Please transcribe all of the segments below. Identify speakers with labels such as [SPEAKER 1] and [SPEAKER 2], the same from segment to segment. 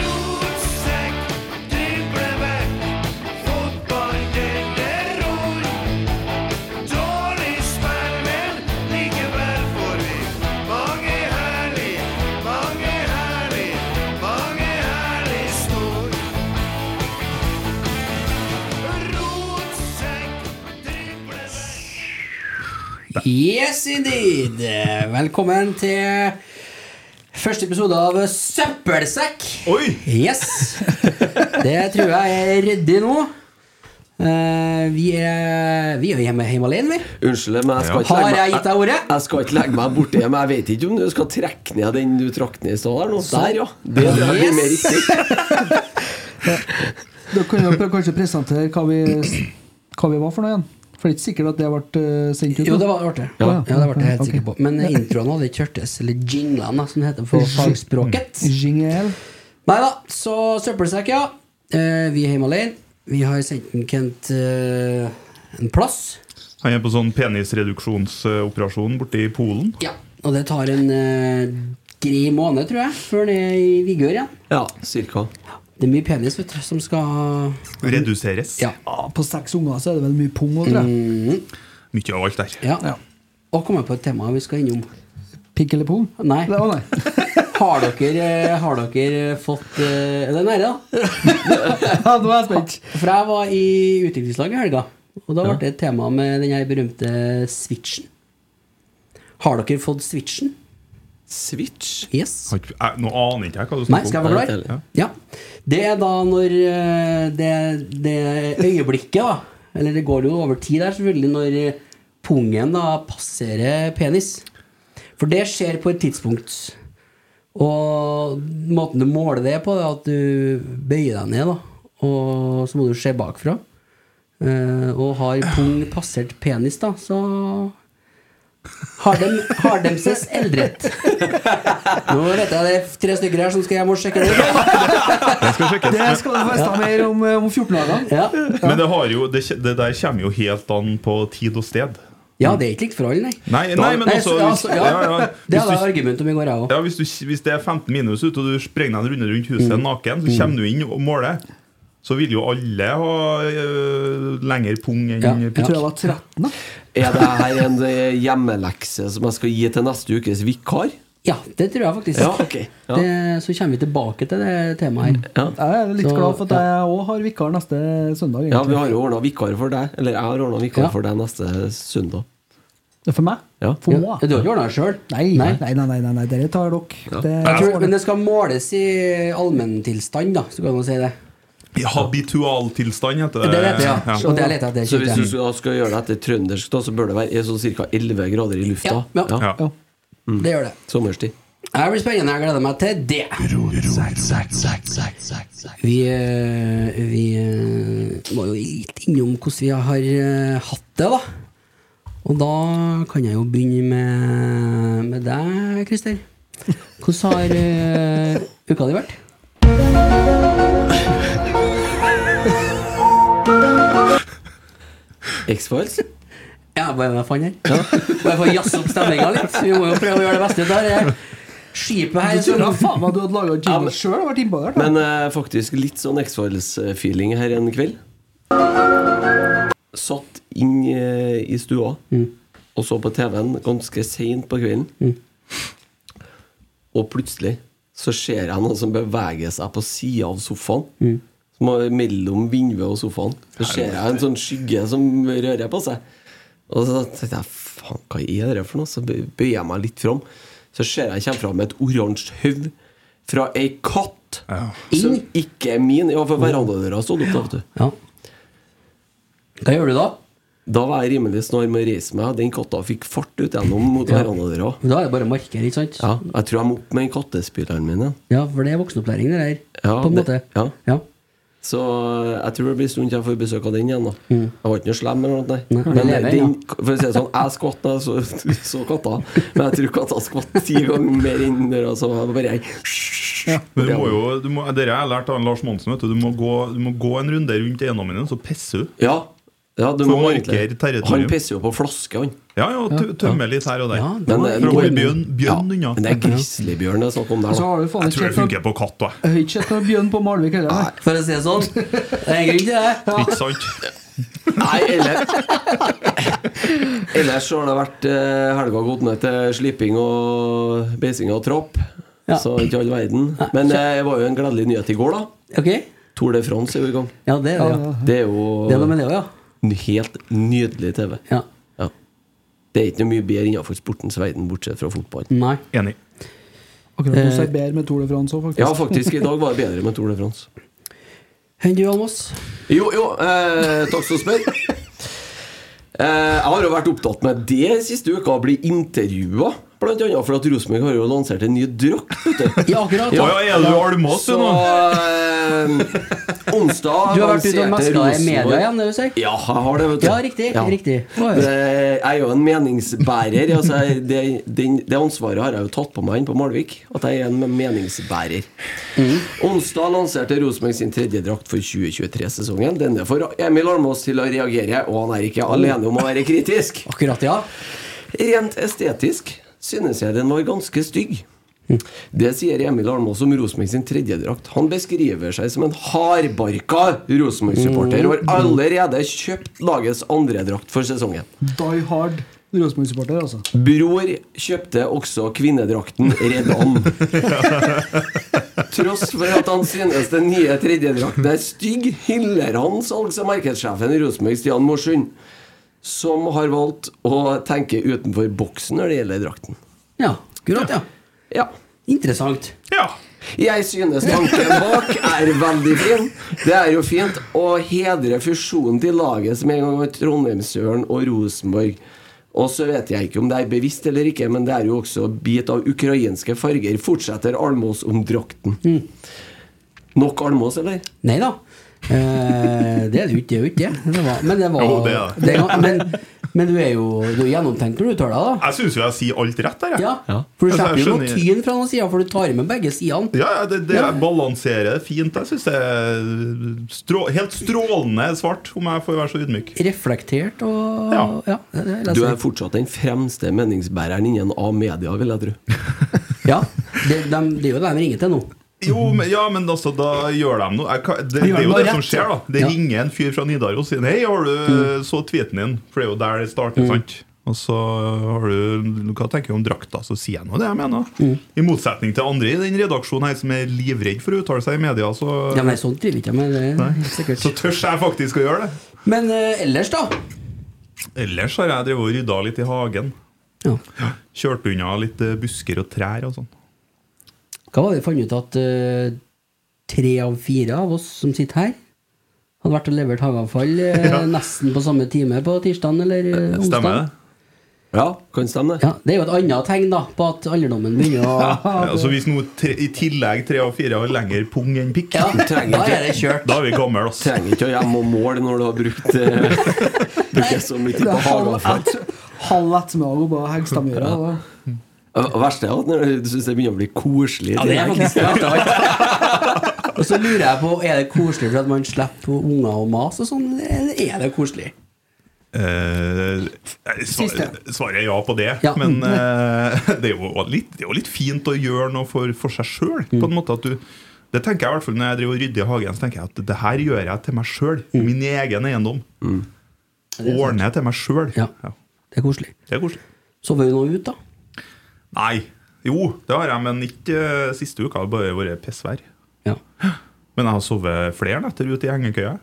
[SPEAKER 1] Rotsekk, dribleback, fotball, det er ror. Dårlig spill, men likevel får vi mange herlig, mange herlig, mange herlig snor. Rotsekk, dribleback
[SPEAKER 2] Yes indeed! Velkommen til første episode av Søppelsekk.
[SPEAKER 3] Oi!
[SPEAKER 2] Yes! Det tror jeg er ryddig nå. Eh, vi, er, vi er jo hjemme, hjemme alene, vi.
[SPEAKER 3] Unnskyld, men jeg skal ikke
[SPEAKER 2] Har
[SPEAKER 3] legge
[SPEAKER 2] jeg
[SPEAKER 3] meg
[SPEAKER 2] gitt deg ordet?
[SPEAKER 3] Jeg skal ikke legge meg borti men jeg vet ikke om du skal trekke ned den du trakk ned i stad der nå.
[SPEAKER 4] Sånn,
[SPEAKER 3] Der, ja. Det, det blir mer riktig.
[SPEAKER 4] Da kan vi kanskje presentere hva vi, hva vi var for noe igjen. For det er ikke sikkert at det ble eh, sendt ut.
[SPEAKER 2] Jo,
[SPEAKER 4] nå.
[SPEAKER 2] det var artig. Ja. det ble jeg helt sikker på. Men introen hadde ikke hørtes, eller jinglene, da, som det heter på fagspråket.
[SPEAKER 4] Jingle.
[SPEAKER 2] Nei da, så søppelsekk, ja. Eh, vi er hjemme alene. Vi har sendt en Kent eh, en plass.
[SPEAKER 5] Han er på sånn penisreduksjonsoperasjon borte i Polen.
[SPEAKER 2] Ja, og det tar en eh, grei måned, tror jeg, før det er i vigør igjen.
[SPEAKER 3] Ja, cirka.
[SPEAKER 2] Det er mye penis vet du, som skal
[SPEAKER 5] Reduseres.
[SPEAKER 2] Ja.
[SPEAKER 4] Ja, på seks unger så er det vel mye pung òg, tror
[SPEAKER 3] Mm.
[SPEAKER 4] jeg.
[SPEAKER 5] Mye av alt der.
[SPEAKER 2] ja.
[SPEAKER 4] Ja.
[SPEAKER 2] Og komme på et tema vi skal innom.
[SPEAKER 4] Pikk eller pung?
[SPEAKER 2] Nei.
[SPEAKER 4] Det, å, nei.
[SPEAKER 2] Har dere, eh, har dere fått eh, Er det nære, da?
[SPEAKER 4] Ja, nå er jeg spent.
[SPEAKER 2] For jeg var i utviklingslaget i helga, og da ble det et tema med den her berømte switchen. Har dere fått switchen?
[SPEAKER 3] Switch.
[SPEAKER 2] Yes.
[SPEAKER 5] Har ikke- jeg- Nå aner ikke jeg hva du
[SPEAKER 2] Nei,
[SPEAKER 5] snakker
[SPEAKER 2] skal
[SPEAKER 5] om.
[SPEAKER 2] jeg forklare?
[SPEAKER 3] Ja.
[SPEAKER 2] Ja. Det er da når eh, det, det øyeblikket, da Eller det går jo over tid der, selvfølgelig, når eh, pungen da passerer penis. For det skjer på et tidspunkt. Og måten du måler det på, er at du bøyer deg ned, da. Og så må du se bakfra. Eh, og har pung passert penis, da, så har dem, har dem ses eldrett. Nå vet jeg det er tre stykker her som skal hjem og sjekke det.
[SPEAKER 5] Jeg skal sjekke.
[SPEAKER 4] det skal du få vite mer om eh, om 14 dager.
[SPEAKER 2] Ja.
[SPEAKER 5] Men det, har jo, det, kje- det der kommer jo helt an på tid og sted.
[SPEAKER 2] ja, det er ikke likt for alle, nei.
[SPEAKER 5] Nei, nei men
[SPEAKER 2] Nei,
[SPEAKER 5] altså
[SPEAKER 2] ja,
[SPEAKER 5] hvis,
[SPEAKER 2] altså,
[SPEAKER 5] ja, ja,
[SPEAKER 2] Det
[SPEAKER 5] hvis,
[SPEAKER 2] hadde jeg
[SPEAKER 5] du,
[SPEAKER 2] argument om i går, jeg òg.
[SPEAKER 5] ja, hvis, du, hvis det er 15 minus ute, og du sprenger deg en runde rundt huset naken, så kommer du inn og måler. Så vil jo alle ha øh, lengre pung enn
[SPEAKER 2] Ja, ja.
[SPEAKER 4] Jeg
[SPEAKER 5] pikk.
[SPEAKER 4] tror jeg var 13, da.
[SPEAKER 3] Er det her en eh, hjemmelekse som jeg skal gi til neste ukes vikar?
[SPEAKER 2] Ja, det tror jeg faktisk.
[SPEAKER 3] Ja, ok. Ja.
[SPEAKER 2] Det, så kommer vi tilbake til det temaet her.
[SPEAKER 4] Jeg er litt
[SPEAKER 2] Så,
[SPEAKER 4] glad for at jeg òg har vikar neste søndag.
[SPEAKER 3] Ja, vi
[SPEAKER 4] egentlig.
[SPEAKER 3] har jo ordna vikar for deg. Eller jeg har ordna vikar
[SPEAKER 2] Ja.
[SPEAKER 3] for deg neste søndag.
[SPEAKER 4] Det er for meg.
[SPEAKER 3] Ja.
[SPEAKER 4] For
[SPEAKER 2] Ja,
[SPEAKER 4] meg.
[SPEAKER 2] du har ikke ordna det sjøl?
[SPEAKER 4] Nei, nei, nei, nei, nei, nei. dere tar dere. Det,
[SPEAKER 2] Jeg tror, men det skal måles i allmenntilstand, da. Så kan man si det.
[SPEAKER 5] I Habitualtilstand heter det.
[SPEAKER 2] Det leter jeg
[SPEAKER 5] Ja.
[SPEAKER 2] etter. Og det leter jeg etter.
[SPEAKER 3] Så hvis du
[SPEAKER 2] skjønte jeg.
[SPEAKER 3] skal, skal gjøre det etter trøndersk, da, så bør det være sånn ca. 11 grader i lufta.
[SPEAKER 2] Ja, ja.
[SPEAKER 5] Ja.
[SPEAKER 2] Det gjør det.
[SPEAKER 3] Sommerstid.
[SPEAKER 2] Det blir spennende. Jeg gleder meg til det. Vi, eh, vi eh, må jo litt innom hvordan vi har eh, hatt det, da. Og da kan jeg jo begynne med, med deg, Christer. Hvordan har eh, uka di vært?
[SPEAKER 3] X-Files?
[SPEAKER 2] Ja, bare jeg fant her. Bare for å jazze opp stemninga litt. Vi må jo prøve å gjøre det beste ut av det. Skipet her
[SPEAKER 4] Jeg
[SPEAKER 2] så-
[SPEAKER 4] trodde faen meg du hadde laga
[SPEAKER 3] Ja, men-
[SPEAKER 4] jingle sjøl og vært imponert. da.
[SPEAKER 3] Men eh, faktisk litt sånn X-Files-feeling her en kveld. Satt inn eh, i stua og så på TV-en ganske seint på kvelden. Og plutselig så ser jeg noe som beveger seg på sida av sofaen. Som er mellom vinduet og sofaen. Så ser jeg en sånn skygge som rører på seg. Og så tenkte jeg faen, hva er det for noe? Så bøyer jeg meg litt fram. Så ser jeg kommer fram med et oransje haug fra ei katt som ikke er min. Ja, for verandadøra stod opp, da, vet du.
[SPEAKER 2] Ja. Hva gjør du da?
[SPEAKER 3] Da var jeg rimelig snar med å reise meg. Den katta fikk fart ut gjennom mot verandadøra.
[SPEAKER 2] Da er det bare å markere, ikke sant?
[SPEAKER 3] Ja, jeg tror jeg må opp med den kattespyleren min igjen.
[SPEAKER 2] Ja, for det er voksenopplæring, det der.
[SPEAKER 3] Ja,
[SPEAKER 2] på en
[SPEAKER 3] det-
[SPEAKER 2] måte.
[SPEAKER 3] ja.
[SPEAKER 2] ja.
[SPEAKER 3] Så eh, jeg tror det blir en stund til jeg får besøk av den igjen. da Jeg var ikke noe slem, eller noe, nei.
[SPEAKER 2] Mm. Nei, den
[SPEAKER 3] Men
[SPEAKER 2] lever,
[SPEAKER 3] den, for å si det sånn, jeg skvatt da jeg så, så katta. Men jeg tror katta skvatt ti ganger mer inn døra, så altså. jeg bare
[SPEAKER 5] Men du må jo, du må, dere har jeg lært av Lars Monsen. Vet du, du, må gå, du må gå en runde rundt eiendommen din, så pisser du.
[SPEAKER 3] Ja, ja du
[SPEAKER 5] For
[SPEAKER 3] må
[SPEAKER 5] å
[SPEAKER 3] egentlig-
[SPEAKER 5] markere territorium.
[SPEAKER 3] Han pisser jo på flaske, han.
[SPEAKER 5] Ja, ja, tø- tømme litt her og der.
[SPEAKER 2] Ja,
[SPEAKER 3] Men det-
[SPEAKER 5] For å holde bjørn,
[SPEAKER 3] Ja,
[SPEAKER 5] bjørn unna.
[SPEAKER 3] men det er grizzlybjørn det er snakk om der,
[SPEAKER 4] Og
[SPEAKER 2] Altså-
[SPEAKER 4] Så
[SPEAKER 3] da.
[SPEAKER 4] har du faen
[SPEAKER 5] Jeg tror det
[SPEAKER 4] ikke sånn sett noe-
[SPEAKER 5] funker på katt, da.
[SPEAKER 4] Jeg har ikke sett noe bjørn på Malvik heller. nei.
[SPEAKER 2] For å si det sånn. Det er en grunn til det.
[SPEAKER 5] Ikke sant?
[SPEAKER 3] Nei, eller Ellers så har det vært eh, helga gått ned til sliping og beising av trapp.
[SPEAKER 2] Ja.
[SPEAKER 3] Så ikke all verden. Men eh, det var jo en gledelig nyhet i går, da.
[SPEAKER 2] Ok?
[SPEAKER 3] Tour de France er jo i gang.
[SPEAKER 2] Ja, det er det, ja.
[SPEAKER 3] Det er jo
[SPEAKER 2] Det er noe med det òg, ja.
[SPEAKER 3] n- helt nydelig TV.
[SPEAKER 2] ja.
[SPEAKER 3] Ja. Det er ikke noe mye bedre innenfor sportens verden, bortsett fra fotball.
[SPEAKER 2] Nei.
[SPEAKER 5] Enig.
[SPEAKER 4] Akkurat nå så er det bedre med Tour de France òg, faktisk.
[SPEAKER 3] Ja, faktisk. I dag var det bedre med Tour de France.
[SPEAKER 2] Enn du, Almås?
[SPEAKER 3] Jo, jo, eh, takk som spør. Eh, jeg har jo vært opptatt med det siste uka, å bli intervjua. Blant annet for at Rosenborg har jo lansert en ny drakt. vet du.
[SPEAKER 2] Ja, akkurat.
[SPEAKER 5] Å
[SPEAKER 2] Ja.
[SPEAKER 5] ja, er du almås, du
[SPEAKER 3] Så
[SPEAKER 5] nå?
[SPEAKER 3] eh, onsdag
[SPEAKER 2] Du har vært ute og
[SPEAKER 3] lanserte
[SPEAKER 2] meska deg i media
[SPEAKER 3] Rosenborg-
[SPEAKER 2] igjen, det du sier?
[SPEAKER 3] Ja, jeg har det, vet du.
[SPEAKER 2] Ja, riktig, riktig. Å, ja.
[SPEAKER 3] Det, jeg er jo en meningsbærer. Altså, jeg- det, den- det ansvaret har jeg jo tatt på meg inn på Malvik. At jeg er en meningsbærer.
[SPEAKER 2] Mm.
[SPEAKER 3] Onsdag lanserte Rosenborg sin tredje drakt for 2023-sesongen. Denne får Emil Almås til å reagere, og han er ikke alene om å være kritisk.
[SPEAKER 2] Akkurat, ja.
[SPEAKER 3] Rent estetisk synes jeg den var ganske stygg. Det sier Emil Almås om Rosenborg sin tredje drakt. Han beskriver seg som en hardbarka Rosenborg-supporter og har allerede kjøpt lagets andre drakt for sesongen.
[SPEAKER 4] Die Hard Rosenborg-supporter, altså.
[SPEAKER 3] Bror kjøpte også kvinnedrakten Redd Am. Tross for at han synes den nye tredjedrakten er stygg, hyller han salgs- og markedssjefen i Rosenborg, Stian Morsund, som har valgt å tenke utenfor boksen når det gjelder drakten.
[SPEAKER 2] Ja, akkurat, ja.
[SPEAKER 3] Ja.
[SPEAKER 2] Interessant.
[SPEAKER 5] Ja.
[SPEAKER 3] Jeg synes tanken bak er veldig fin. Det er jo fint å hedre fusjonen til laget som en gang var Trondheimsøren og Rosenborg. Og så vet jeg ikke om det er bevisst eller ikke, men det er jo også bit av ukrainske farger. Fortsetter Almås om drakten. Nok Almås, eller?
[SPEAKER 2] Nei da. Eh, det er det jo ikke. Det er jo ikke det. det. Var, men det var
[SPEAKER 5] Jo, det er det.
[SPEAKER 2] var- men, men du er jo Du gjennomtenker du tar deg, da.
[SPEAKER 5] Jeg syns jo jeg sier alt rett der, jeg.
[SPEAKER 2] Ja. For du
[SPEAKER 5] Altså,
[SPEAKER 2] slipper
[SPEAKER 5] jeg
[SPEAKER 2] jo noe
[SPEAKER 5] skjønner-
[SPEAKER 2] tyn fra noen sider, for du tar med begge sidene.
[SPEAKER 5] Ja, ja, det, det jeg balanserer fint. Jeg syns det er strå, helt strålende svart, om jeg får være så ydmyk.
[SPEAKER 2] Reflektert og Ja.
[SPEAKER 5] Ja.
[SPEAKER 2] det- det leser
[SPEAKER 3] Du
[SPEAKER 2] jeg.
[SPEAKER 3] er fortsatt den fremste meningsbæreren innen A-media, vil jeg tro.
[SPEAKER 2] Ja, det, de, det er jo det de ringer til nå.
[SPEAKER 5] Jo, men, ja, men altså, da gjør de noe. Jeg, kan- det, det er jo
[SPEAKER 4] noe
[SPEAKER 5] det som
[SPEAKER 4] rett,
[SPEAKER 5] skjer, da. Det
[SPEAKER 2] Ja.
[SPEAKER 5] ringer en fyr fra Nidaros og sier 'Hei, har du så tweeten din?' For det er jo der det starter, sant? Og så har du Hva tenker du om drakta? Så sier jeg nå det jeg mener. I motsetning til andre i den redaksjonen her som er livredd for å uttale seg i media, så,
[SPEAKER 2] Ja, nei, sånn driver ikke jeg med. Det, er helt
[SPEAKER 5] så
[SPEAKER 2] sikkert.
[SPEAKER 5] tør jeg faktisk å gjøre det.
[SPEAKER 2] Men eh, ellers, da?
[SPEAKER 5] Ellers har jeg drevet og rydda litt i hagen.
[SPEAKER 2] Ja.
[SPEAKER 5] Kjørt unna litt eh, busker og trær og sånn.
[SPEAKER 2] Hva var det vi fant ut at eh, tre av fire av oss som sitter her, hadde vært og levert hageavfall eh, nesten på samme time på tirsdag eller eh, onsdag?
[SPEAKER 5] Stemmer det?
[SPEAKER 3] Ja, kan stemme det.
[SPEAKER 2] Ja, Det er jo et annet tegn da på at alderdommen begynner å
[SPEAKER 5] Ja, altså hvis noe tre, i tillegg tre av fire har lengre pung enn pikk,
[SPEAKER 2] Ja,
[SPEAKER 3] trenger
[SPEAKER 2] da
[SPEAKER 3] ikke.
[SPEAKER 2] er det kjørt.
[SPEAKER 5] da er vi gamle, altså.
[SPEAKER 3] Trenger ikke å hjem og måle når du har brukt eh, Bruker så mye tid på hageavfall.
[SPEAKER 4] halv ettermiddag og bare Hegstadmyra. da.
[SPEAKER 3] Det verste er at når du syns det begynner å bli koselig.
[SPEAKER 2] Ja, det er faktisk det verste av alt. Og så lurer jeg på, er det koselig for at man slipper unger og mas og sånn, eller er det koselig?
[SPEAKER 5] Eh, svar,
[SPEAKER 4] Siste.
[SPEAKER 5] svaret er ja på det,
[SPEAKER 2] Ja.
[SPEAKER 5] men eh, det, er jo litt, det er jo litt fint å gjøre noe for, for seg sjøl.
[SPEAKER 2] Mm.
[SPEAKER 5] Det tenker jeg i hvert fall når jeg driver og rydder i hagen. Så tenker jeg at det her gjør jeg til meg sjøl.
[SPEAKER 2] Mm.
[SPEAKER 5] Min egen eiendom. Ordner jeg til meg sjøl.
[SPEAKER 2] Ja. Det er koselig.
[SPEAKER 5] Det er koselig.
[SPEAKER 2] Sover du noe ut, da?
[SPEAKER 5] Nei. Jo, det har jeg, men ikke eh, siste uka. Det har bare vært pissvær.
[SPEAKER 2] Ja.
[SPEAKER 5] Men jeg har sovet flere netter ute i hengekøya.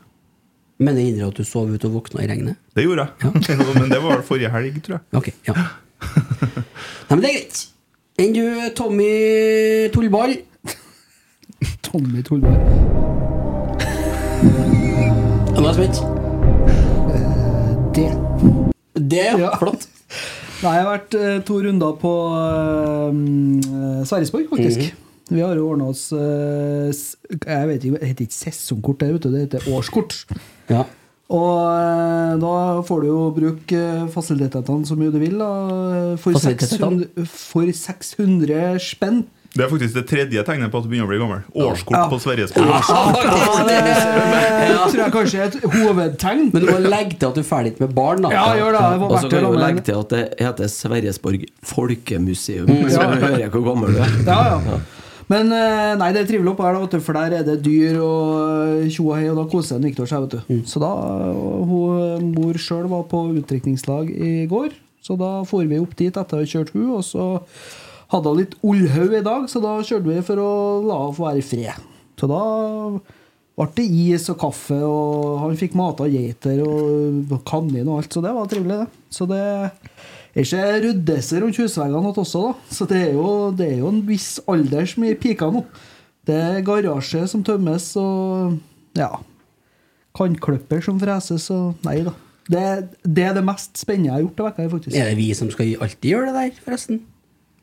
[SPEAKER 2] Men det innrømmer at du sov ute og våkna i regnet?
[SPEAKER 5] Det gjorde jeg. men det var forrige helg, tror jeg.
[SPEAKER 2] Ok, ja. Nei, men det er greit. Enn du, Tommy Tullball?
[SPEAKER 4] Tommy Tolberg.
[SPEAKER 2] Nå er jeg spent.
[SPEAKER 4] Eh, Det.
[SPEAKER 2] Det er
[SPEAKER 4] Ja.
[SPEAKER 2] flott.
[SPEAKER 4] Nei, jeg har vært eh, to runder på eh, Sverresborg, faktisk. Vi har jo ordna oss eh, s- Jeg vet ikke, det heter ikke sesongkort der ute, det heter årskort.
[SPEAKER 2] Ja.
[SPEAKER 4] Og eh, da får du jo bruke eh, fasilitetene så mye du vil. Da, for,
[SPEAKER 2] Fasilitetene?
[SPEAKER 4] 600, for 600 spenn.
[SPEAKER 5] Det er faktisk det tredje tegnet på at du begynner å bli gammel. Årskort
[SPEAKER 4] Ja.
[SPEAKER 5] på Sverresborg.
[SPEAKER 4] Ja, det Eh, tror jeg kanskje er et hovedtegn.
[SPEAKER 2] Men du må legge til at du er ferdig med barn, da.
[SPEAKER 4] Ja, gjør det. Det var
[SPEAKER 3] Og så
[SPEAKER 4] verdt det.
[SPEAKER 3] kan
[SPEAKER 4] da,
[SPEAKER 3] vi jo
[SPEAKER 4] men-
[SPEAKER 3] legge til at det heter Sverresborg folkemuseum. Så hører jeg hvor gammel du er.
[SPEAKER 4] Ja, ja. Men eh, nei, det er trivelig oppå her, da, vet du, for der er det dyr og eh, tjo og hei, og da koser en Viktor seg. vet du Så da, og hun, eh, Mor sjøl var på utdrikningslag i går, så da for vi opp dit etter å ha kjørt hun, og så hadde hun litt ollhaug i dag, så da kjørte vi for å la henne få være i fred. Så da ble det is og kaffe, og han fikk mat av geiter og kanin og alt, så det var trivelig, det. Så det er ikke ryddes det rundt husveggene igjen også, da. Så det er jo, det er jo en viss alder som er i pika nå. Det er garasje som tømmes, og ja Kantklipper som freses, og nei da. Det, det er det mest spennende jeg har gjort i vekka, her, faktisk.
[SPEAKER 2] Er det vi som skal alltid gjøre det der, forresten?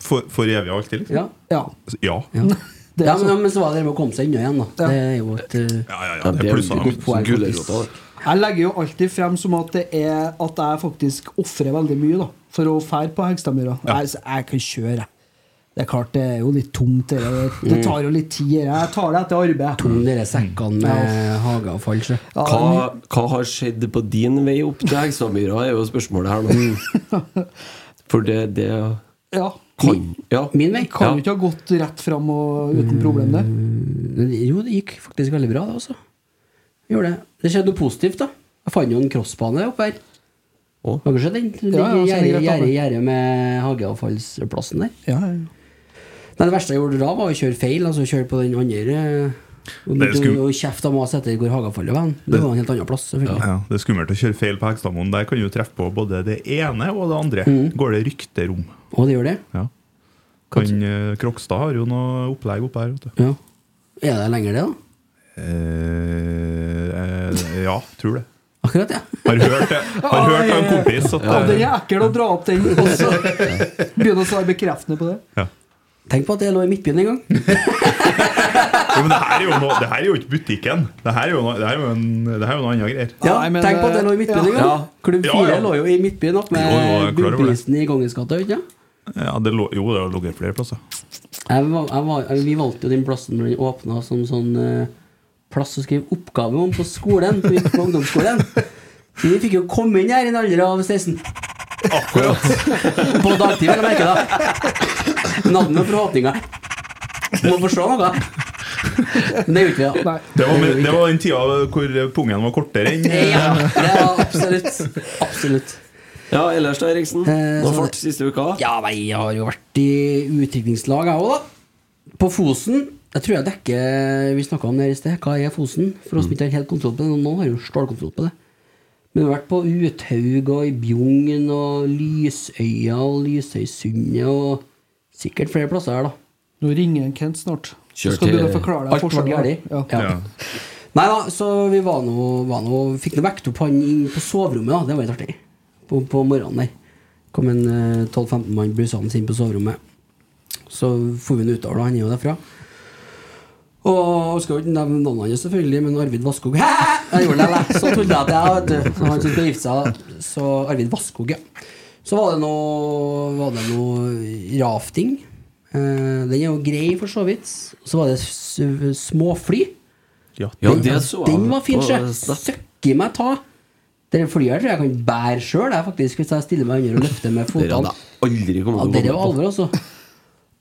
[SPEAKER 5] For, for evig og alltid, liksom?
[SPEAKER 2] Ja.
[SPEAKER 4] Ja.
[SPEAKER 5] Ja.
[SPEAKER 2] Ja,
[SPEAKER 4] Det er
[SPEAKER 2] ja, men,
[SPEAKER 4] sånn.
[SPEAKER 2] men så var det det med å komme seg unna igjen, da.
[SPEAKER 4] Ja.
[SPEAKER 2] Det er jo et eh,
[SPEAKER 5] Ja, ja, ja,
[SPEAKER 3] Ja,
[SPEAKER 5] det er
[SPEAKER 3] det er
[SPEAKER 5] plusser.
[SPEAKER 3] jo
[SPEAKER 2] poeng,
[SPEAKER 3] gulrota.
[SPEAKER 2] faktisk.
[SPEAKER 3] det.
[SPEAKER 4] Jeg legger jo alltid frem som at det er at jeg faktisk ofrer veldig mye da, for å fære på Hegstadmyra. Jeg, så jeg kan kjøre, jeg. Det er klart, det er jo litt tungt. Det, det- det tar jo litt tid. det. Jeg tar det etter arbeid.
[SPEAKER 2] om dere sekkene med hageavfall, så.
[SPEAKER 4] Ja,
[SPEAKER 3] Hva, hva har skjedd på din vei opp til Hegstadmyra, er jo spørsmålet her nå. For det, det
[SPEAKER 4] Ja.
[SPEAKER 3] kan ja.
[SPEAKER 2] Min vei?
[SPEAKER 4] Kan jo ikke ha gått rett frem og uten problem, det.
[SPEAKER 2] Jo, det gikk faktisk veldig bra, det også. Gjorde det. Det skjedde noe positivt, da. Jeg fant jo en crossbane oppe her.
[SPEAKER 3] Å.
[SPEAKER 2] Har du sett den? Det
[SPEAKER 4] Ja, ja,
[SPEAKER 2] ligger
[SPEAKER 4] så ligger
[SPEAKER 2] gjerdet
[SPEAKER 4] det
[SPEAKER 2] gjerdet-
[SPEAKER 4] framme.
[SPEAKER 2] gjerdet med hageavfallsplassen der.
[SPEAKER 4] Ja, ja.
[SPEAKER 2] Nei, det verste jeg gjorde da, var å kjøre feil. Altså kjøre på den andre eh,
[SPEAKER 5] Det
[SPEAKER 2] Og
[SPEAKER 5] er
[SPEAKER 2] begynte
[SPEAKER 5] skum-
[SPEAKER 2] å- å kjefte og mase etter hvor hageavfallet var. hen. Det var en helt annen plass, selvfølgelig.
[SPEAKER 5] Ja, det er skummelt å kjøre feil på Hegstadmoen. Der kan du treffe på både det ene og det andre. Går det rykter om.
[SPEAKER 2] Og det gjør det.
[SPEAKER 5] Ja. Han, eh, Krokstad har jo noe opplegg oppe her. Vet du.
[SPEAKER 2] Ja. Er det lenger, det, da?
[SPEAKER 5] Eh, eh, ja, tror det.
[SPEAKER 2] Akkurat, ja.
[SPEAKER 5] Har hørt det. Har hørt av en kompis at
[SPEAKER 4] Ja, den
[SPEAKER 5] eh,
[SPEAKER 4] er ekkel å dra opp den, og så begynne å svare bekreftende på det.
[SPEAKER 5] ja.
[SPEAKER 2] Tenk på at det lå i Midtbyen en gang.
[SPEAKER 5] Jo, men det her er jo noe, det her er jo ikke butikken. Det her er jo, noe, det her er jo, en, det her er jo noe annet greier.
[SPEAKER 2] Ja,
[SPEAKER 4] Nei, men,
[SPEAKER 2] tenk på at det lå i Midtbyen
[SPEAKER 4] ja.
[SPEAKER 2] en gang.
[SPEAKER 3] Ja.
[SPEAKER 2] Klubb
[SPEAKER 5] Ja,
[SPEAKER 2] 4
[SPEAKER 5] ja.
[SPEAKER 2] lå jo i Midtbyen opp
[SPEAKER 5] Jo, jo, jeg er klar
[SPEAKER 2] med
[SPEAKER 5] over det.
[SPEAKER 2] bunnprisen i Kongens gate. vet du, Ja.
[SPEAKER 5] Ja, det lå, jo, det har ligget flere plasser.
[SPEAKER 2] Jeg var, jeg var, jeg, vi valgte jo den plassen når den åpna som sånn eh, plass å skrive oppgave om på skolen. På, på ungdomsskolen. Så vi fikk jo komme inn her i en alder av 16.
[SPEAKER 5] Akkurat.
[SPEAKER 2] På dagtid, vel å merke. da Navnet og forhåpninger. Må forstå noe. Men det gjorde vi, da.
[SPEAKER 4] Nei.
[SPEAKER 5] Det var, med, det var den tida hvor pungen var kortere enn
[SPEAKER 2] Ja, det var absolutt. Absolutt.
[SPEAKER 3] Ja, ellers da, Eriksen?
[SPEAKER 2] Eh,
[SPEAKER 3] Noe
[SPEAKER 2] så-
[SPEAKER 3] fart siste uka?
[SPEAKER 2] Ja, nei, jeg har jo vært i utviklingslag, jeg òg, da. På Fosen. Jeg tror jeg dekker Vi snakka om det her i sted. Hva er Fosen? For oss som ikke har helt kontroll på det. Noen har jo stålkontroll på det. Men vi har vært på Uthaug og i Bjugn og Lysøya og Lysøysundet og sikkert flere plasser her, da.
[SPEAKER 4] Nå ringer en Kent snart.
[SPEAKER 3] Kjør
[SPEAKER 4] Så skal du
[SPEAKER 3] til-
[SPEAKER 4] begynne å forklare deg
[SPEAKER 2] Alt var gærlig.
[SPEAKER 4] Ja.
[SPEAKER 5] Ja.
[SPEAKER 2] Nei da, så vi var nå, var nå fikk nå vekt opp han inn på soverommet, da. Det var litt artig. På, på morgenen der. Kom en eh, 12-15 mann brusende inn på soverommet. Så for vi han utover, da. Han er jo derfra. Og skal jo ikke nevne navnet hans, selvfølgelig, men Arvid Vasskog Hæ! Jeg gjorde det, jeg. Så trodde jeg at jeg vet du, så Han som skal gifte seg, da. så Arvid Vasskog, ja. Så var det noe, var det noe rafting. Eh, den er jo grei, for så vidt. Så var det s- småfly.
[SPEAKER 5] Ja,
[SPEAKER 3] Ja, det så jeg.
[SPEAKER 2] Den var fin, sjø.
[SPEAKER 3] på Snap.
[SPEAKER 2] Søkki meg ta. Det flyet her tror jeg jeg kan bære sjøl, faktisk, hvis jeg stiller meg under og løfter med
[SPEAKER 3] Det hadde
[SPEAKER 2] fotene.
[SPEAKER 3] jeg aldri
[SPEAKER 2] Ja,
[SPEAKER 3] kommet
[SPEAKER 2] dere var
[SPEAKER 3] til å komme på.
[SPEAKER 2] alvor, altså.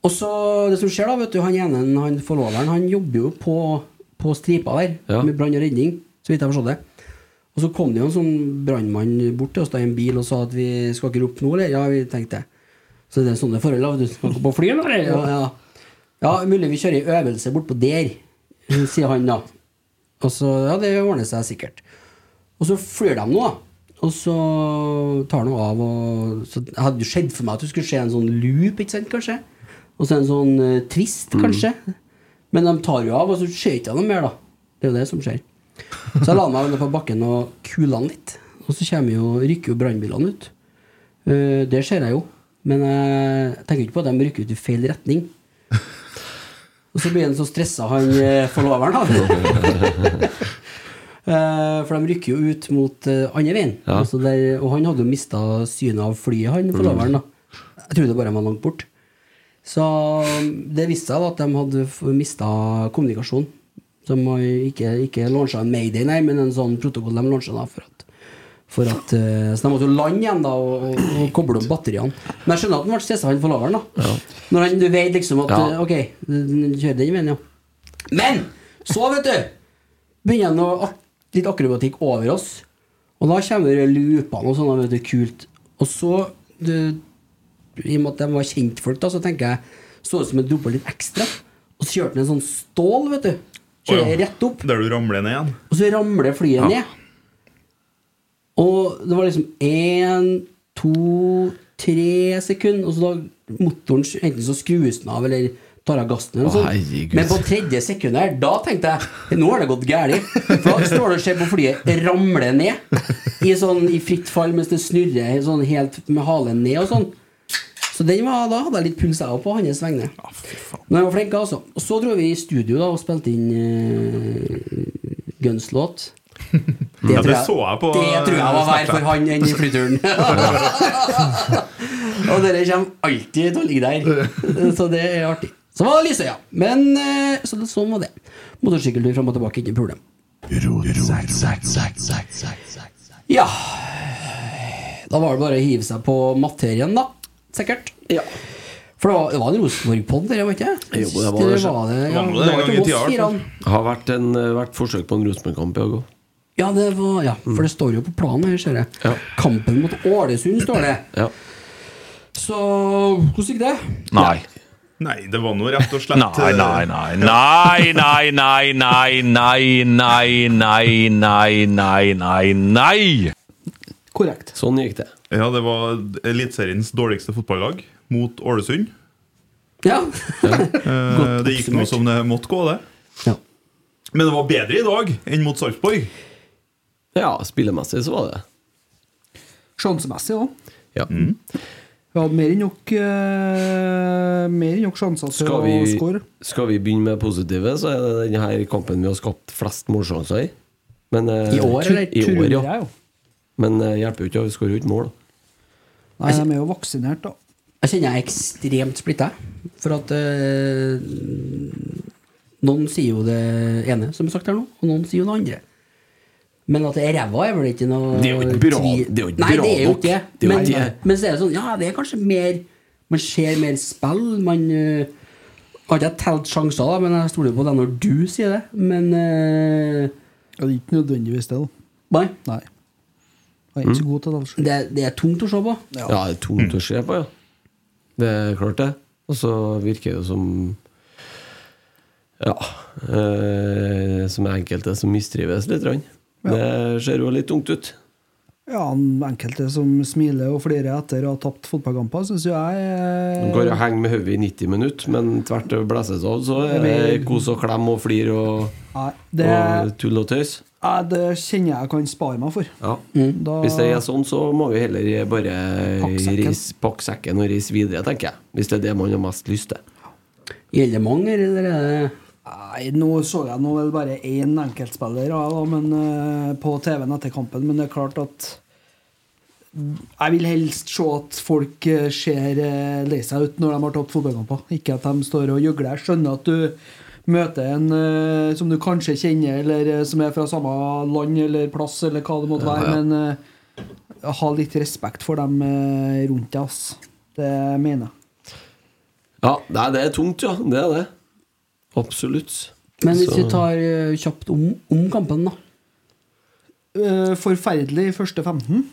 [SPEAKER 2] Og så, det som skjer da, vet du, han ene, han forloveren, han jobber jo på, på stripa der,
[SPEAKER 3] Ja.
[SPEAKER 2] med brann og redning, så vidt jeg forstod det. Og så kom det jo en sånn brannmann bort til oss da i en bil og sa at vi skal ikke rope nå, eller? Ja, vi tenkte det. Så det er sånne forhold, da. vet Du skal gå på fly, eller? Ja, ja. ja mulig vi kjører en øvelse bort på der, sier han da. Og så, ja, det ordner seg sikkert. Og så flyr de nå, da. Og så tar de av og så Jeg hadde jo sett for meg at det skulle skje en sånn loop, ikke sant, kanskje. Og så en sånn eh, twist, kanskje. Men de tar jo av, og så skjer ikke jeg noe mer, da. Det er jo det som skjer. Så jeg la meg ned på bakken og kula den litt. Og så kommer jo, rykker jo brannbilene ut. Eh, det ser jeg jo. Men jeg tenker ikke på at de rykker ut i feil retning. Og så blir han så stressa, han eh, forloveren, da. Eh, For de rykker jo ut mot eh, andre veien.
[SPEAKER 3] Ja.
[SPEAKER 2] Altså der, og han hadde jo mista synet av flyet, han forloveren. da Jeg trodde bare han var langt bort. Så det viste seg da at de hadde mista kommunikasjon. Som ikke, ikke launcha en Mayday, nei, men en sånn protokoll de launcha da for at for at, eh, så de måtte jo lande igjen da og, og, og koble opp batteriene. Men jeg skjønner at han ble stressa, han forloveren. da Når han, du vet liksom at
[SPEAKER 3] Ja.
[SPEAKER 2] eh, Ok, kjør den veien, ja. Men så, vet du, begynner han å ak litt akrobatikk over oss. Og da kommer det loopene og sånn, da, vet du, kult. Og så du, i og med at de var kjentfolk, da, så tenker jeg så ut som jeg droppa litt ekstra. Og så kjørte han en sånn stål, vet du. Kjører
[SPEAKER 5] Å ja.
[SPEAKER 2] rett opp,
[SPEAKER 5] Der du ramler ned igjen.
[SPEAKER 2] og så ramler flyet ned. Og det var liksom én, to, tre sekunder, og så da motoren Enten så skrus den av, eller tar av gassen. Eller
[SPEAKER 3] Å,
[SPEAKER 2] noe sånt.
[SPEAKER 3] herregud.
[SPEAKER 2] Men på tredje sekund her, da tenkte jeg nå har det gått galt. For da står du og ser på flyet ramle ned i, sånn, i fritt fall mens det snurrer sånn helt med halen ned og sånn. Så den var, da hadde jeg litt puls jeg også på hans vegne. Men jeg var flink, altså. Og så dro vi i studio da og spilte inn uh, Guns-låt. Det,
[SPEAKER 5] Ja,
[SPEAKER 2] tror
[SPEAKER 5] det så jeg på,
[SPEAKER 2] det tror jeg var verre
[SPEAKER 5] Snapchat.
[SPEAKER 2] for han enn i flyturen. og dere kommer alltid til å ligge der. Så det er artig. Så var det Lysøya. Men eh, så det, sånn var det. Motorsykkeltur fram og tilbake, ikke noe problem. Ja Da var det bare å hive seg på materien, da. Sikkert. For det var, det var en Rosenborg-pod, det, var ikke det?
[SPEAKER 3] Jo, det var det, sjø.
[SPEAKER 2] var det,
[SPEAKER 5] Det
[SPEAKER 2] ja,
[SPEAKER 5] var det
[SPEAKER 2] det
[SPEAKER 5] en
[SPEAKER 2] var
[SPEAKER 5] gang i
[SPEAKER 2] ikke Voss,
[SPEAKER 5] tida, i hvert
[SPEAKER 2] sier
[SPEAKER 5] fall.
[SPEAKER 2] han.
[SPEAKER 3] Har vært, en, eh, vært forsøk på en Rosenborg-kamp i dag òg.
[SPEAKER 2] Ja, det var, ja, for det står jo på planen her, ser jeg.
[SPEAKER 3] Ja.
[SPEAKER 2] Kampen mot Ålesund, står det.
[SPEAKER 3] Ja.
[SPEAKER 2] Så hvordan gikk det?
[SPEAKER 6] Nei.
[SPEAKER 5] Nei, det var nå rett og slett
[SPEAKER 6] Nei,
[SPEAKER 5] eh,
[SPEAKER 6] nei, nei, nei, nei, nei, nei, nei, nei, nei, nei, nei, nei, nei.
[SPEAKER 4] Korrekt.
[SPEAKER 3] Sånn gikk det.
[SPEAKER 5] Ja, det var Eliteseriens dårligste fotballag mot Ålesund.
[SPEAKER 2] Ja.
[SPEAKER 5] Eh, det gikk nå som det måtte gå, det.
[SPEAKER 2] ja.
[SPEAKER 5] Men det var bedre i dag enn mot Sarpsborg.
[SPEAKER 3] Ja, spillemessig så var det
[SPEAKER 4] Sjansemessig òg.
[SPEAKER 3] ja.
[SPEAKER 4] Vi hadde mer enn nok eh, Mer enn nok sjanser til
[SPEAKER 3] skal,
[SPEAKER 4] å
[SPEAKER 3] vi,
[SPEAKER 4] score.
[SPEAKER 3] skal vi begynne med positive, så er det denne kampen vi har skapt flest målsjanser i. Men, eh,
[SPEAKER 2] I år, eller?
[SPEAKER 3] I
[SPEAKER 4] Tror
[SPEAKER 3] år,
[SPEAKER 4] jeg
[SPEAKER 3] ja.
[SPEAKER 4] jo.
[SPEAKER 3] Men eh, hjelper jo ikke, vi skårer jo ikke mål. da.
[SPEAKER 4] Nei, de er jo vaksinert, da.
[SPEAKER 2] Jeg kjenner jeg er ekstremt splitta. For at eh, Noen sier jo det ene, som er sagt her nå, og noen sier jo det andre. Men at det er ræva, er vel ikke noe
[SPEAKER 3] Det er jo ikke bra-
[SPEAKER 2] tvil-
[SPEAKER 3] det er jo ikke
[SPEAKER 2] Nei,
[SPEAKER 3] bra
[SPEAKER 2] det er jo
[SPEAKER 3] nok.
[SPEAKER 2] ikke det.
[SPEAKER 3] Det er jo
[SPEAKER 2] Men,
[SPEAKER 3] ikke det.
[SPEAKER 2] men så er det sånn, ja, det er kanskje mer Man ser mer spill, man eh, Har ikke jeg telt sjanser, da, men jeg stoler jo på det når du sier det. Men eh,
[SPEAKER 4] Ja, det er ikke nødvendigvis det, da.
[SPEAKER 2] Nei.
[SPEAKER 4] Nei. Jeg er ikke så god til det. altså.
[SPEAKER 2] Det, det er tungt å se på.
[SPEAKER 3] Ja, det er tungt å se på, ja. Det er klart, det. Og så virker det jo som Ja. Eh, som enkelte som mistrives litt. grann. Det ser jo litt tungt ut.
[SPEAKER 4] Ja, han- enkelte som smiler og flirer etter å ha tapt fotballkamper, syns jo jeg
[SPEAKER 3] De
[SPEAKER 4] eh,
[SPEAKER 3] går og henger med hodet i 90 minutter, men tvert det blåses av, så er det kos og klem og flir og,
[SPEAKER 4] Nei, det,
[SPEAKER 3] og tull og tøys.
[SPEAKER 4] nei, det kjenner jeg jeg kan spare meg for.
[SPEAKER 3] Ja.
[SPEAKER 2] Mm.
[SPEAKER 4] Da-
[SPEAKER 3] Hvis det er sånn, så må vi heller bare
[SPEAKER 4] Pakke sekken.
[SPEAKER 3] reise- pakke sekken og reise videre, tenker jeg. Hvis det er det man har mest lyst til.
[SPEAKER 2] Gjelder det mange, eller er det
[SPEAKER 4] Nei, nå så jeg nå vel bare én enkeltspiller ja, da, men, eh, på TV-en etter kampen, men det er klart at Jeg vil helst se at folk eh, ser eh, lei seg ut når de har tapt fotballkamper. Ikke at de står og gjøgler. Jeg skjønner at du møter en eh, som du kanskje kjenner, eller eh, som er fra samme land eller plass, eller hva det måtte være, men eh, ha litt respekt for dem eh, rundt deg, ass. Det mener jeg.
[SPEAKER 3] Ja, nei, det er tungt, ja. Det er det. Absolutt.
[SPEAKER 2] Men hvis
[SPEAKER 3] Så-
[SPEAKER 2] vi tar eh, kjapt om, om kampen, da.
[SPEAKER 4] Eh, Forferdelig første 15.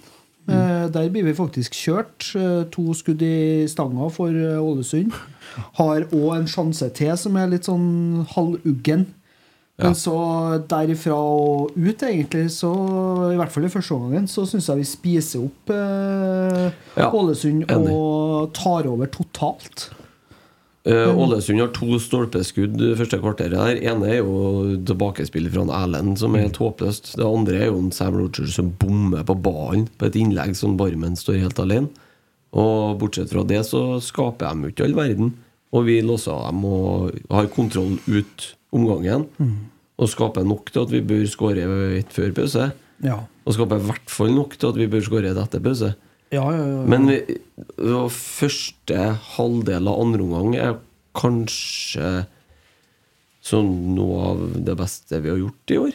[SPEAKER 3] Mm.
[SPEAKER 4] Eh, Der blir vi faktisk kjørt. Eh, To skudd i stanga for eh, Ålesund. Har òg en sjanse til som er litt sånn halvuggen. Men så derifra og ut, egentlig, så i hvert fall i første omgangen, så syns jeg vi spiser opp eh,
[SPEAKER 3] Ja,
[SPEAKER 4] Ålesund
[SPEAKER 3] enig.
[SPEAKER 4] og tar over totalt.
[SPEAKER 3] Eh, Ålesund har to stolpeskudd det første kvarteret. der ene er jo tilbakespillet fra en Erlend, som er håpløst. Det andre er jo en Sam Rogers som bommer på ballen på et innlegg som barmen står helt alene. Og bortsett fra det så skaper de jo ikke all verden. Og vi låser av dem og har kontroll ut omgangen. Og skaper nok til at vi bør skåre ett før pause.
[SPEAKER 4] Ja.
[SPEAKER 3] Og skaper i hvert fall nok til at vi bør skåre ett etter pause.
[SPEAKER 4] Ja, ja, ja.
[SPEAKER 3] Men vi, og første halvdel av andre omgang er kanskje sånn noe av det beste vi har gjort i år.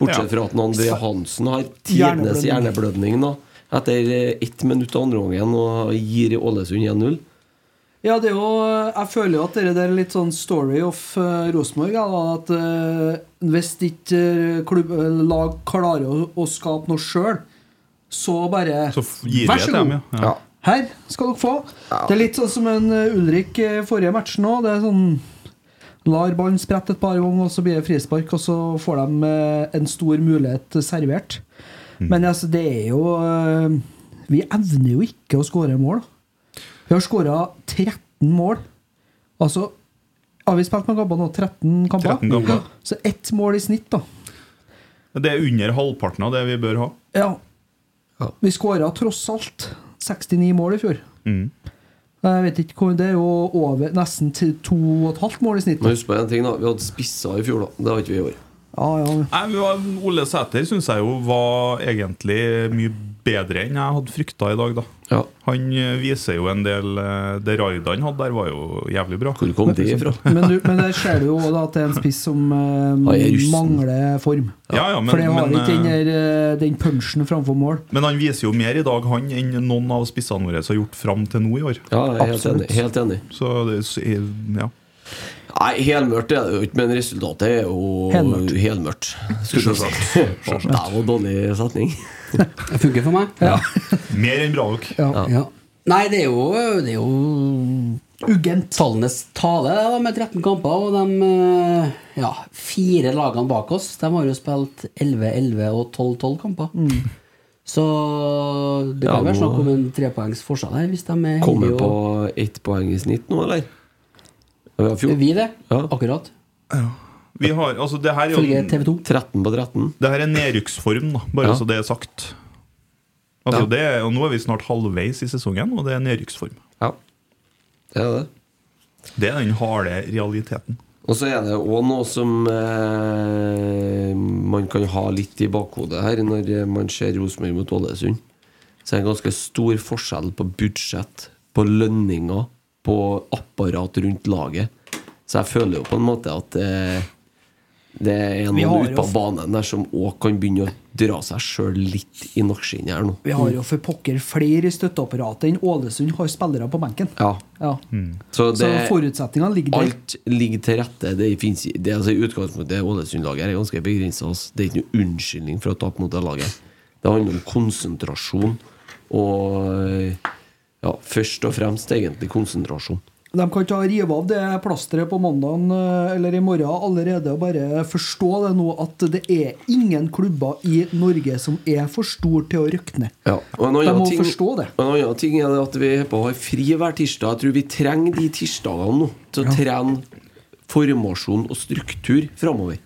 [SPEAKER 3] Bortsett fra at André Hansen har tidenes hjerneblødning da, etter eh, ett minutt av andre omgangen og gir Ålesund 1-0.
[SPEAKER 4] Ja, det er jo, jeg føler jo at det der er litt sånn story of eh, Rosenborg. ja, da, At eh, hvis ikke eh, klubb, eh, lag klarer å, å skape noe sjøl, så bare
[SPEAKER 5] Så f- gir vi
[SPEAKER 4] Vær
[SPEAKER 5] et
[SPEAKER 4] så
[SPEAKER 5] dem,
[SPEAKER 4] god.
[SPEAKER 5] ja. ja.
[SPEAKER 4] Her skal dere få. Det er litt sånn som en eh, Ulrik eh, forrige match nå. Det er sånn Lar ballen sprette et par ganger, og så blir det frispark, og så får de eh, en stor mulighet servert.
[SPEAKER 5] Mm.
[SPEAKER 4] Men altså, det er jo eh, Vi evner jo ikke å skåre mål. Vi har skåra 13 mål. Altså Har vi spilt med kamper nå? 13 kamper?
[SPEAKER 5] 13 kamper.
[SPEAKER 4] Så ett mål i snitt, da.
[SPEAKER 5] Det er under halvparten av det vi bør ha.
[SPEAKER 4] Ja.
[SPEAKER 3] Ja.
[SPEAKER 4] Vi skåra tross alt 69 mål i fjor.
[SPEAKER 5] Mm.
[SPEAKER 4] Jeg vet ikke hvor Det er jo over nesten til to og et halvt mål i snitt.
[SPEAKER 3] Men husk på en ting, da. Vi hadde spisser i fjor, da. Det har ikke vi i år.
[SPEAKER 4] Ja, ja.
[SPEAKER 5] Nei, vi var, Ole Sæter syns jeg jo var egentlig mye bedre enn jeg hadde frykta i dag, da.
[SPEAKER 3] Ja.
[SPEAKER 5] Han eh, viser jo en del eh, Det raidet han hadde der, var jo jævlig bra.
[SPEAKER 3] Hvor kom det ifra?
[SPEAKER 4] Men, du, men der ser du jo da at det er en spiss som eh,
[SPEAKER 3] Nei, jeg er rusten.
[SPEAKER 4] mangler form.
[SPEAKER 5] Ja, ja, men-
[SPEAKER 4] For det har
[SPEAKER 5] men,
[SPEAKER 4] ikke den,
[SPEAKER 5] eh,
[SPEAKER 4] der, eh, den punchen framfor mål.
[SPEAKER 5] Men han viser jo mer i dag, han, enn noen av spissene våre har gjort fram til nå i år.
[SPEAKER 3] Ja, jeg er helt enig. Helt enig.
[SPEAKER 5] Så det s- eh, ja.
[SPEAKER 3] Nei, helmørkt er det jo ikke, men resultatet er jo
[SPEAKER 4] Helmørkt.
[SPEAKER 3] helmørkt skulle jeg sagt. Det var en dårlig setning.
[SPEAKER 2] Det funker for meg. Ja.
[SPEAKER 5] Mer enn bra nok.
[SPEAKER 2] Ja. Nei, det er jo, det er jo
[SPEAKER 4] Ugent.
[SPEAKER 2] tallenes tale, det, da, med 13 kamper. Og de eh, ja, fire lagene bak oss De har jo spilt 11-11 og 12-12 kamper. Så det
[SPEAKER 3] Mm. Ja,
[SPEAKER 2] kan være
[SPEAKER 3] nå-
[SPEAKER 2] snakk om en trepoengs forskjell her, hvis de er
[SPEAKER 3] Kommer
[SPEAKER 2] heldige.
[SPEAKER 3] på
[SPEAKER 2] og-
[SPEAKER 3] ett poeng i snitt nå, eller? Ja, Vi har
[SPEAKER 2] Er
[SPEAKER 3] fjor-
[SPEAKER 2] Vi det,
[SPEAKER 3] Ja.
[SPEAKER 2] akkurat.
[SPEAKER 5] Vi har, altså det her er jo
[SPEAKER 2] Følge TV 2.
[SPEAKER 3] 13 på 13.
[SPEAKER 5] Det her er nedrykksform, da, bare
[SPEAKER 3] Ja.
[SPEAKER 5] så det er sagt. Altså
[SPEAKER 3] Ja.
[SPEAKER 5] det, er- og Nå er vi snart halvveis i sesongen, og det er nedrykksform.
[SPEAKER 3] Ja, det er det.
[SPEAKER 5] Det er den harde realiteten.
[SPEAKER 3] Og så er det òg noe som eh, man kan ha litt i bakhodet her når eh, man ser Rosenborg mot Ålesund. Så er det ganske stor forskjell på budsjett, på lønninger, på apparat rundt laget. Så jeg føler jo på en måte at eh, det er
[SPEAKER 4] Vi har
[SPEAKER 3] noen ute
[SPEAKER 4] jo
[SPEAKER 3] på
[SPEAKER 4] f-
[SPEAKER 3] banen der som òg kan begynne å dra seg sjøl litt i nakkeskinnet her nå.
[SPEAKER 4] Vi
[SPEAKER 5] Mm.
[SPEAKER 4] har jo for pokker flere i støtteapparatet enn Ålesund har spillere på benken.
[SPEAKER 3] Ja.
[SPEAKER 4] Ja.
[SPEAKER 5] Mm.
[SPEAKER 3] Så
[SPEAKER 4] Så
[SPEAKER 3] det,
[SPEAKER 4] forutsetningene ligger der.
[SPEAKER 3] alt ligger til rette. Det finnes, i- det, er altså, I utgangspunktet Ålesund-laget er ganske begrensa. Det er ikke noe unnskyldning for å tape mot det laget. Det handler om konsentrasjon og ja, først og fremst egentlig konsentrasjon.
[SPEAKER 4] De kan ikke rive av det plasteret på mandagen eh, eller i morgen allerede og bare forstå det nå at det er ingen klubber i Norge som er for stor til å røkne.
[SPEAKER 3] Og en
[SPEAKER 4] De
[SPEAKER 3] annen
[SPEAKER 4] må
[SPEAKER 3] ting,
[SPEAKER 4] forstå det.
[SPEAKER 3] og En annen ting er det at vi på har fri hver tirsdag. Jeg tror vi trenger de tirsdagene nå til å trene formasjon og struktur framover.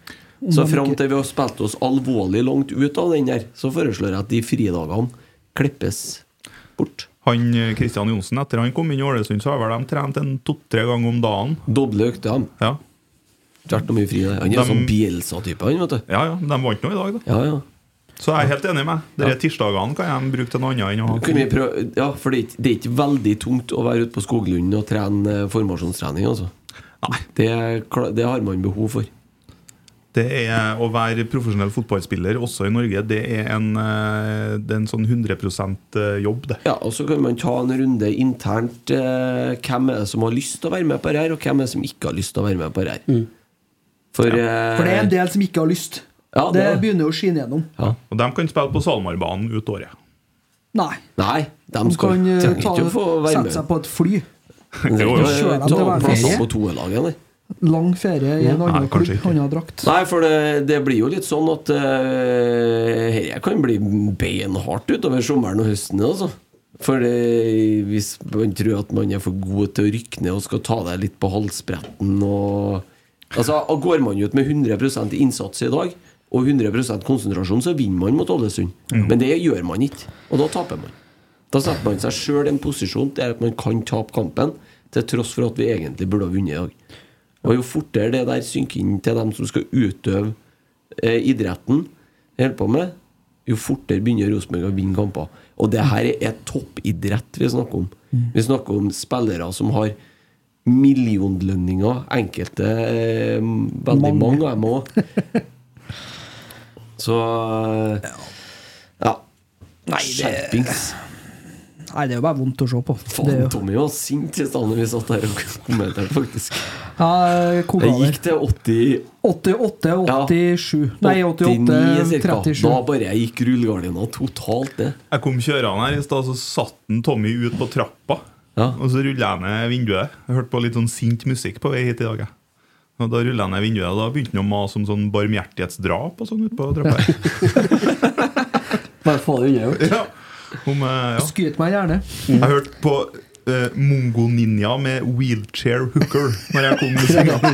[SPEAKER 3] Så fram til vi har spilt oss alvorlig langt ut av den der, så foreslår jeg at de fridagene klippes bort.
[SPEAKER 5] Han eh, Christian Johnsen, etter han kom inn i Ålesund, så har vel de trent en to-tre ganger om dagen.
[SPEAKER 3] Doble økter. han.
[SPEAKER 5] Ja,
[SPEAKER 3] Tvert om mye fri. det. Han er
[SPEAKER 5] Dem-
[SPEAKER 3] sånn Bielsa-type, han, vet du.
[SPEAKER 5] ja, ja de vant nå i dag, da.
[SPEAKER 3] Ja, ja.
[SPEAKER 5] Så jeg er helt enig med deg. Disse tirsdagene kan jeg bruke til noe annet enn å ha
[SPEAKER 3] Kunne vi prøve, ja, for det er, ikke, det er ikke veldig tungt å være ute på Skoglund og trene eh, formasjonstrening. Altså.
[SPEAKER 5] Nei.
[SPEAKER 3] Det, er kla- det har man behov for.
[SPEAKER 5] Det er å være profesjonell fotballspiller, også i Norge, det er en, eh, det er en sånn 100 jobb, det.
[SPEAKER 3] Ja, og Så kan man ta en runde internt. Eh, hvem er det som har lyst til å være med på det her, og hvem er det som ikke har lyst til å være med på det her? For, eh,
[SPEAKER 4] Mm. For det er en del som ikke har lyst.
[SPEAKER 3] Ja,
[SPEAKER 4] det,
[SPEAKER 3] det-
[SPEAKER 4] begynner jo å skinne gjennom.
[SPEAKER 3] ja.
[SPEAKER 5] Og de kan spille på Salmarbanen ut året.
[SPEAKER 4] Nei.
[SPEAKER 3] Nei, de
[SPEAKER 4] De
[SPEAKER 3] skal,
[SPEAKER 4] kan eh,
[SPEAKER 3] trenger
[SPEAKER 4] ta,
[SPEAKER 3] ikke å få være
[SPEAKER 4] sette
[SPEAKER 3] med.
[SPEAKER 4] seg på et fly.
[SPEAKER 3] De trenger
[SPEAKER 5] Jo, jo.
[SPEAKER 3] ikke
[SPEAKER 4] Kjøre
[SPEAKER 3] å
[SPEAKER 4] dem til
[SPEAKER 3] Ta opp plasser
[SPEAKER 4] hverandre.
[SPEAKER 3] på toerlaget. nei.
[SPEAKER 4] Lang ferie i en
[SPEAKER 5] Nei,
[SPEAKER 4] annen
[SPEAKER 5] kanskje
[SPEAKER 4] klubb,
[SPEAKER 5] ikke.
[SPEAKER 4] annen drakt.
[SPEAKER 3] Nei, for det, det blir jo litt sånn at eh, Dette kan bli beinhardt utover sommeren og høsten. Altså. For det, hvis man tror at man er for god til å rykke ned og skal ta deg litt på halsbretten og Altså, og Går man ut med 100 innsats i dag og 100 konsentrasjon, så vinner man mot Ålesund. Men det gjør man ikke, og da taper man. Da setter man seg sjøl i en posisjon der at man kan tape kampen, til tross for at vi egentlig burde ha vunnet i dag. Og jo fortere det der synker inn til dem som skal utøve eh, idretten de holder på med, jo fortere begynner Rosenborg å vinne kamper. Og det her er toppidrett vi snakker om. Vi snakker om spillere som har millionlønninger. Enkelte eh, Veldig
[SPEAKER 4] Mange.
[SPEAKER 3] mange av dem òg. Så eh, Ja. Nei, Skjerpings.
[SPEAKER 4] Nei, det er jo bare vondt å se på. Det er
[SPEAKER 3] Faen,
[SPEAKER 4] jo,
[SPEAKER 3] Tommy var sint i stad når vi satt der og kommenterte, faktisk.
[SPEAKER 4] ja, eh, jeg koka
[SPEAKER 3] Det
[SPEAKER 4] over.
[SPEAKER 3] gikk til 80
[SPEAKER 4] 88, 87 Nei, 88,
[SPEAKER 3] 89 cirka.
[SPEAKER 4] 37
[SPEAKER 3] Da bare jeg gikk rullegardina totalt det.
[SPEAKER 5] Jeg kom kjørende her i stad, så satt den Tommy ut på trappa.
[SPEAKER 3] Ja.
[SPEAKER 5] Og så rulla jeg ned vinduet. Jeg hørte på litt sånn sint musikk på vei hit i dag. jeg. Og Da rulla jeg ned vinduet, og da begynte han å mase om sånn barmhjertighetsdrap og sånn ute på trappa. her.
[SPEAKER 2] Bare få det unnagjort.
[SPEAKER 5] ja. Om, eh, ja.
[SPEAKER 4] Skyt meg gjerne
[SPEAKER 5] Jeg hørte på eh, Mongo Ninja med Wheelchair Hooker Når jeg kom med senga.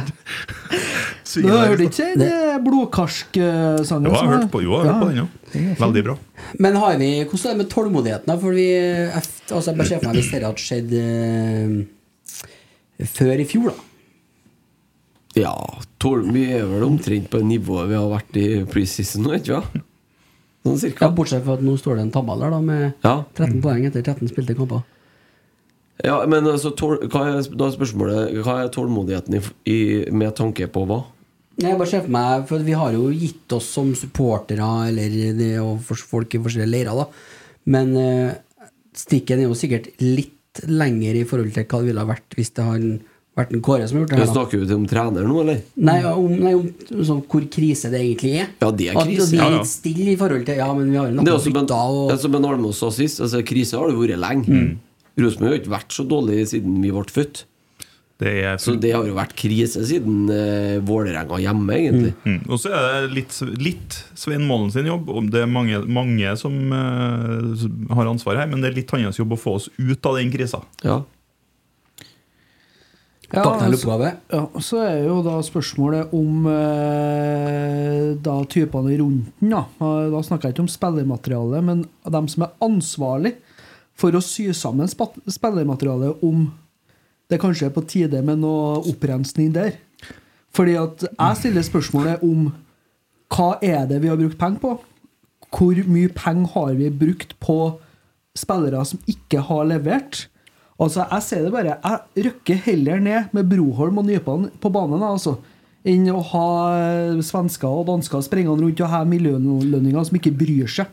[SPEAKER 4] Du hørte ikke det blodkarsk-sangen
[SPEAKER 5] Jo, jeg hørte på, jo, jeg hørte på den òg. Veldig bra.
[SPEAKER 2] Men har vi, hvordan er det med tålmodigheten? da? For vi, jeg, altså jeg bare ser for meg hvis dette hadde skjedd eh, før i fjor, da.
[SPEAKER 3] Ja, tolv, vi er vel omtrent på nivået vi har vært i preseason nå, ikke sant? Sånn
[SPEAKER 2] Ja,
[SPEAKER 3] cirka.
[SPEAKER 2] bortsett fra at nå står det en tabell her da med
[SPEAKER 3] Ja.
[SPEAKER 4] Mm.
[SPEAKER 2] 13 poeng etter 13 spilte kamper.
[SPEAKER 3] ja, men altså, tol, hva er, da er spørsmålet Hva er tålmodigheten i, i, med tanke på hva?
[SPEAKER 2] Nei, Jeg bare ser for meg, for vi har jo gitt oss som supportere eller det, og for, folk i forskjellige leirer, da. Men eh, strikken er jo sikkert litt lenger i forhold til hva det ville ha vært hvis det hadde vært en Kåre som har gjort det.
[SPEAKER 3] Vi
[SPEAKER 2] her da.
[SPEAKER 3] snakker vi til om trener nå, eller?
[SPEAKER 2] Nei, om, nei, om sånn, hvor krise det egentlig er.
[SPEAKER 3] Ja, det er
[SPEAKER 2] At-
[SPEAKER 3] krise,
[SPEAKER 2] At vi
[SPEAKER 3] ja,
[SPEAKER 2] er
[SPEAKER 3] ja.
[SPEAKER 2] litt stille i forhold til Ja, men vi har jo
[SPEAKER 3] Det er
[SPEAKER 2] noe
[SPEAKER 3] også
[SPEAKER 2] bytta
[SPEAKER 3] Ben,
[SPEAKER 2] og
[SPEAKER 3] det er som ben Almås sa sist. Altså, krise har det vært lenge. Rosenborg har ikke vært så dårlig siden vi ble født.
[SPEAKER 5] Det er
[SPEAKER 3] Så det har jo vært krise siden eh, Vålerenga hjemme, egentlig.
[SPEAKER 5] Mm. Og så er det litt, litt Svein Målen sin jobb. og Det er mange, mange som eh, har ansvar her, men det er litt hans jobb å få oss ut av den krisa.
[SPEAKER 3] Ja.
[SPEAKER 4] Ja,
[SPEAKER 2] baknell
[SPEAKER 4] altså,
[SPEAKER 2] oppgave.
[SPEAKER 4] ja, så er jo da spørsmålet om eh, Da typene rundt den, da. Eh, Da snakker jeg ikke om spillermaterialet, men dem som er ansvarlig for å sy sammen spa- spillermaterialet om det kanskje er på tide med noe opprensning der. Fordi at jeg stiller spørsmålet om hva er det vi har brukt penger på? Hvor mye penger har vi brukt på spillere som ikke har levert? Altså, Jeg sier det bare, jeg røkker heller ned med Broholm og Nypan på banen da, altså, enn å ha eh, svensker og dansker springende rundt og ha miljølønninger som ikke bryr seg.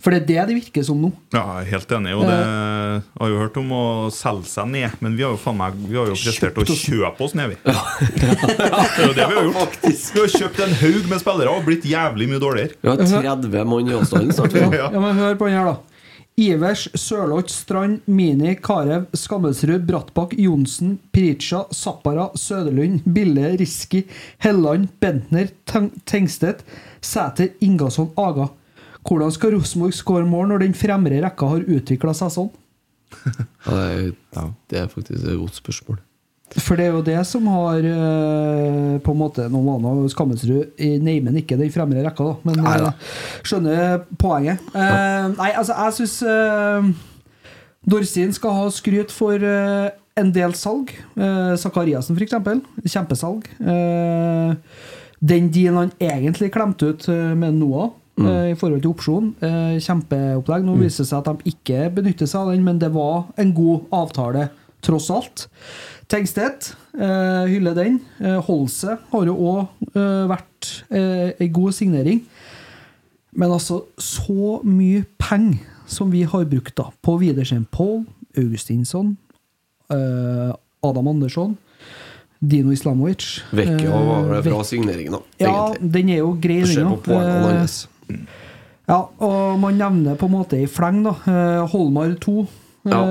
[SPEAKER 4] For det er det det virker som nå.
[SPEAKER 5] Ja, jeg er helt enig. Og det jeg har jo hørt om å selge seg ned, men vi har jo faen meg Vi har jo prestert å kjøpe oss ned, vi. Det er jo det vi har gjort. Vi har kjøpt en haug med spillere og blitt jævlig mye dårligere.
[SPEAKER 3] Vi har 30 mann i avstanden snart. vi, da.
[SPEAKER 5] Ja.
[SPEAKER 4] Ja, men hør på den her, da. Ivers, Sørloth, Strand, Mini, Karev, Skammelsrud, Brattbakk, Johnsen, Pritja, Zappara, Søderlund, Bille, Riski, Helland, Bentner, Teng- Tengstedt, Sæter, Ingasson, Aga. Hvordan skal Rosenborg skåre mål når den fremre rekka har utvikla seg sånn?
[SPEAKER 3] Ja, det er- Det er faktisk et godt spørsmål.
[SPEAKER 4] For det er jo det som har eh, på en måte Nå var nå Skammelsrud i neimen ikke den fremre rekka, da, men
[SPEAKER 3] Nei da.
[SPEAKER 4] eh, skjønner poenget. Eh, Nei, altså, jeg eh, syns Dorsin skal ha skryt for eh, en del salg. Uh, Sakariassen, f.eks. Kjempesalg. Eh, den dealen han egentlig klemte ut eh, med Noah, eh, i forhold til opsjon. Eh, kjempeopplegg. Nå viser det seg at de ikke benytter seg av den, men det var en god avtale tross alt. Tengstedt eh, hyller den. Eh, Holse har jo òg eh, vært eh, ei god signering. Men altså, så mye penger som vi har brukt da, på Widersen Pål, Augustinsson, eh, Adam Andersson, Dino Islamovic
[SPEAKER 3] Vecchia var
[SPEAKER 4] eh,
[SPEAKER 3] det bra
[SPEAKER 4] Vecchia.
[SPEAKER 3] signeringen, da.
[SPEAKER 4] Ja,
[SPEAKER 3] egentlig.
[SPEAKER 4] den er jo grei,
[SPEAKER 3] Se
[SPEAKER 4] den
[SPEAKER 3] på poengene
[SPEAKER 4] Eh,
[SPEAKER 3] hans.
[SPEAKER 4] Ja, og man nevner på en måte i fleng, da. Eh, Holmar 2. eh,
[SPEAKER 3] Ja.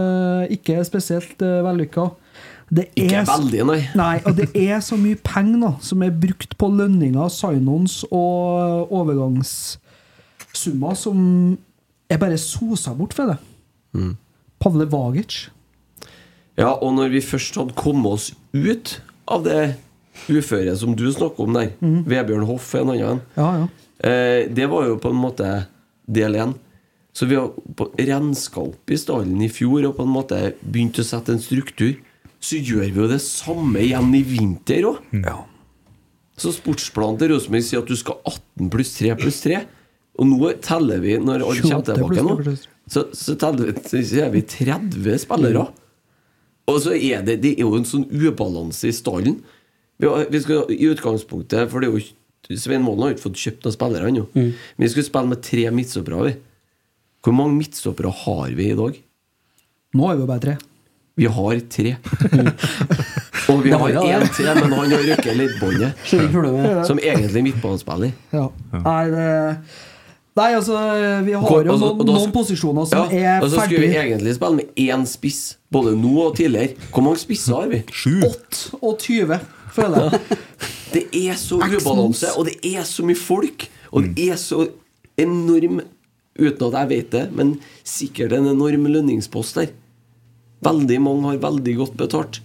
[SPEAKER 4] Ikke spesielt eh, vellykka. Det
[SPEAKER 3] Ikke
[SPEAKER 4] er så-
[SPEAKER 3] veldig, nei.
[SPEAKER 4] Nei, og det er så mye penger da, som er brukt på lønninger, sign-ons og eh, overgangssummer som er bare sosa bort fra det.
[SPEAKER 3] Mm.
[SPEAKER 4] Pavle Vagic.
[SPEAKER 3] Ja, og når vi først hadde kommet oss ut av det uføret som du snakker om der, Vebjørn Hoff er en annen,
[SPEAKER 4] Mhm. Ja, ja.
[SPEAKER 3] eh, det var jo på en måte del én. Så vi har på- renska opp i stallen i fjor og på en måte begynt å sette en struktur. Så gjør vi jo det samme igjen i vinter òg. Så sportsplanen til Rosenborg sier at du skal 18 pluss 3 pluss 3. Og nå teller vi, når alle kommer
[SPEAKER 4] 28 pluss
[SPEAKER 3] tilbake
[SPEAKER 4] tre
[SPEAKER 3] nå,
[SPEAKER 4] pluss tre.
[SPEAKER 3] så, så teller vi, så er vi 30 spillere. Og så er det, det er jo en sånn ubalanse i stallen. Vi, har, vi skal i utgangspunktet For det er jo ikke- Svein Målen har jo ikke fått kjøpt noen spillere ennå.
[SPEAKER 4] Mm.
[SPEAKER 3] Men vi skulle spille med tre midtstoppere. vi. Hvor mange midtstoppere har vi i dag?
[SPEAKER 4] Nå er vi jo bare tre.
[SPEAKER 3] Vi har tre. Og vi
[SPEAKER 2] Det
[SPEAKER 3] har
[SPEAKER 2] var jo det.
[SPEAKER 3] én til, men han har røkket leddbåndet.
[SPEAKER 2] Skjønner ikke problemet.
[SPEAKER 3] Som egentlig er midtbanespiller.
[SPEAKER 4] Ja. Nei, det Nei, altså, vi har
[SPEAKER 3] Hvor-
[SPEAKER 4] jo
[SPEAKER 3] altså,
[SPEAKER 4] noen,
[SPEAKER 3] og da sk-
[SPEAKER 4] noen posisjoner som
[SPEAKER 3] Ja,
[SPEAKER 4] er
[SPEAKER 3] og så skulle vi
[SPEAKER 4] ferdig.
[SPEAKER 3] egentlig spille med én spiss, både nå og tidligere. Hvor mange spisser har vi?
[SPEAKER 5] Sju.
[SPEAKER 4] 8 og 20, føler jeg.
[SPEAKER 3] Det er så ubalanse, og det er så mye folk, og det er så enorm Uten at jeg vet det, men sikkert en enorm lønningspost der. Veldig mange har veldig godt betalt.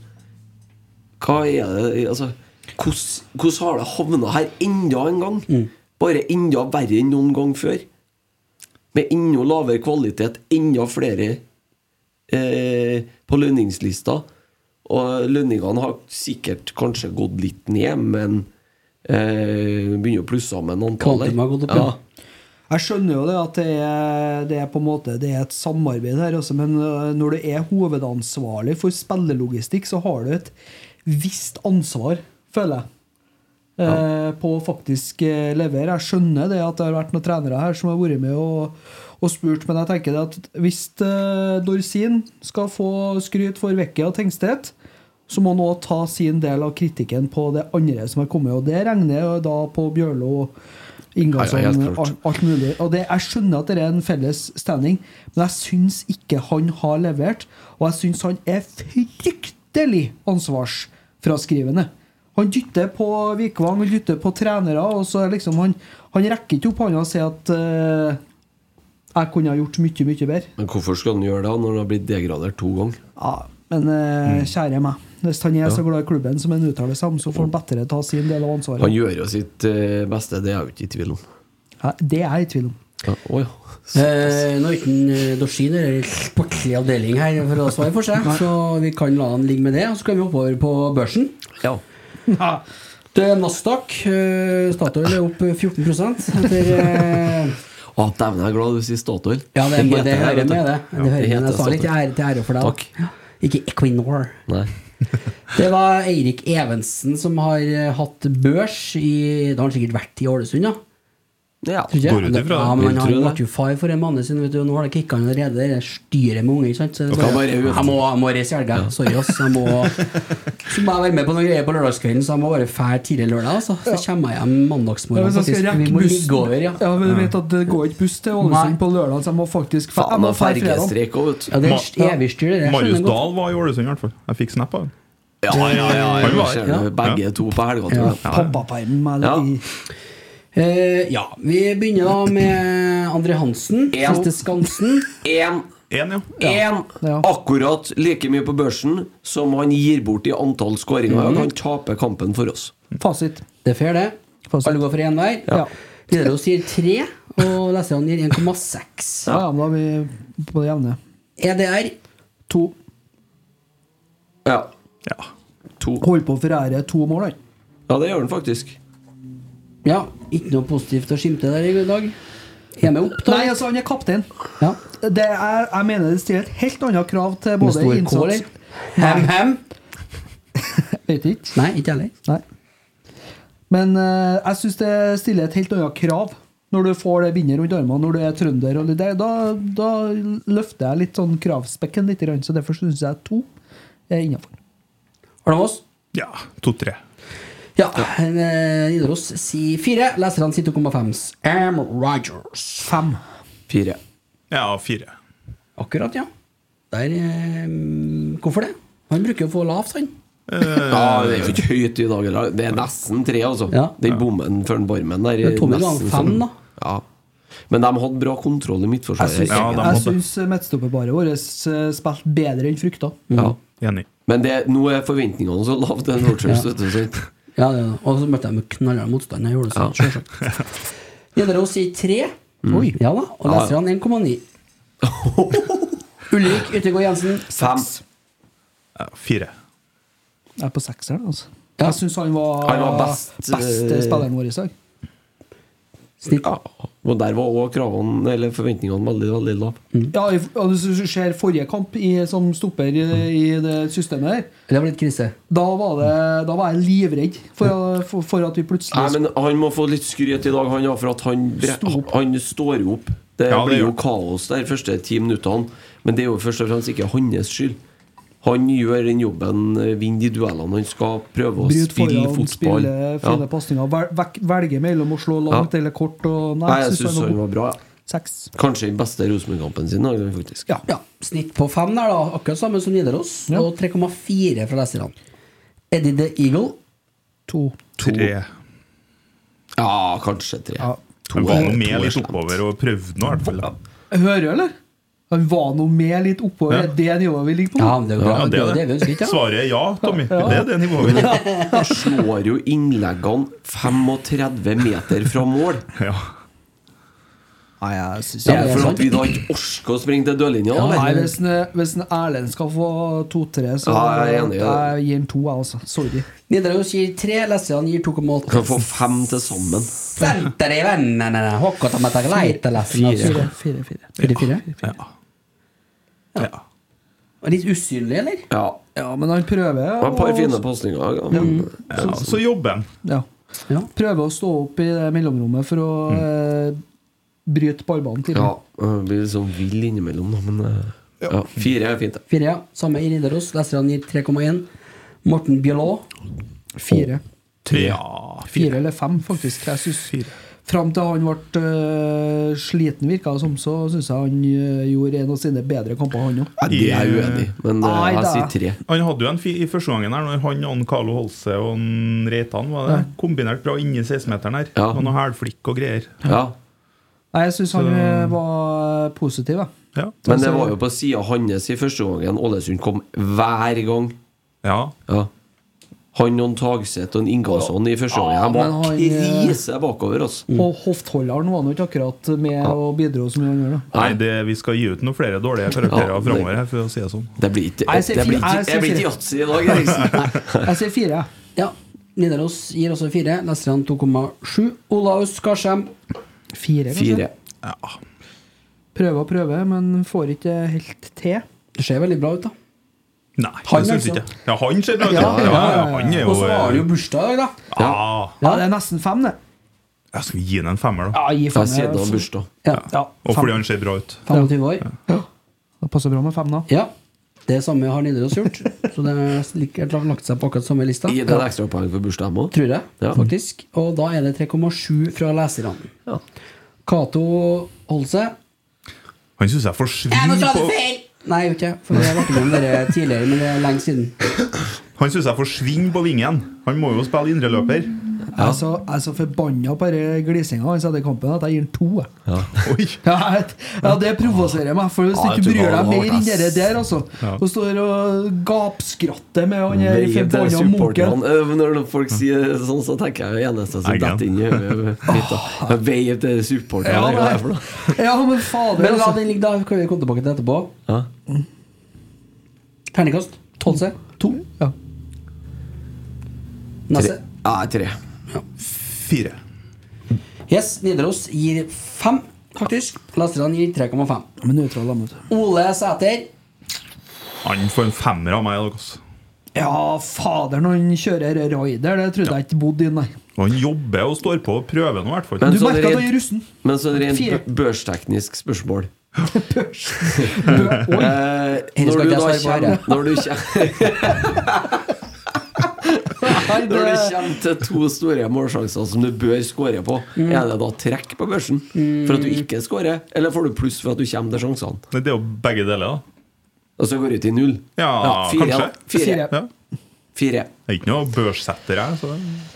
[SPEAKER 3] Hva er det Altså, hvordan hvordan har det havna her enda en gang?
[SPEAKER 2] Mm.
[SPEAKER 3] Bare enda verre enn noen gang før. Med enda lavere kvalitet, enda flere eh, på lønningslista. Og lønningene har sikkert kanskje gått litt ned, men eh, begynner å plusse sammen antallet.
[SPEAKER 2] Kvantum har gått opp, ja.
[SPEAKER 4] Jeg skjønner jo det at det er, det er på en måte Det er et samarbeid her også, men øh, når du er hovedansvarlig for spillelogistikk, så har du et visst ansvar, føler jeg, eh, på å faktisk eh, levere. Jeg skjønner det at det har vært noen trenere her som har vært med og, og spurt, men jeg tenker det at hvis eh, Dorsin skal få skryt for Vekke og Tengstedt, så må han òg ta sin del av kritikken på det andre som har kommet, og det regner jeg jo da på Bjørlo. Ingasson,
[SPEAKER 3] Ja, ja, helt klart.
[SPEAKER 4] alt- alt mulig. Og det, jeg skjønner at det er en felles standing, men jeg syns ikke han har levert. Og jeg syns han er fryktelig ansvarsfraskrivende. Han dytter på Vikvang, han dytter på trenere, og så er liksom han, han rekker ikke opp hånda og sier at eh, jeg kunne ha gjort mye, mye bedre.
[SPEAKER 3] Men hvorfor skal han gjøre det når han har blitt degradert to ganger?
[SPEAKER 4] Ja, men eh, kjære meg, hvis han er så glad i klubben som han uttaler seg om, så får han bedre ta sin del av
[SPEAKER 3] Han
[SPEAKER 4] ansvaret.
[SPEAKER 3] gjør jo sitt eh, beste, det er jeg jo ikke i tvil om.
[SPEAKER 4] Ja, det er jeg i tvil om.
[SPEAKER 3] Ja, å ja.
[SPEAKER 2] Eh, nå er ikke en, eh, Dorsin er en sportslig avdeling her for å svare for seg, så vi kan la han ligge med det. Og så kan vi oppover på børsen.
[SPEAKER 3] ja.
[SPEAKER 2] Det er Nasdaq. Eh, Statoil er opp 14 etter eh,
[SPEAKER 3] Å, dæven, jeg er glad du sier Statoil.
[SPEAKER 2] Ja, det, det, det hører
[SPEAKER 3] vet du.
[SPEAKER 2] med, det.
[SPEAKER 3] Ja,
[SPEAKER 2] Det hører med.
[SPEAKER 3] heter
[SPEAKER 2] Jeg sa litt til
[SPEAKER 3] Statoil.
[SPEAKER 2] ære, til ære for deg.
[SPEAKER 3] Takk.
[SPEAKER 2] da. Ja. Ikke Equinor.
[SPEAKER 3] Nei.
[SPEAKER 2] Det var Eirik Evensen som har eh, hatt børs i Det har han sikkert vært i Ålesund, ja.
[SPEAKER 3] Ja.
[SPEAKER 2] Tror ikke jeg.
[SPEAKER 5] Går ut ifra det.
[SPEAKER 2] Ja, men han
[SPEAKER 3] Vil
[SPEAKER 2] har
[SPEAKER 3] tro det.
[SPEAKER 2] vært jo far for en måned siden, vet du. og Nå har det kicka han allerede. Det er styret med unger, ikke sant. Så det er
[SPEAKER 3] Skal
[SPEAKER 2] bare,
[SPEAKER 3] bare ut.
[SPEAKER 2] jeg må, jeg må reise i helga. Sorry, ass. Jeg må, så må jeg være med på noen greier på lørdagskvelden, så jeg må bare fære tidlig lørdag, altså. Så kommer jeg hjem
[SPEAKER 4] Ja,
[SPEAKER 2] mandagsmorgen,
[SPEAKER 4] hvis jeg skal
[SPEAKER 2] faktisk.
[SPEAKER 4] rekke
[SPEAKER 2] Vi må
[SPEAKER 4] bussen
[SPEAKER 2] ligge over, ja.
[SPEAKER 4] ja. men du vet at det går ikke buss til Ålesund
[SPEAKER 2] Nei.
[SPEAKER 4] på lørdag, så jeg må faktisk fa- jeg
[SPEAKER 3] Faen,
[SPEAKER 4] må
[SPEAKER 3] og
[SPEAKER 4] fære fredag.
[SPEAKER 3] fergestreik òg, vet du.
[SPEAKER 2] Ja, det er evig styr, det der.
[SPEAKER 5] Marius
[SPEAKER 2] skjønner jeg godt.
[SPEAKER 5] Dahl var i Ålesund, i hvert fall. Jeg fikk snap av ham.
[SPEAKER 3] Ja, ja, ja.
[SPEAKER 5] Han
[SPEAKER 3] ja,
[SPEAKER 5] var-
[SPEAKER 3] ja. Begge to på helgetur. Ja.
[SPEAKER 4] Pappaperm eller
[SPEAKER 3] Ja.
[SPEAKER 2] Eh, ja, vi begynner da med André Hansen.
[SPEAKER 3] Ja.
[SPEAKER 2] Siste Skansen.
[SPEAKER 3] En,
[SPEAKER 5] Én, ja.
[SPEAKER 3] en,
[SPEAKER 4] Ja.
[SPEAKER 3] akkurat like mye på børsen som han gir bort i antall
[SPEAKER 2] Mm.
[SPEAKER 3] skåringer. Han kan tape kampen for oss.
[SPEAKER 4] Fasit.
[SPEAKER 2] Det er fair, det.
[SPEAKER 4] Fasit.
[SPEAKER 2] Alle går for én hver.
[SPEAKER 4] Ja.
[SPEAKER 2] Nidaros gir tre, og leserne gir 1,6.
[SPEAKER 4] Ja, ja, men da er vi på det jevne.
[SPEAKER 2] EDR
[SPEAKER 4] To.
[SPEAKER 3] Ja.
[SPEAKER 5] ja.
[SPEAKER 3] To.
[SPEAKER 4] Holder på å forære to mål, han.
[SPEAKER 3] Ja, det gjør han faktisk.
[SPEAKER 2] Ja, ikke noe positivt å skimte der i dag. Er med opp, da?
[SPEAKER 4] Nei, altså, han er kaptein.
[SPEAKER 2] Ja.
[SPEAKER 4] Det er, jeg mener det stiller et helt annet krav til
[SPEAKER 2] Med
[SPEAKER 4] både
[SPEAKER 2] stor K,
[SPEAKER 4] innsats
[SPEAKER 2] eller? Ham-ham?
[SPEAKER 4] Vet ikke.
[SPEAKER 2] Nei, ikke heller.
[SPEAKER 4] Nei. Men eh, jeg syns det stiller et helt annet krav når du får det bindet rundt armene når du er trønder. Og det, da, da løfter jeg litt sånn kravspekken litt, grann, så derfor syns jeg to er innafor.
[SPEAKER 2] Arne Moss?
[SPEAKER 5] Ja, to-tre.
[SPEAKER 2] Ja. eh, Nidaros sier fire. Leserne sier 2,5. Am Rogers.
[SPEAKER 4] Fem.
[SPEAKER 3] Fire.
[SPEAKER 5] Ja, fire.
[SPEAKER 2] Akkurat, ja. Der eh, Hvorfor det? Han bruker jo å få lavt, han.
[SPEAKER 3] Ja, det er jo ikke høyt i dag heller. Det er nesten tre, altså.
[SPEAKER 2] Ja.
[SPEAKER 3] Den bommen før den barmen der er
[SPEAKER 2] Men Tommy ga han
[SPEAKER 3] nesten
[SPEAKER 2] fem,
[SPEAKER 3] som-
[SPEAKER 2] da.
[SPEAKER 3] Ja. Men de hadde bra kontroll i
[SPEAKER 4] Jeg
[SPEAKER 3] midtforsvaret.
[SPEAKER 4] syns,
[SPEAKER 5] Ja, de
[SPEAKER 4] jeg
[SPEAKER 5] hadde-
[SPEAKER 4] syns midtstopperparet vårt eh, spilte bedre enn frykta.
[SPEAKER 3] Ja.
[SPEAKER 5] Enig.
[SPEAKER 3] Men det, nå er forventningene så lave til Northers. vet du, så-
[SPEAKER 2] Ja, det, er det. Og så møtte jeg med knallhard motstand. Jeg gjorde det sånn, selvsagt. Nidaros sier tre. Oi. Mm. Ja da. Og leserne 1,9. Ulrik Yttergård Jensen.
[SPEAKER 3] Fem.
[SPEAKER 5] Ja, fire.
[SPEAKER 4] Jeg er på sekseren, altså.
[SPEAKER 2] Ja.
[SPEAKER 4] Jeg syns han var,
[SPEAKER 3] Han var best,
[SPEAKER 4] beste
[SPEAKER 3] eh,
[SPEAKER 4] spilleren vår i dag.
[SPEAKER 2] Snitt.
[SPEAKER 3] Ja. Og der var òg kravene, eller forventningene, veldig veldig lave.
[SPEAKER 4] Ja, i- og Hvis du ser forrige kamp i, som stopper i, i det systemet der,
[SPEAKER 2] Det var litt krise.
[SPEAKER 4] da var, det, da var jeg livredd for, for, for at vi plutselig
[SPEAKER 3] Nei, men Han må få litt skryt i dag, han, ja, for at han, bre
[SPEAKER 4] Stå opp.
[SPEAKER 3] han står opp. Det
[SPEAKER 5] Ja, det
[SPEAKER 3] blir jo
[SPEAKER 5] gjør-
[SPEAKER 3] kaos der første ti minuttene, men det er jo først og fremst ikke hans skyld. Han gjør den jobben, eh, vinner de duellene. Han skal prøve å
[SPEAKER 4] bryter
[SPEAKER 3] spille
[SPEAKER 4] foran,
[SPEAKER 3] fotball.
[SPEAKER 4] spiller
[SPEAKER 3] Ja.
[SPEAKER 4] fine pasninger, vel- vek- velger mellom å slå langt
[SPEAKER 3] Ja.
[SPEAKER 4] eller kort. Og, nei,
[SPEAKER 3] Nei, jeg
[SPEAKER 4] synes
[SPEAKER 3] syns han var bra. ja.
[SPEAKER 4] god. Seks.
[SPEAKER 3] Kanskje den beste Rosenborg-kampen sin, da, faktisk.
[SPEAKER 4] Ja.
[SPEAKER 2] Ja, Snitt på fem der, da. Akkurat samme som Nidaros.
[SPEAKER 4] Ja.
[SPEAKER 2] Og 3,4 fra leserne. Eddie the Eagle.
[SPEAKER 4] To.
[SPEAKER 5] Tre.
[SPEAKER 3] Ja, kanskje tre.
[SPEAKER 4] Ja.
[SPEAKER 3] To
[SPEAKER 5] Jeg var
[SPEAKER 3] er-
[SPEAKER 5] nå med
[SPEAKER 3] to er
[SPEAKER 5] litt
[SPEAKER 3] slemt.
[SPEAKER 5] oppover og prøvde nå, i hvert fall.
[SPEAKER 4] Hører du, eller? Han var nå med litt oppover.
[SPEAKER 5] Ja.
[SPEAKER 4] Er Det nivået vi ligger på.
[SPEAKER 2] Ja, men det er jo bra.
[SPEAKER 5] Ja,
[SPEAKER 2] det, er jo det vi
[SPEAKER 5] det.
[SPEAKER 2] ønsker, ikke sant?
[SPEAKER 5] Svaret er ja, Tommy. Det er det nivået vi ligger på.
[SPEAKER 3] Han slår jo innleggene 35 meter fra mål.
[SPEAKER 5] Ja.
[SPEAKER 4] Nei, jeg synes
[SPEAKER 3] Det
[SPEAKER 2] Ja,
[SPEAKER 3] er
[SPEAKER 2] det er
[SPEAKER 3] for
[SPEAKER 2] sant.
[SPEAKER 3] at vi da ikke orker å sprenge til dørlinja.
[SPEAKER 4] Ja,
[SPEAKER 3] da,
[SPEAKER 4] nei,
[SPEAKER 3] vel?
[SPEAKER 4] hvis, en, hvis en Erlend skal få to-tre, så
[SPEAKER 3] Ja, jeg er enig, ja.
[SPEAKER 4] jeg gir han to, jeg, altså. Sorry.
[SPEAKER 2] Nidaros gir tre, leserne gir 2,8.
[SPEAKER 3] Kan få fem til sammen.
[SPEAKER 2] Senter i vennene Håkon har tatt leit til leserne.
[SPEAKER 4] Fire, fire, fire.
[SPEAKER 2] Fire, fire.
[SPEAKER 5] Ja. ja.
[SPEAKER 2] Litt usynlig, eller?
[SPEAKER 3] Ja.
[SPEAKER 4] Ja, men han prøver
[SPEAKER 3] Det var et par
[SPEAKER 4] å-
[SPEAKER 3] fine pasninger. Ja. men- eh,
[SPEAKER 5] ja. Så jobber han.
[SPEAKER 4] ja.
[SPEAKER 2] Ja.
[SPEAKER 4] Prøver å stå opp i det mellomrommet for å eh, bryte ballbanen tidlig.
[SPEAKER 3] ja. jeg Blir litt sånn vill innimellom, da, men eh, ja. Fire er fint. det.
[SPEAKER 2] Fire, ja. Samme i Nidaros. Leserne gir 3,1. Morten Bjølaa.
[SPEAKER 4] Fire.
[SPEAKER 5] Ja,
[SPEAKER 4] Fire
[SPEAKER 5] fire.
[SPEAKER 4] eller fem, faktisk. Jeg synes, fram til han ble eh, sliten, virka det som, så syns jeg han eh, gjorde en av sine bedre kamper, han òg.
[SPEAKER 3] Nei, det er jeg uenig i, men eh,
[SPEAKER 4] Nei,
[SPEAKER 3] jeg
[SPEAKER 4] da.
[SPEAKER 3] sier tre.
[SPEAKER 5] Han hadde jo en fi i første gangen her Når han og Carlo Holse og han Reitan var det kombinert bra inni 16-meteren her.
[SPEAKER 3] Ja.
[SPEAKER 5] Og noe hælflikk og greier.
[SPEAKER 3] Ja.
[SPEAKER 4] Nei, Jeg syns han eh, var positiv, jeg.
[SPEAKER 5] Ja.
[SPEAKER 3] Men det var jo på sida hans i første gangen Ålesund kom hver gang.
[SPEAKER 5] ja.
[SPEAKER 3] Ja. Han og en Tagseth og en Ingasson i første gangen. De
[SPEAKER 4] men
[SPEAKER 3] var
[SPEAKER 4] han, eh,
[SPEAKER 3] krise bakover, altså.
[SPEAKER 4] Og hoftholderen var nå ikke akkurat med og bidro så mye han gjorde.
[SPEAKER 5] Nei, det, vi skal gi ut noen flere dårlige karakterer
[SPEAKER 3] Ja, det-
[SPEAKER 5] framover her, for å si det sånn.
[SPEAKER 3] Det blir ikke
[SPEAKER 4] Nei, jeg sier
[SPEAKER 3] det blir
[SPEAKER 4] fire.
[SPEAKER 3] ikke-
[SPEAKER 4] Nei, jeg sier
[SPEAKER 3] Jeg blir ikke
[SPEAKER 4] fire.
[SPEAKER 3] yatzy i dag, Eriksen.
[SPEAKER 4] Jeg sier fire, jeg.
[SPEAKER 2] Ja. Nidaros gir også fire. Leserne 2,7. Olaus Skarsheim.
[SPEAKER 4] Fire, kanskje?
[SPEAKER 3] Fire.
[SPEAKER 4] Prøver og prøver, men får ikke helt til.
[SPEAKER 2] Det ser veldig bra ut, da.
[SPEAKER 5] Nei,
[SPEAKER 2] Han,
[SPEAKER 5] det syns
[SPEAKER 2] altså.
[SPEAKER 5] ikke jeg. Ja, han ser bra ut. Ja,
[SPEAKER 4] Ja, ja,
[SPEAKER 5] ja,
[SPEAKER 4] ja, ja.
[SPEAKER 5] Han er
[SPEAKER 2] Og
[SPEAKER 5] jo
[SPEAKER 2] så har han jo bursdag i dag, da.
[SPEAKER 5] Ja.
[SPEAKER 4] Ja, det er nesten fem, det.
[SPEAKER 5] Jeg skal gi ham en femmer, da.
[SPEAKER 4] Ja, gi
[SPEAKER 3] Jeg
[SPEAKER 4] fem.
[SPEAKER 3] sier det
[SPEAKER 4] jeg.
[SPEAKER 3] var bursdag.
[SPEAKER 2] Ja.
[SPEAKER 4] Ja,
[SPEAKER 5] Og
[SPEAKER 4] fem.
[SPEAKER 5] fordi han ser bra ut.
[SPEAKER 2] 25 år.
[SPEAKER 4] Det passer bra med fem, da.
[SPEAKER 2] Ja. Det samme har Nidaros gjort. Så det er sikkert lagt seg på akkurat samme lista.
[SPEAKER 3] Gi deg et ekstrapoeng for bursdag, jeg òg.
[SPEAKER 2] Tror jeg,
[SPEAKER 3] Ja.
[SPEAKER 2] faktisk. Og da er det 3,7 fra leserne.
[SPEAKER 3] Ja.
[SPEAKER 2] Cato Holse.
[SPEAKER 5] Han syns jeg forsvinner på
[SPEAKER 2] Nei, jeg gjør ikke det, For jeg har vært innom dere tidligere, men det er lenge siden.
[SPEAKER 5] Han synes jeg forsvinner på vingen. Han må jo spille indreløper.
[SPEAKER 4] Jeg er så, jeg er så forbanna på denne glisinga hans etter kampen at jeg gir han to. jeg.
[SPEAKER 5] Oi!
[SPEAKER 4] Ja, jeg- ja, det provoserer meg, for hvis du
[SPEAKER 3] Ja, jeg
[SPEAKER 4] ikke
[SPEAKER 3] tror
[SPEAKER 4] bryr deg
[SPEAKER 3] han har
[SPEAKER 4] mer enn
[SPEAKER 3] det,
[SPEAKER 4] det
[SPEAKER 3] ass.
[SPEAKER 4] der, altså, og står og gapskratter med han der
[SPEAKER 3] Veien til
[SPEAKER 4] forbanna munken
[SPEAKER 3] supporterne Eh, Når noen folk sier det sånn, så tenker jeg det eneste som
[SPEAKER 5] Nei,
[SPEAKER 3] detter inn i øyet mitt. da. Veien til supporterne.
[SPEAKER 4] Ah. Ja,
[SPEAKER 3] hva er det for
[SPEAKER 4] men,
[SPEAKER 3] noe?
[SPEAKER 4] ja, men fader,
[SPEAKER 2] Men la
[SPEAKER 4] altså.
[SPEAKER 2] den ligge, da. Kan vi komme tilbake til det etterpå.
[SPEAKER 3] Ja.
[SPEAKER 2] Terningkast. Holse. To.
[SPEAKER 4] Ja. Altså,
[SPEAKER 2] Nesse.
[SPEAKER 3] Ja, tre.
[SPEAKER 5] Fire.
[SPEAKER 2] Yes, Nidaros gir fem. faktisk. Lasterne gir 3,5.
[SPEAKER 4] Men nøytral, da, vet du.
[SPEAKER 2] Ole Sæter.
[SPEAKER 5] Han får en femmer av meg. i dag, altså.
[SPEAKER 4] Ja, fader, når han kjører raider, det trodde jeg ikke bodde i, nei.
[SPEAKER 5] Og han jobber og står på og prøver nå, i hvert fall.
[SPEAKER 3] Men
[SPEAKER 4] Du
[SPEAKER 3] sånn
[SPEAKER 4] merker at han
[SPEAKER 3] rent-
[SPEAKER 4] er russen.
[SPEAKER 3] Men sånn rent
[SPEAKER 4] Fire.
[SPEAKER 3] bø- børsteknisk spørsmål
[SPEAKER 4] Oi.
[SPEAKER 3] eh,
[SPEAKER 2] Her skal
[SPEAKER 3] Når du
[SPEAKER 2] ikke
[SPEAKER 3] da
[SPEAKER 2] jeg svare
[SPEAKER 3] kommer
[SPEAKER 2] på
[SPEAKER 3] Når du kommer
[SPEAKER 4] Nei,
[SPEAKER 3] Når det
[SPEAKER 4] det-
[SPEAKER 3] kommer til to store målsjanser som du bør skåre på,
[SPEAKER 4] Mm.
[SPEAKER 3] er det da trekk på børsen for at du ikke skårer, eller får du pluss for at du kommer til sjansene?
[SPEAKER 5] Nei, Det er jo begge deler, da.
[SPEAKER 3] Og så går det ut i null?
[SPEAKER 5] Ja,
[SPEAKER 3] fire,
[SPEAKER 5] kanskje.
[SPEAKER 3] Fire.
[SPEAKER 4] Fire.
[SPEAKER 5] Ja.
[SPEAKER 3] fire.
[SPEAKER 5] Jeg er ikke noe børssetter, jeg. Så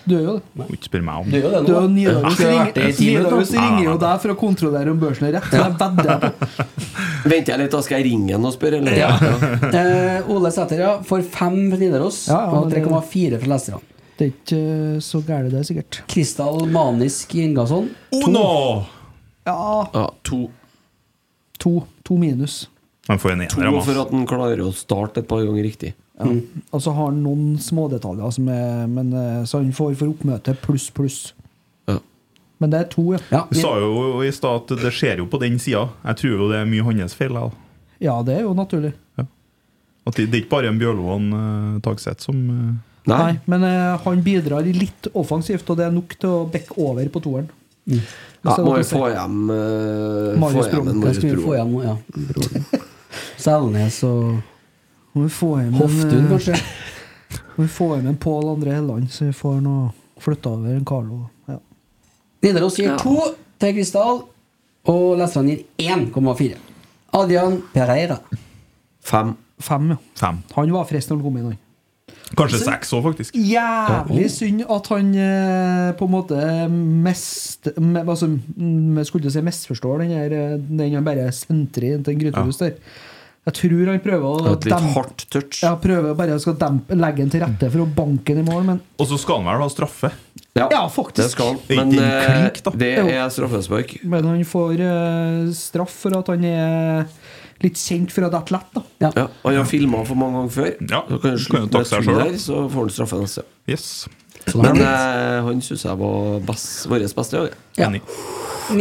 [SPEAKER 4] Du er jo det.
[SPEAKER 5] må ikke spørre meg om
[SPEAKER 2] Du er jo det
[SPEAKER 4] Du er
[SPEAKER 2] nå.
[SPEAKER 4] jo Nidaros
[SPEAKER 2] Skulle ha vært det i ti minutter.
[SPEAKER 4] Nidaros ringer jo deg for å kontrollere om børsen er rett. Det vedder jeg på.
[SPEAKER 3] Venter jeg litt, da skal jeg ringe han og spørre, eller?
[SPEAKER 2] Ja. Eh, Ole Sæter ja, får 5 fra Nidaros
[SPEAKER 4] Ja, ja,
[SPEAKER 2] og
[SPEAKER 4] men det-
[SPEAKER 2] 3,4 fra lesterne.
[SPEAKER 4] Det er ikke eh, så gærent, det, er sikkert.
[SPEAKER 2] Kristal Manisk Ingasson.
[SPEAKER 5] Ono!
[SPEAKER 4] Ja,
[SPEAKER 3] Ja, to.
[SPEAKER 4] to. To minus.
[SPEAKER 5] Han får en
[SPEAKER 3] To
[SPEAKER 5] ener av
[SPEAKER 3] for
[SPEAKER 5] meg.
[SPEAKER 3] at han klarer å starte et par ganger riktig. Mm.
[SPEAKER 4] Og så har han noen smådetaljer, som er, men, eh, så han får for oppmøte pluss, pluss.
[SPEAKER 3] Ja.
[SPEAKER 4] Men det er to, ja.
[SPEAKER 2] Ja,
[SPEAKER 5] Du sa jo i stad at det skjer jo på den sida. Jeg tror jo det er mye hans feil. jeg, da.
[SPEAKER 4] Ja, det er jo naturlig.
[SPEAKER 5] At det, det er ikke bare en Bjørlo og en eh, Tagseth som eh,
[SPEAKER 3] Nei.
[SPEAKER 4] Nei, men eh, han bidrar litt offensivt, og det er nok til å bekke over på toeren.
[SPEAKER 3] Ja,
[SPEAKER 4] det er
[SPEAKER 3] må
[SPEAKER 4] lov
[SPEAKER 3] vi
[SPEAKER 4] å si.
[SPEAKER 3] få hjem, eh, få
[SPEAKER 4] Marius
[SPEAKER 3] hjem
[SPEAKER 4] Brom.
[SPEAKER 3] en
[SPEAKER 2] Hva
[SPEAKER 3] Marius
[SPEAKER 2] skal vi få
[SPEAKER 3] Bro.
[SPEAKER 2] igjen nå? Ja. Selnes og
[SPEAKER 4] Må vi få hjem en,
[SPEAKER 2] Hoftun,
[SPEAKER 4] eh,
[SPEAKER 2] kanskje?
[SPEAKER 4] Må vi få hjem en Pål André Helland, så vi får noe flytta over en Carlo. Ja.
[SPEAKER 2] Nidaros gir 2 til Kristal, og lesterne gir 1,4. Adrian Pereira.
[SPEAKER 3] Fem.
[SPEAKER 4] Fem, ja.
[SPEAKER 5] fem.
[SPEAKER 4] Han var frisk når han kom inn, han.
[SPEAKER 5] Kanskje seks òg, faktisk.
[SPEAKER 4] Jævlig
[SPEAKER 3] oh.
[SPEAKER 4] synd at han eh, på en måte mest me, altså, mm, jeg Skulle ikke si misforstår den her eh, Den han bare sentrer inn til en grytehus der. Jeg tror han prøver å
[SPEAKER 3] Et litt
[SPEAKER 4] dempe-
[SPEAKER 3] hardt touch.
[SPEAKER 4] Ja, prøver bare å skal dempe, legge den til rette for å banke den i mål, men
[SPEAKER 5] Og så skal han vel ha straffe.
[SPEAKER 4] Ja,
[SPEAKER 3] Det
[SPEAKER 4] faktisk.
[SPEAKER 3] skal han.
[SPEAKER 5] Er ikke
[SPEAKER 3] Men
[SPEAKER 5] det en
[SPEAKER 3] eh,
[SPEAKER 5] klink, da?
[SPEAKER 3] det
[SPEAKER 4] Jo.
[SPEAKER 3] er straffespark.
[SPEAKER 4] Men han får eh, straff for at han er litt kjent for å dette lett, da.
[SPEAKER 3] Ja, han har filma for mange ganger før.
[SPEAKER 5] Ja,
[SPEAKER 3] Så kan han
[SPEAKER 5] kan jo
[SPEAKER 3] slutte
[SPEAKER 5] takke
[SPEAKER 3] med
[SPEAKER 5] seg
[SPEAKER 3] tull
[SPEAKER 5] selv, da.
[SPEAKER 3] der, så får han straffe neste.
[SPEAKER 5] Yes.
[SPEAKER 4] Sånn
[SPEAKER 3] Men eh, han syns jeg var best, vår beste. Ja.
[SPEAKER 2] Ja.
[SPEAKER 5] Enig.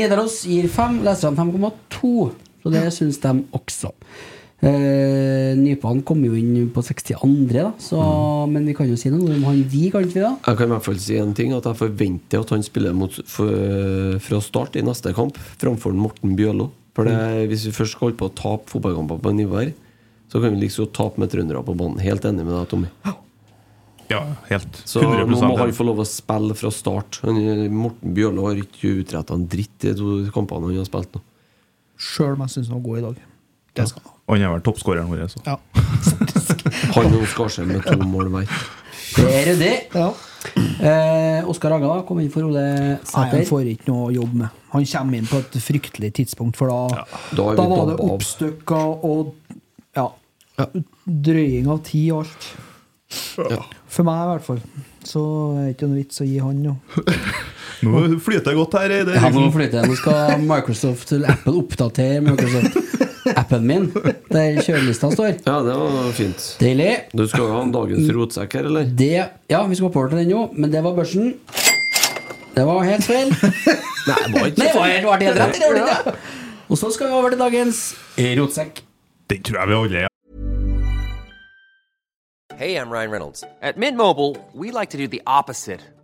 [SPEAKER 2] Nidaros gir 5, lesterne 5,2. Så det syns de også. Eh, Nypan kom jo inn på 62., da, så, men vi kan jo si noe om han vi, kan ikke vi da?
[SPEAKER 3] Jeg kan i hvert fall si en ting, at jeg forventer at han spiller mot, for, fra start i neste kamp framfor Morten Bjørlo. For det, Hvis vi først skal holde på å tape fotballkamper på nivå her, så kan vi liksom tape med trøndere på banen. Helt enig med deg, Tommy.
[SPEAKER 5] Ja, helt.
[SPEAKER 3] Så nå må han
[SPEAKER 5] enig.
[SPEAKER 3] få lov å spille fra start. Han, Morten Bjørlo har ikke utretta en dritt i de to kampene han har spilt nå.
[SPEAKER 4] Sjøl om jeg syns han var god i dag. Det skal han ha.
[SPEAKER 5] Han er vel toppskåreren vår, så.
[SPEAKER 3] Han og Skarsheim med to mål hver.
[SPEAKER 2] Det er ryddig.
[SPEAKER 4] Ja.
[SPEAKER 2] Eh, Oskar Haga kom inn for Ole
[SPEAKER 4] Nei, han
[SPEAKER 2] Sæter.
[SPEAKER 4] får ikke noe å jobbe med. Han kommer inn på et fryktelig tidspunkt, for da,
[SPEAKER 3] Da er vi
[SPEAKER 4] da var
[SPEAKER 3] dabba
[SPEAKER 4] det
[SPEAKER 3] av.
[SPEAKER 4] oppstykka og ja, drøying av tid og alt. For meg, i hvert fall. Så er det ikke noe vits å gi han noe.
[SPEAKER 5] Nå flyter det godt her. Eide.
[SPEAKER 2] Ja, nå flyter jeg. Nå skal Microsoft eller Apple oppdatere Microsoft-appen min, der kjørelista står.
[SPEAKER 3] Ja, det var fint.
[SPEAKER 2] Deilig.
[SPEAKER 3] Du skal jo ha en dagens rotsekk her, eller?
[SPEAKER 2] Det, ja, vi skal oppover til den nå, men det var børsen. Det var helt feil.
[SPEAKER 3] Nei, det var
[SPEAKER 2] Nei, det var helt, var det helt rett. Det var det, ikke? Og så skal vi over til dagens rotsekk.
[SPEAKER 5] Den tror jeg vi alle er.
[SPEAKER 7] Hey, I'm Ryan Reynolds. At Mint Mobile, we like to do the opposite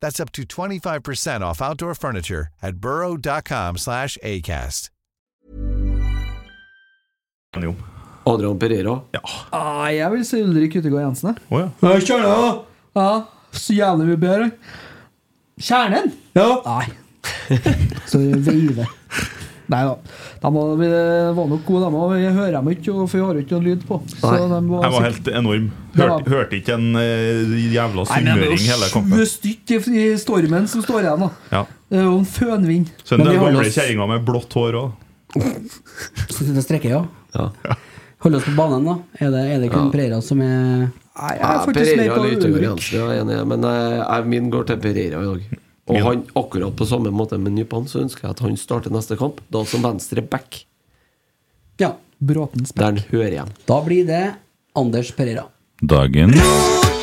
[SPEAKER 8] That's up to 25% off outdoor furniture at burrow.com slash ACAST.
[SPEAKER 5] Jo.
[SPEAKER 3] Adrian Pereira.
[SPEAKER 4] Ah, jeg vil se Ulrik Utegård Jensen. jeg.
[SPEAKER 5] Å ja.
[SPEAKER 4] Ja, Kjerne! Ja, så jævlig mye bedre. Kjernen? Ja. Nei. Så veive. Nei da. De var, de var nok gode, de òg. Jeg hører dem ikke, og- for jeg har jo ikke noe lyd på. Så
[SPEAKER 3] Nei.
[SPEAKER 4] de var,
[SPEAKER 5] Jeg var
[SPEAKER 4] sikkert-
[SPEAKER 5] helt enorm.
[SPEAKER 4] Ja.
[SPEAKER 5] Hørte, hørte ikke en eh, jævla
[SPEAKER 4] Nei, men det er
[SPEAKER 5] sunnmøring
[SPEAKER 4] jo
[SPEAKER 5] hele kampen.
[SPEAKER 4] 20 stykk i- i stormen som står igjen, da.
[SPEAKER 5] Ja.
[SPEAKER 4] Det er jo en fønvind.
[SPEAKER 5] Så den
[SPEAKER 2] Men vi holder
[SPEAKER 5] gamle
[SPEAKER 2] oss-
[SPEAKER 5] kjerringa med blått hår òg.
[SPEAKER 2] Så sitter jeg og strekker, ja.
[SPEAKER 3] Ja.
[SPEAKER 2] Holde oss på banen, da. Er det, er det kun Pereira som er
[SPEAKER 4] Nei, jeg
[SPEAKER 3] Ja,
[SPEAKER 4] er faktisk mer
[SPEAKER 3] Pereira
[SPEAKER 4] på
[SPEAKER 3] eller Utegård
[SPEAKER 4] Ulrik.
[SPEAKER 3] Jensen, jeg er enig, men jeg, jeg, min går til Pereira i dag. Og
[SPEAKER 5] Min.
[SPEAKER 3] han akkurat på samme måte med Nypan, så ønsker jeg at han starter neste kamp, da som venstre back,
[SPEAKER 2] Ja.
[SPEAKER 4] Bråtens
[SPEAKER 3] der han hører igjen.
[SPEAKER 2] Da blir det Anders Pereira.
[SPEAKER 6] Dagen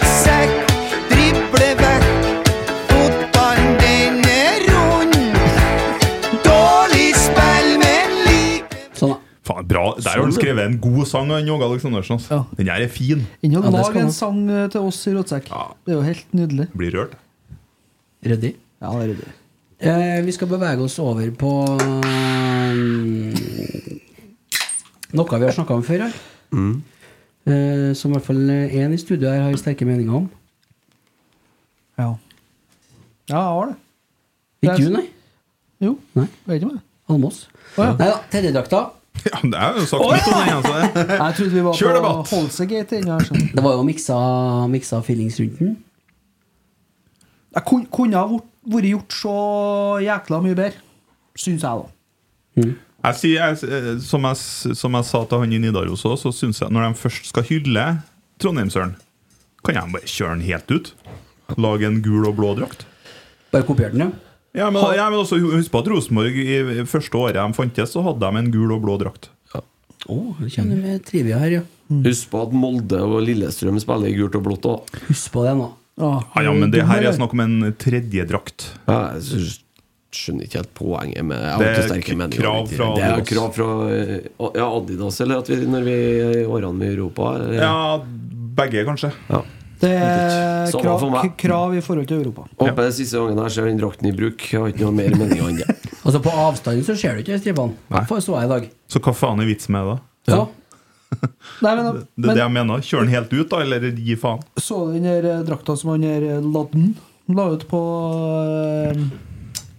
[SPEAKER 1] Sekk, drible vekk. Fotballen, den er rund. Dårlig spill, men like
[SPEAKER 2] Sånn, da.
[SPEAKER 5] Faen, bra. Der har han skrevet en god sang, han Åge Aleksandersen. ass.
[SPEAKER 4] Ja.
[SPEAKER 5] Den her er fin.
[SPEAKER 4] Inn og
[SPEAKER 2] Ja, det
[SPEAKER 4] lag
[SPEAKER 2] skal
[SPEAKER 4] en
[SPEAKER 2] han.
[SPEAKER 4] sang eh, til oss i Rådsekk. Det er jo helt nydelig.
[SPEAKER 5] Blir rørt.
[SPEAKER 2] Ryddig.
[SPEAKER 4] Ja, det er det.
[SPEAKER 2] Eh, vi skal bevege oss over på eh, noe vi har snakka om før her. Eh, som i hvert fall én i studio her har sterke meninger om.
[SPEAKER 4] Ja. ja, jeg har det.
[SPEAKER 2] Ikke du, nei?
[SPEAKER 4] Jo,
[SPEAKER 2] Nei.
[SPEAKER 4] vet ikke om det.
[SPEAKER 2] Almås.
[SPEAKER 4] Å, ja.
[SPEAKER 2] Nei da, tredjedrakta.
[SPEAKER 5] Ja, men det er jo sagt litt om den. Altså.
[SPEAKER 4] Jeg trodde vi var
[SPEAKER 5] Kjør
[SPEAKER 4] på
[SPEAKER 5] debatt!
[SPEAKER 4] Holsegate ennå. Jeg, skjønner.
[SPEAKER 2] Det var jo miksa, miksa feelings rundt den.
[SPEAKER 4] jeg kun- kunne ha vært- vært gjort så jækla mye bedre, syns jeg, da.
[SPEAKER 5] Jeg sier, jeg, eh, som, jeg, s- som jeg sa til han i Nidaros òg, så syns jeg når de først skal hylle Trondheimsøren, kan de bare kjøre den helt ut. Lage en gul og blå drakt.
[SPEAKER 2] Bare kopierte den, ja.
[SPEAKER 5] Ja, men, ja, men også Husk på at Rosenborg i første året de fantes, så hadde de en gul og blå drakt.
[SPEAKER 2] Oh, det kjenner vi trivia her, ja.
[SPEAKER 3] Husk på at Molde og Lillestrøm spiller i gult og blått òg.
[SPEAKER 2] Husk på det nå.
[SPEAKER 5] Ja, ja, men det Mm, her er snakk om en tredje drakt.
[SPEAKER 3] Jeg syns- skjønner ikke helt poenget med jeg har
[SPEAKER 5] Det er
[SPEAKER 3] ikke sterke
[SPEAKER 5] k-
[SPEAKER 3] meninger
[SPEAKER 5] krav
[SPEAKER 3] om det.
[SPEAKER 5] fra
[SPEAKER 3] Det er
[SPEAKER 5] Adidas.
[SPEAKER 3] krav fra eh, ja, Adidas, eller at vi, når vi er i årene i Europa eh,
[SPEAKER 5] Ja, begge, kanskje.
[SPEAKER 3] ja.
[SPEAKER 4] Det er
[SPEAKER 3] Samme
[SPEAKER 4] krav,
[SPEAKER 3] for meg.
[SPEAKER 4] k- krav i forhold til Europa.
[SPEAKER 3] Håper det er siste gangen jeg ser den drakten i bruk. Jeg har ikke noe mer meninger enn det.
[SPEAKER 2] Altså På avstand så ser du ikke stripene.
[SPEAKER 5] Nei.
[SPEAKER 2] Derfor så jeg i dag.
[SPEAKER 5] Så hva faen er vitsen med det?
[SPEAKER 2] Ja.
[SPEAKER 4] Nei, men,
[SPEAKER 5] Det er det
[SPEAKER 4] men
[SPEAKER 5] jeg mener. Kjør den helt ut, da, eller gi faen.
[SPEAKER 4] så du den der eh, drakta som han der eh, Ladden la ut på, eh,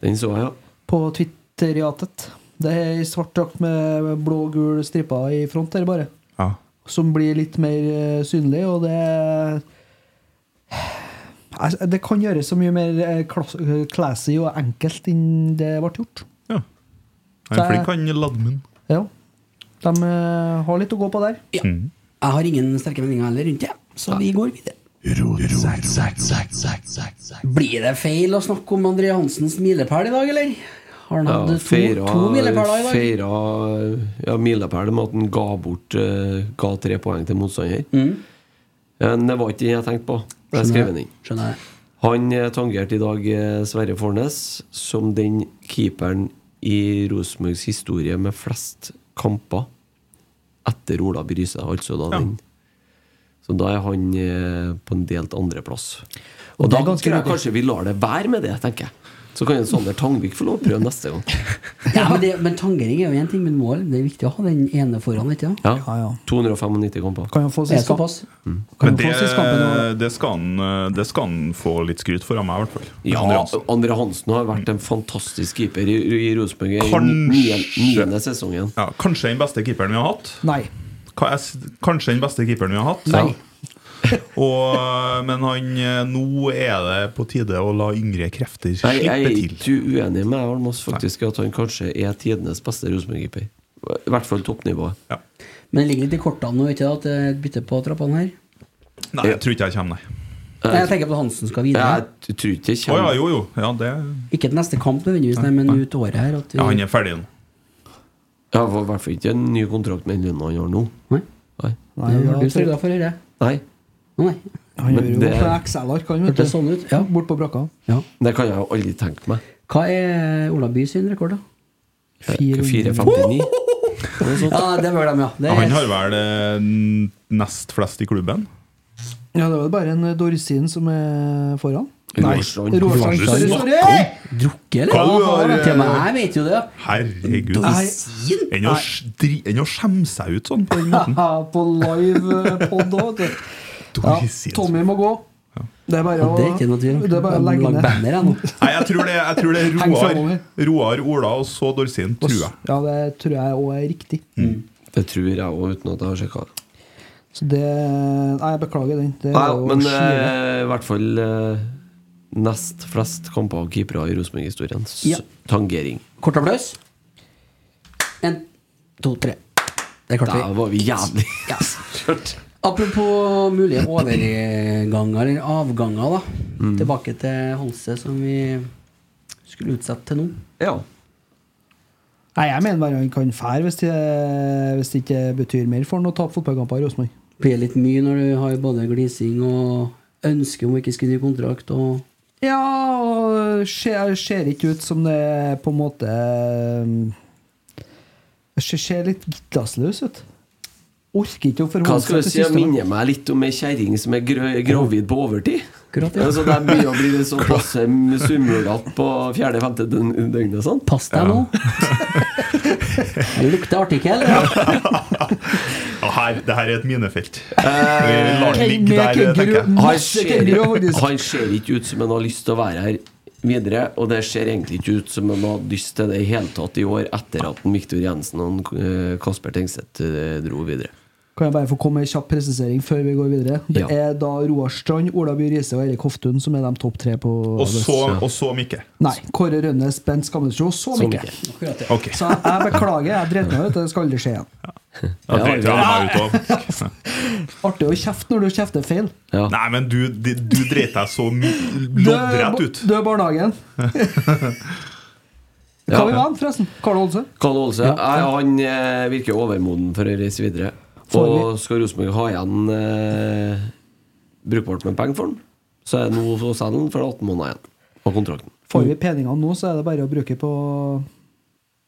[SPEAKER 3] Den så jeg, ja.
[SPEAKER 4] på Twitter-jatet? Det er ei svart drakt med blå-gul striper i front der, bare.
[SPEAKER 5] Ja.
[SPEAKER 4] som blir litt mer eh, synlig, og det Altså, Det kan gjøres så mye mer eh, klass- eh, classy og enkelt enn det ble gjort.
[SPEAKER 5] ja. Jeg
[SPEAKER 4] Så
[SPEAKER 5] er
[SPEAKER 4] jeg-
[SPEAKER 5] flink, han Ladmen.
[SPEAKER 4] Ja. De eh, har litt å gå på der.
[SPEAKER 2] Jeg har ingen sterke meninger heller rundt det, så vi går videre. Blir det feil å snakke om André Hansens milepæl i dag, eller? Har han hatt
[SPEAKER 3] ja
[SPEAKER 2] to, to milepæler i dag?
[SPEAKER 3] feira ja, milepæl med at han ga bort eh, Ga tre poeng til motstander. Eh, Men det var ikke den jeg tenkte på. da Jeg skrev den inn.
[SPEAKER 2] Mm. Skjønner jeg.
[SPEAKER 3] Han eh, tangerte i dag eh, Sverre Fornes som den keeperen i Rosenborgs historie med flest kamper etter Ola Bryse, altså da den. Så da er han eh, på en delt andreplass. Og,
[SPEAKER 4] Og det
[SPEAKER 3] da
[SPEAKER 4] er ganske
[SPEAKER 3] tror jeg
[SPEAKER 4] ryddig.
[SPEAKER 3] kanskje vi lar det være med det, tenker jeg. Så kan jo Sander Tangvik få lov å prøve neste gang.
[SPEAKER 2] Ja, men, det, men tangering er jo én ting, men mål Det er viktig å ha den ene foran, ikke sant?
[SPEAKER 3] Ja,
[SPEAKER 4] Ja, ja.
[SPEAKER 3] 295 kamper.
[SPEAKER 4] Kan jo få
[SPEAKER 2] Er
[SPEAKER 4] sist kamp.
[SPEAKER 2] såpass.
[SPEAKER 4] Kan
[SPEAKER 5] Men
[SPEAKER 4] jo
[SPEAKER 5] det,
[SPEAKER 4] få sist kampen nå.
[SPEAKER 5] det, skal han, eh, det skal han få litt skryt for av meg, i hvert fall.
[SPEAKER 3] Ja,
[SPEAKER 5] Andre Hansen.
[SPEAKER 3] Andre Hansen har vært en fantastisk keeper i, i Rosenborg i
[SPEAKER 5] Kanskje.
[SPEAKER 3] niende- niende sesongen.
[SPEAKER 5] Ja, kanskje den beste keeperen vi har hatt.
[SPEAKER 4] Nei.
[SPEAKER 5] Ka- jeg s- Kanskje den beste keeperen vi har hatt.
[SPEAKER 3] Nei.
[SPEAKER 5] Og, men han, eh, nå er det på tide å la yngre krefter
[SPEAKER 3] Nei, jeg
[SPEAKER 5] slippe
[SPEAKER 3] er
[SPEAKER 5] til.
[SPEAKER 3] ikke uenig med Almås faktisk at han kanskje er tidenes beste Rosenborg-keeper. I hvert fall toppnivået.
[SPEAKER 5] Ja.
[SPEAKER 2] Men det ligger litt i kortene nå, ikke sant, at det er et bytte på trappene her?
[SPEAKER 5] Nei, jeg tror ikke jeg kommer, nei.
[SPEAKER 2] Nei, Jeg tenker på at Hansen skal videre.
[SPEAKER 3] Jeg t- tror ikke jeg
[SPEAKER 5] Å ja,
[SPEAKER 3] kommer
[SPEAKER 5] jo, jo. Ja, det,
[SPEAKER 2] Ikke til neste kamp nødvendigvis, nei, men ut året her. At vi,
[SPEAKER 5] ja, han er ferdig nå.
[SPEAKER 3] Jeg får i hvert fall ikke en ny kontrakt med den lønna han har nå.
[SPEAKER 2] Nei.
[SPEAKER 3] Nei.
[SPEAKER 4] Nei,
[SPEAKER 2] det
[SPEAKER 4] ja,
[SPEAKER 2] har du
[SPEAKER 4] tror-
[SPEAKER 2] sørga for, hører jeg.
[SPEAKER 3] Nei.
[SPEAKER 2] Å, Nei.
[SPEAKER 4] Han
[SPEAKER 3] Men
[SPEAKER 4] gjør jo
[SPEAKER 3] det-
[SPEAKER 4] på Excel-ark, han, vet
[SPEAKER 2] Hørtes sånn ut, ja.
[SPEAKER 4] Bort på brakka.
[SPEAKER 3] Det kan jeg jo aldri tenke meg.
[SPEAKER 2] Hva er Ola By sin rekord, da?
[SPEAKER 3] 459. sånn.
[SPEAKER 2] Ja, det bør de, ja. Det er,
[SPEAKER 5] Han har vel eh, nest flest i klubben.
[SPEAKER 4] Ja, det var jo bare en eh, dorsin som er foran.
[SPEAKER 3] Roarstrand.
[SPEAKER 4] Roarstrand. Sorry, sorry!
[SPEAKER 2] Drukket, eller?
[SPEAKER 5] Hva du
[SPEAKER 2] Ja,
[SPEAKER 5] har,
[SPEAKER 2] det Til og med
[SPEAKER 5] eh,
[SPEAKER 2] jeg vet jo det.
[SPEAKER 5] Herregud.
[SPEAKER 2] Dorsin?
[SPEAKER 5] Enn å sj- dri- enn å skjemme seg ut sånn på den måten.
[SPEAKER 4] Ja, på live eh, pod òg, vet du. Ja,
[SPEAKER 5] Dorsin.
[SPEAKER 4] Tommy må gå. Det er bare
[SPEAKER 2] Ja,
[SPEAKER 4] å,
[SPEAKER 2] det er ikke noe tvil om.
[SPEAKER 4] det er bare å
[SPEAKER 2] Jeg
[SPEAKER 4] legge
[SPEAKER 2] må lage
[SPEAKER 4] ned.
[SPEAKER 2] banner, jeg nå.
[SPEAKER 5] Nei, jeg tror det, jeg tror det er
[SPEAKER 4] Heng
[SPEAKER 5] Roar,
[SPEAKER 4] fremover.
[SPEAKER 5] Roar Ola og så Dorsin, tror jeg.
[SPEAKER 4] Ja, det tror jeg òg er riktig.
[SPEAKER 3] Det tror jeg òg, uten at jeg har sjekka det.
[SPEAKER 4] Så det eh, Nei, jeg beklager den. Det
[SPEAKER 3] Nei,
[SPEAKER 4] var jo
[SPEAKER 3] men
[SPEAKER 4] skive.
[SPEAKER 3] eh, i hvert fall eh, nest flest kamper og keepere i Rosenborg-historien. S-
[SPEAKER 2] Ja.
[SPEAKER 3] Tangering.
[SPEAKER 2] Kort applaus. En, to, tre. Det klarte
[SPEAKER 3] Der
[SPEAKER 2] vi.
[SPEAKER 3] var vi jævlig
[SPEAKER 2] Ja.
[SPEAKER 3] kjørt.
[SPEAKER 2] Apropos mulige overganger, eller avganger, da. Tilbake til Holse, som vi skulle utsette til nå.
[SPEAKER 3] Ja.
[SPEAKER 4] Nei, jeg mener bare han kan fære hvis det, hvis det ikke betyr mer for han å tape fotballkamper i Rosenborg.
[SPEAKER 2] Blir litt mye når du har både glising og ønske om å ikke skrive ny kontrakt og
[SPEAKER 4] Ja, og ser, ser ikke ut som det er på en måte um, Ser, ser litt gittersløs ut. Orker ikke å
[SPEAKER 3] Hva
[SPEAKER 4] forholde
[SPEAKER 3] skal
[SPEAKER 4] seg
[SPEAKER 3] du
[SPEAKER 4] til
[SPEAKER 3] si? Jeg
[SPEAKER 4] systemet.
[SPEAKER 3] minner meg litt om ei kjerring som er grø- gravid på overtid.
[SPEAKER 2] Akkurat, ja.
[SPEAKER 3] Så det begynner å bli litt sånn passe summelapp på fjerde-femte døgnet. Sånn.
[SPEAKER 2] Pass deg nå! Det lukter artikkel. Ja.
[SPEAKER 5] Ja, her, det her er et minefelt.
[SPEAKER 3] Eh,
[SPEAKER 5] Vi lar den ligge
[SPEAKER 4] Med
[SPEAKER 5] der, tenker jeg.
[SPEAKER 4] kenguru.
[SPEAKER 3] Han
[SPEAKER 4] Masse kenguru,
[SPEAKER 3] ser,
[SPEAKER 4] faktisk.
[SPEAKER 3] han ser ikke ut som han har lyst til å være her videre, og det ser egentlig ikke ut som han hadde lyst til det i hele tatt i år, etter at Viktor Jensen og han, eh, Kasper Tengseth eh, dro videre.
[SPEAKER 4] Kan jeg bare få komme med en kjapp presisering før vi går videre? Det
[SPEAKER 3] Ja.
[SPEAKER 4] er da Roar Strand, Ola By Riise og Erik Hoftun som er de topp tre på
[SPEAKER 5] Og så, og så Mikke.
[SPEAKER 4] Nei. Kåre Rønnes, Bent Skammelsrud og så
[SPEAKER 3] Som
[SPEAKER 4] Mikke.
[SPEAKER 3] ikke.
[SPEAKER 5] Ok.
[SPEAKER 4] Så jeg jeg beklager, jeg dreit meg ut. Det skal aldri skje igjen.
[SPEAKER 5] Da driter jeg meg ut òg.
[SPEAKER 4] Artig å kjefte når du kjefter feil.
[SPEAKER 3] Ja.
[SPEAKER 5] Nei, men du, du, du dreit deg så my-
[SPEAKER 4] Dø,
[SPEAKER 5] loddrett ut.
[SPEAKER 4] dø barnehagen. Hva vi med forresten? Karl Holse?
[SPEAKER 3] Karl Olse nei, han eh, virker overmoden for å reise videre.
[SPEAKER 4] Får vi-
[SPEAKER 3] Og skal Rosenborg ha igjen eh, brukbart med penger for han, så er det nå hos Sædlen for 18 måneder igjen av kontrakten.
[SPEAKER 4] Får vi peningene nå, så er det bare å bruke på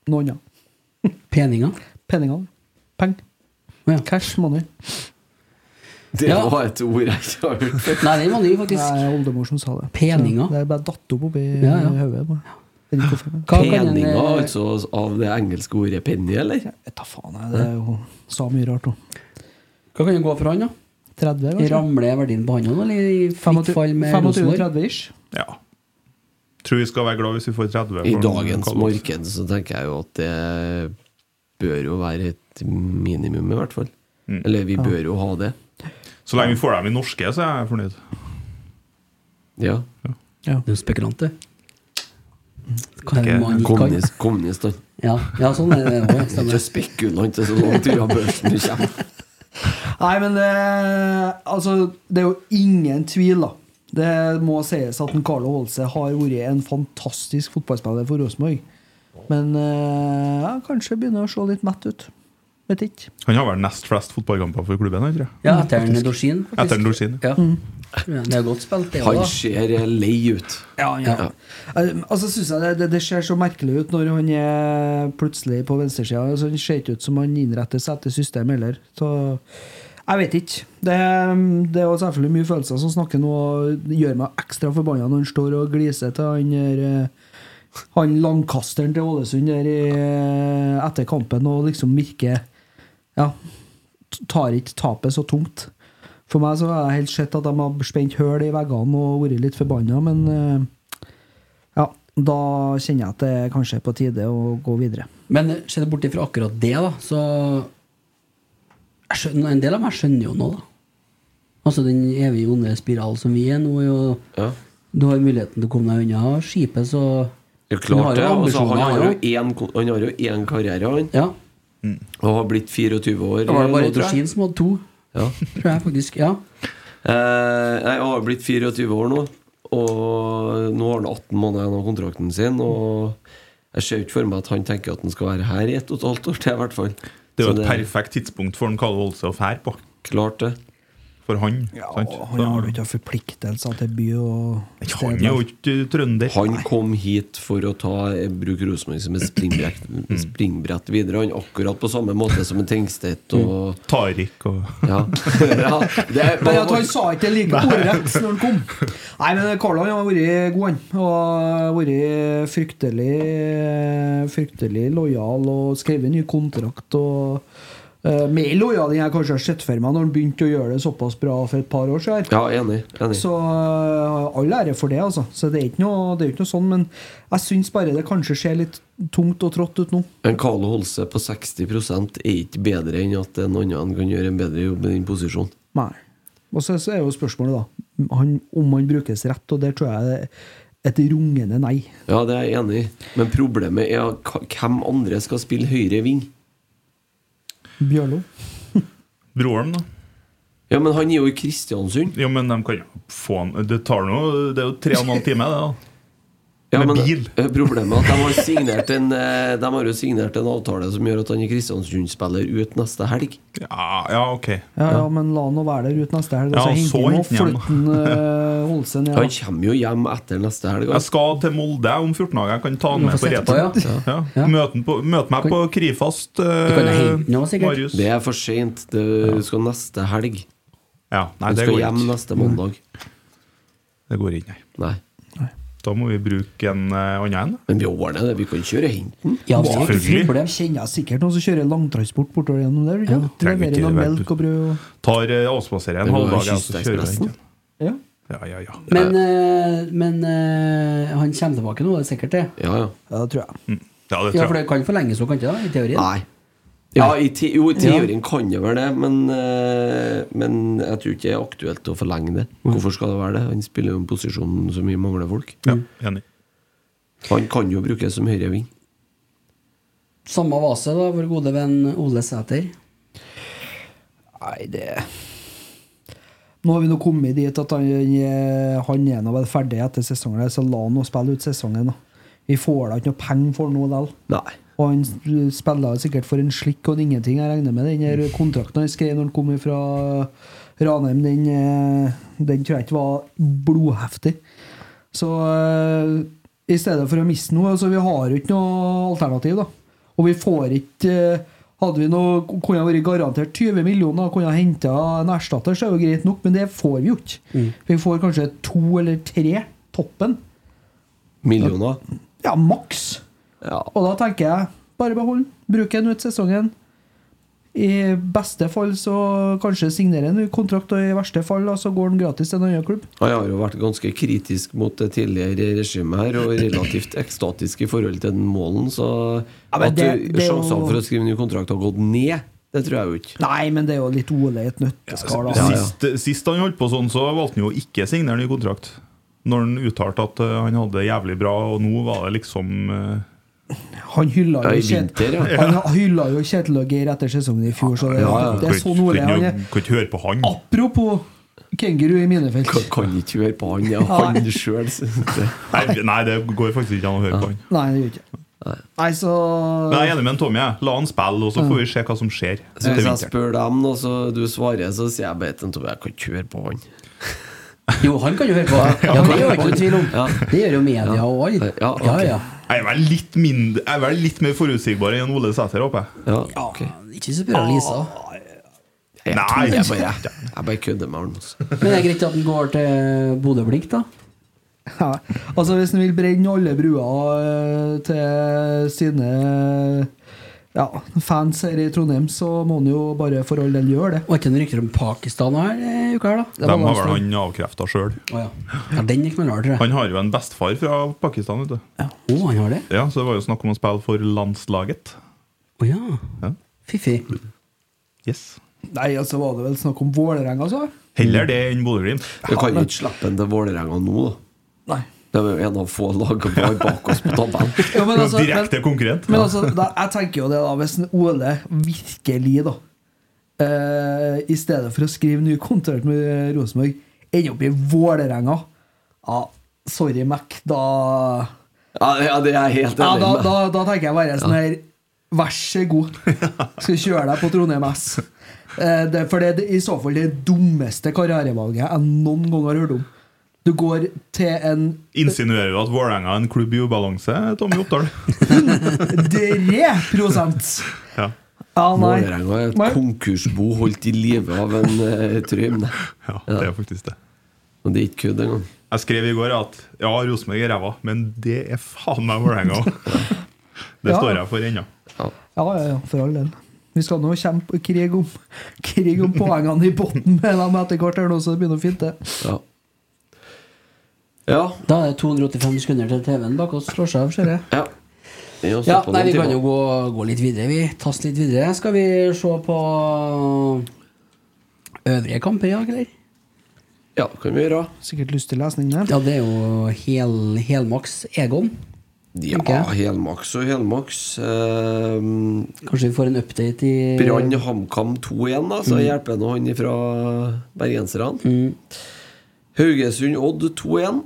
[SPEAKER 4] noe annet.
[SPEAKER 2] Peninga.
[SPEAKER 4] Peningene. Peng.
[SPEAKER 2] Å ja.
[SPEAKER 4] Cash money.
[SPEAKER 3] Det
[SPEAKER 2] Ja.
[SPEAKER 3] var et ord jeg ikke har hørt før.
[SPEAKER 2] Nei, den var ny,
[SPEAKER 4] Det
[SPEAKER 2] faktisk.
[SPEAKER 4] er oldemor som sa det.
[SPEAKER 2] Peninger.
[SPEAKER 4] Så Det er bare datt opp oppi
[SPEAKER 2] Ja, ja.
[SPEAKER 4] hodet. på meg. Jeg vet ikke hvorfor, men-
[SPEAKER 2] Hva kan den,
[SPEAKER 3] Peninga,
[SPEAKER 2] eh,
[SPEAKER 3] altså, av det engelske ordet penny, eller?
[SPEAKER 4] Jeg tar faen, jeg. Det er jo sa mye rart òg.
[SPEAKER 2] Hva kan det gå for han, da?
[SPEAKER 4] 30, kanskje?
[SPEAKER 2] Ramler verdien på han nå, eller i fritt fall med Rosenborg?
[SPEAKER 4] 25-30 ish.
[SPEAKER 5] Ja. Tror vi skal være glad hvis vi får 30.
[SPEAKER 3] I
[SPEAKER 5] for
[SPEAKER 3] dagens
[SPEAKER 5] Carl Olsen.
[SPEAKER 3] marked så tenker jeg jo at det bør jo være et minimum, i hvert fall.
[SPEAKER 5] Mm.
[SPEAKER 3] Eller vi bør jo ha det.
[SPEAKER 5] Så lenge vi får dem i norske, så er jeg fornøyd.
[SPEAKER 3] Ja.
[SPEAKER 2] Det er jo spekulant, det. Hva er det man ikke kan?
[SPEAKER 3] Kommunist, kommunist da.
[SPEAKER 2] Ja, ja, sånn er det òg.
[SPEAKER 3] Det er Ikke spekulant, det er så langt unna børsen du kommer.
[SPEAKER 4] Nei, men det, altså, det er jo ingen tvil, da. Det må sies at en Carlo Holse har vært en fantastisk fotballspiller for Rosenborg. Men eh, ja, kanskje begynner å se litt mett ut. Vet ikke.
[SPEAKER 5] Han har vel nest flest fotballkamper for klubben, ikke sant?
[SPEAKER 2] Ja, Mm. etter en Dorsin.
[SPEAKER 5] Etter en Dorsin,
[SPEAKER 2] Ja. Ja, Det er godt spilt, det òg,
[SPEAKER 3] Han
[SPEAKER 2] da.
[SPEAKER 3] ser lei ut.
[SPEAKER 4] Ja. Eh, Altså, synes jeg det, det, det ser så merkelig ut når han er plutselig på venstresida. Altså, han ser ikke ut som han innretter seg etter systemet heller. Så jeg vet ikke. Det, det er jo selvfølgelig mye følelser som snakker nå, og det gjør meg ekstra forbanna når han står og gliser til han der, eh, han langkasteren til Ålesund der i, eh, etter kampen og liksom virker Ja, t- tar ikke tapet så tungt. For meg så har jeg helt sett at de har spent høl i veggene og vært litt forbanna, men eh, ja, da kjenner jeg at det er kanskje på tide å gå videre.
[SPEAKER 2] Men se bort ifra akkurat det, da, så jeg skjønner, En del av meg skjønner jo nå, da. Altså den evige onde spiral som vi er nå, er jo
[SPEAKER 3] Ja.
[SPEAKER 2] Du har muligheten til å komme deg unna skipet, så
[SPEAKER 3] Det er jo
[SPEAKER 2] Han har
[SPEAKER 3] klart
[SPEAKER 2] jo
[SPEAKER 3] det. Altså,
[SPEAKER 2] ambisjoner,
[SPEAKER 3] han har jo
[SPEAKER 2] han
[SPEAKER 3] én kon- han har jo én karriere, han.
[SPEAKER 2] Ja.
[SPEAKER 3] Og har blitt 24 år.
[SPEAKER 2] Det var det bare
[SPEAKER 3] nå, tror jeg.
[SPEAKER 2] Dorsin som hadde to,
[SPEAKER 3] Ja.
[SPEAKER 2] tror jeg faktisk. Ja.
[SPEAKER 3] Eh, nei, han har blitt 24 år nå, og nå har han 18 måneder igjen av kontrakten sin. Og jeg ser jo ikke for meg at han tenker at han skal være her i ett og et halvt år til, i hvert fall.
[SPEAKER 5] Det er
[SPEAKER 3] Så
[SPEAKER 5] jo et perfekt tidspunkt for en Carl Olse å fære på.
[SPEAKER 3] Klart det.
[SPEAKER 5] for han. sant?
[SPEAKER 4] Han har jo ikke forpliktelser til by og
[SPEAKER 5] Han er jo ikke trønder.
[SPEAKER 3] Han kom hit for å ta bruke Rosenborg som et springbrett, springbrett videre. Han akkurat på samme måte som en Tengstedt og
[SPEAKER 5] Tariq og
[SPEAKER 3] ja. ja, det er
[SPEAKER 4] Mm. Men at han sa ikke det like ordrett når han kom. Nei, men Karl han har vært god, han. Og vært fryktelig Fryktelig lojal og skrevet ny kontrakt. Og eh, mer lojal enn jeg kanskje har sett for meg når han begynte å gjøre det såpass bra for et par år siden.
[SPEAKER 3] Ja, enig.
[SPEAKER 5] Mm.
[SPEAKER 3] enig.
[SPEAKER 4] Så eh, all ære for det, altså. Så det er ikke noe, det er ikke noe sånn, men jeg syns bare det kanskje ser litt tungt og trått ut nå.
[SPEAKER 3] Men Carlo Holse på 60 er ikke bedre enn at en annen kan gjøre en bedre jobb i den posisjonen.
[SPEAKER 4] Nei. Og så, så er jo spørsmålet, da, han, om han brukes rett, og der tror jeg det er et rungende nei.
[SPEAKER 3] Ja, det er jeg enig i. Men problemet er at ka- hvem andre skal spille høyre ving?
[SPEAKER 4] Bjørlo.
[SPEAKER 5] broren, da.
[SPEAKER 3] Ja, men han er jo i Kristiansund.
[SPEAKER 5] Jo, men de kan jo få han Det tar nå Det er jo tre og en halv time, det, da.
[SPEAKER 3] Ja,
[SPEAKER 5] Med
[SPEAKER 3] men
[SPEAKER 5] bil.
[SPEAKER 3] eh, Problemet er at de har, signert en, eh, de har jo signert en avtale som gjør at han er Kristiansund-spiller ut neste helg.
[SPEAKER 5] Ja, ja ok.
[SPEAKER 4] Ja, ja, men la han nå være der ut neste helg.
[SPEAKER 5] Ja,
[SPEAKER 4] og
[SPEAKER 5] så
[SPEAKER 4] så hente
[SPEAKER 5] henten hjem.
[SPEAKER 4] han og flytte han, eh, Holse ned.
[SPEAKER 3] Han kommer jo hjem etter neste helg.
[SPEAKER 5] Jeg
[SPEAKER 3] altså.
[SPEAKER 5] skal til Molde om 14 dager. Jeg kan ta han
[SPEAKER 2] Du
[SPEAKER 5] med
[SPEAKER 2] får
[SPEAKER 5] på
[SPEAKER 2] sette på, ja.
[SPEAKER 5] retur. Ja. Møt, han på- møt meg på Krifast. eh,
[SPEAKER 2] kan jo hente han også, sikkert.
[SPEAKER 5] Marius.
[SPEAKER 3] Det er for seint. Du skal neste helg.
[SPEAKER 5] Ja, nei, det
[SPEAKER 3] Du skal
[SPEAKER 5] går
[SPEAKER 3] hjem
[SPEAKER 5] ikke.
[SPEAKER 3] neste mandag.
[SPEAKER 5] Det går ikke, nei.
[SPEAKER 3] Nei.
[SPEAKER 5] Da må vi bruke en eh, annen en. da.
[SPEAKER 3] Men vi ordner det. Vi kan kjøre henten.
[SPEAKER 2] Ja, det er ikke
[SPEAKER 5] Selvfølgelig.
[SPEAKER 2] problem.
[SPEAKER 4] Jeg kjenner sikkert noen som kjører langtransport bortover gjennom der. Ja,
[SPEAKER 5] trenger
[SPEAKER 4] Leverer
[SPEAKER 5] ikke
[SPEAKER 4] noe
[SPEAKER 5] være-
[SPEAKER 4] melk og brød og
[SPEAKER 5] Tar eh, avspasserer
[SPEAKER 3] Det
[SPEAKER 5] en
[SPEAKER 3] må
[SPEAKER 5] halv
[SPEAKER 3] være
[SPEAKER 5] dag, ja, så kjører vi
[SPEAKER 3] Kystekspressen.
[SPEAKER 5] den.
[SPEAKER 4] ja.
[SPEAKER 5] Ja, ja, ja.
[SPEAKER 2] Men, eh, men eh, han kommer tilbake nå, det er sikkert det.
[SPEAKER 3] Ja, ja.
[SPEAKER 4] ja, det tror jeg.
[SPEAKER 5] Ja, det
[SPEAKER 2] Ja, for
[SPEAKER 5] tror jeg.
[SPEAKER 2] det kan forlenges òg, kan ikke det? I teorien.
[SPEAKER 3] Nei. Ja, i te jo, i teorien kan det være det, men, eh, men jeg tror ikke det er aktuelt å forlenge det. Hvorfor skal det være det? Han spiller jo en posisjon som vi mangler folk.
[SPEAKER 5] Ja,
[SPEAKER 2] Mm.
[SPEAKER 5] enig.
[SPEAKER 3] Han kan jo brukes som høyre ving.
[SPEAKER 2] Samme vase, da, vår gode venn Ole Sæter.
[SPEAKER 4] Nei, det Nå har vi nå kommet dit at han, han er nå vel ferdig etter sesongen, her, så la han nå spille ut sesongen. da. Vi får da ikke noe penger for noe likevel.
[SPEAKER 3] Nei.
[SPEAKER 4] Og han spiller jo sikkert for en slikk og en ingenting, jeg regner med. Den her kontrakten han skrev når han kom fra Ranheim, den, eh, den tror jeg ikke var blodheftig. Så eh, i stedet for å miste noe altså Vi har jo ikke noe alternativ, da. Og vi får ikke eh, Hadde vi noe, kunne ha vært garantert 20 millioner, kunne ha henta en erstatter, så er det jo greit nok, men det får vi jo ikke. Vi får kanskje to eller tre, toppen.
[SPEAKER 3] Millioner.
[SPEAKER 4] Ja, maks.
[SPEAKER 3] Ja.
[SPEAKER 4] Og da tenker jeg bare behold den. Bruk den ut sesongen. I beste fall så kanskje signerer han en kontrakt, og i verste fall da, så går han gratis til en annen klubb.
[SPEAKER 3] Han har jo vært ganske kritisk mot det tidligere regimet her, og relativt ekstatisk i forhold til den målen, så
[SPEAKER 4] Ja, men
[SPEAKER 3] at
[SPEAKER 4] det-
[SPEAKER 3] du-
[SPEAKER 4] det er jo-
[SPEAKER 3] sjansene for å skrive ny kontrakt har gått ned, det tror jeg jo ikke.
[SPEAKER 4] Nei, men det er jo litt Ole i et
[SPEAKER 5] altså,
[SPEAKER 4] nøtteskall. altså. da.
[SPEAKER 5] Sist, sist han holdt på sånn, så valgte han jo å ikke signere ny kontrakt. Når han uttalte at eh, han hadde det jævlig bra, og nå var det liksom eh,
[SPEAKER 4] Han hylla
[SPEAKER 3] Ja,
[SPEAKER 4] jo
[SPEAKER 3] i
[SPEAKER 4] Kjet-
[SPEAKER 3] vinter, ja.
[SPEAKER 4] Han hylla jo Kjetil og Geir etter sesongen i fjor, så Ah, det,
[SPEAKER 3] Ja, ja.
[SPEAKER 4] det er sånn
[SPEAKER 5] kan
[SPEAKER 4] Ole
[SPEAKER 5] ikke-
[SPEAKER 4] han er.
[SPEAKER 5] kan ikke høre på han.
[SPEAKER 4] Apropos kenguru i minefelt.
[SPEAKER 3] Kan, kan ikke høre på han, ja, han sjøl.
[SPEAKER 5] Nei, nei, det går faktisk ikke an å høre på han.
[SPEAKER 4] Nei, det gjør ikke Nei, så
[SPEAKER 5] Men jeg er enig med en Tommy. jeg. La han spille, og så får vi se hva som skjer. til
[SPEAKER 3] Hvis jeg
[SPEAKER 5] vinteren.
[SPEAKER 3] spør dem, og så du svarer, så sier jeg bare til Tommy jeg kan ikke høre på han.
[SPEAKER 2] Jo, han kan jo høre på. Ja, det gjør ikke noe tvil om. Det gjør jo media og alle.
[SPEAKER 3] Ja, ok.
[SPEAKER 2] Ja, ja.
[SPEAKER 5] Jeg er vel litt, mindre, jeg er vel litt mer forutsigbar enn Ole Sæter, håper jeg.
[SPEAKER 3] Ja, ok.
[SPEAKER 2] Ikke så bra, Lisa.
[SPEAKER 3] Jeg,
[SPEAKER 5] Nei.
[SPEAKER 3] jeg, bare, jeg bare kødder med han. altså.
[SPEAKER 2] Men det er greit at han går til Bodø-Blink, da.
[SPEAKER 4] Ja. Altså Hvis han vil brenne alle bruer eh, til sine ja, fans her i Trondheim, så må han jo bare for all del gjøre det.
[SPEAKER 2] Var ikke det rykter om Pakistan her eh, uka her, da?
[SPEAKER 5] De har vel han avkrefta sjøl.
[SPEAKER 2] Å, ja. ja, den gikk knallhardt, tror jeg.
[SPEAKER 5] Han har jo en bestefar fra Pakistan, vet du.
[SPEAKER 2] Å, han har det?
[SPEAKER 5] Ja, så det var jo snakk om å spille for landslaget.
[SPEAKER 2] Å ja.
[SPEAKER 5] Ja.
[SPEAKER 2] Fiffi.
[SPEAKER 5] Yes.
[SPEAKER 4] Nei, altså var det vel snakk om Vålerenga, altså?
[SPEAKER 5] Heller det enn Bodø-Glimt.
[SPEAKER 3] Du kan jo ikke slippe han til Vålerenga nå, da.
[SPEAKER 4] Nei.
[SPEAKER 3] De er jo en av få lag og var bak oss på tabellen.
[SPEAKER 4] Ja, men altså,
[SPEAKER 5] Direkte
[SPEAKER 4] men,
[SPEAKER 5] konkurrent.
[SPEAKER 4] men altså da, jeg tenker jo det, da. Hvis en Ole virkelig, da, eh, i stedet for å skrive ny kontrakt med Rosenborg, ender opp i Vålerenga Ja, sorry, Mac, da
[SPEAKER 3] Ja, ja, det er jeg helt
[SPEAKER 4] Ja,
[SPEAKER 3] enig
[SPEAKER 4] da,
[SPEAKER 3] med.
[SPEAKER 4] da, da tenker jeg bare sånn her Vær så god. Skal kjøre deg på Trondheim S. Eh, Det, for det er i så fall det dummeste karrierevalget jeg noen gang har hørt om. Du går til en
[SPEAKER 5] Insinuerer du at Vålerenga er en klubb i ubalanse, Tommy Oppdal?
[SPEAKER 4] 3
[SPEAKER 5] ja.
[SPEAKER 4] Ja, nei.
[SPEAKER 3] Vålerenga er et
[SPEAKER 4] Nei.
[SPEAKER 3] konkursbo holdt i live av en uh, Trym.
[SPEAKER 5] Ja, det er faktisk det.
[SPEAKER 3] Og det er ikke kødd engang.
[SPEAKER 5] Jeg skrev i går at ja, Rosenborg er ræva, men det er faen meg Vålerenga òg. Det
[SPEAKER 4] Ja.
[SPEAKER 5] står jeg for ennå.
[SPEAKER 4] Ja, ja, ja, for all del. Vi skal nå kjempe krig om, krig om poengene i bunnen med dem etter hvert, her nå, så det begynner å finte.
[SPEAKER 3] Ja.
[SPEAKER 2] Da er det 285 sekunder til TV-en bak oss slår seg av, ser jeg.
[SPEAKER 3] Ja. Vi har
[SPEAKER 2] Ja,
[SPEAKER 3] stått på
[SPEAKER 2] nei,
[SPEAKER 3] noen
[SPEAKER 2] vi kan
[SPEAKER 3] timer.
[SPEAKER 2] jo gå, gå litt videre. Vi tass litt videre. Skal vi se på øh, øvrige kamper i dag, eller?
[SPEAKER 3] Ja, kan vi gjøre.
[SPEAKER 4] Sikkert lyst til lesning der.
[SPEAKER 2] Ja, det er jo hel, helmaks Egon.
[SPEAKER 3] Ja,
[SPEAKER 2] Ok.
[SPEAKER 3] helmaks og helmaks. Eh,
[SPEAKER 2] Kanskje vi får en update i
[SPEAKER 3] Brann HamKam 2-1, da, så
[SPEAKER 2] mm.
[SPEAKER 3] hjelper nå han fra bergenserne. Haugesund Odd 2-1.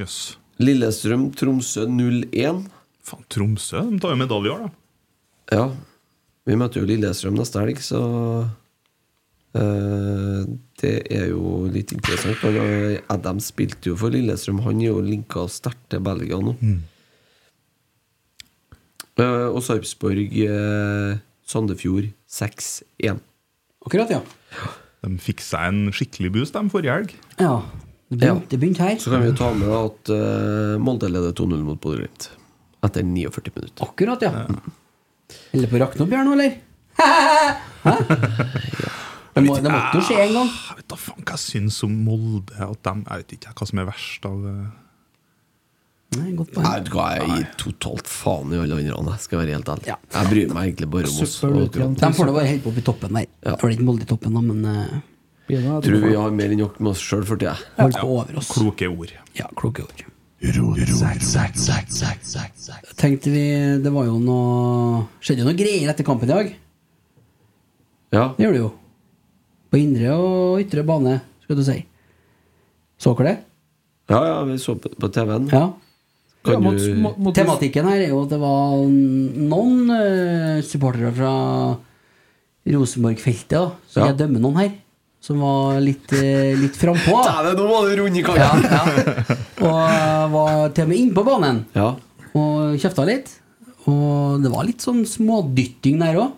[SPEAKER 5] Jøss.
[SPEAKER 3] Lillestrøm Tromsø 0-1.
[SPEAKER 5] Faen, Tromsø de tar jo medalje i år, da.
[SPEAKER 3] Ja. Vi møter jo Lillestrøm neste helg, så eh, Det er jo litt interessant. for, eh, Adam spilte jo for Lillestrøm. Han er jo linka sterkt til Belgia nå. Eh, og Sarpsborg eh, Sandefjord 6-1.
[SPEAKER 2] Akkurat, ja.
[SPEAKER 5] De fikk seg en skikkelig boost de forrige helg.
[SPEAKER 2] ja. Det begynte,
[SPEAKER 3] Ja.
[SPEAKER 2] det begynte her.
[SPEAKER 3] Så kan vi jo ta med at eh, Molde leder 2-0 mot Bodø Glimt etter 49 minutter.
[SPEAKER 2] Akkurat, ja. Holder på å rakne opp her nå, eller? Hæ? Det må- det måtte jo skje en gang.
[SPEAKER 5] Jeg vet da faen hva jeg syns om Molde. At dem- jeg vet ikke hva som er verst av eh,
[SPEAKER 2] Nei, godt poeng.
[SPEAKER 3] Nei, vet du hva, jeg gir totalt faen i alle andre, jeg skal være helt ærlig.
[SPEAKER 2] Ja.
[SPEAKER 3] Jeg bryr meg egentlig bare om oss.
[SPEAKER 4] Søppel
[SPEAKER 3] og
[SPEAKER 4] ut igjen.
[SPEAKER 3] akkurat.
[SPEAKER 2] De får da bare helt opp i toppen der.
[SPEAKER 3] Ja.
[SPEAKER 2] Det var ikke Molde i toppen, da, men eh,
[SPEAKER 4] Begynner jeg,
[SPEAKER 3] Tror vi har mer enn nok med oss sjøl for tida.
[SPEAKER 2] holdt på over oss.
[SPEAKER 5] kloke ord.
[SPEAKER 2] Ja, kloke ord. Tenkte vi Det var jo noe Skjedde jo noe greier etter kampen i dag.
[SPEAKER 3] Ja.
[SPEAKER 2] Det gjorde det jo. På indre og ytre bane, skal du si. Så dere det?
[SPEAKER 3] ja, ja, vi så på på TV-en.
[SPEAKER 2] Ja.
[SPEAKER 4] Ja,
[SPEAKER 3] Kan
[SPEAKER 4] mot-
[SPEAKER 3] du
[SPEAKER 4] mot- mot-
[SPEAKER 2] Tematikken her er jo at det var noen eh, supportere fra Rosenborg-feltet, da. Så
[SPEAKER 3] Ja.
[SPEAKER 2] jeg dømmer noen her. Som var litt, eh, litt frampå.
[SPEAKER 3] Dæven, nå var du rund i
[SPEAKER 2] Ja,
[SPEAKER 3] kanten!
[SPEAKER 2] ja. Og var til og med inne på banen.
[SPEAKER 3] Ja.
[SPEAKER 2] og kjefta litt. Og det var litt sånn smådytting der òg.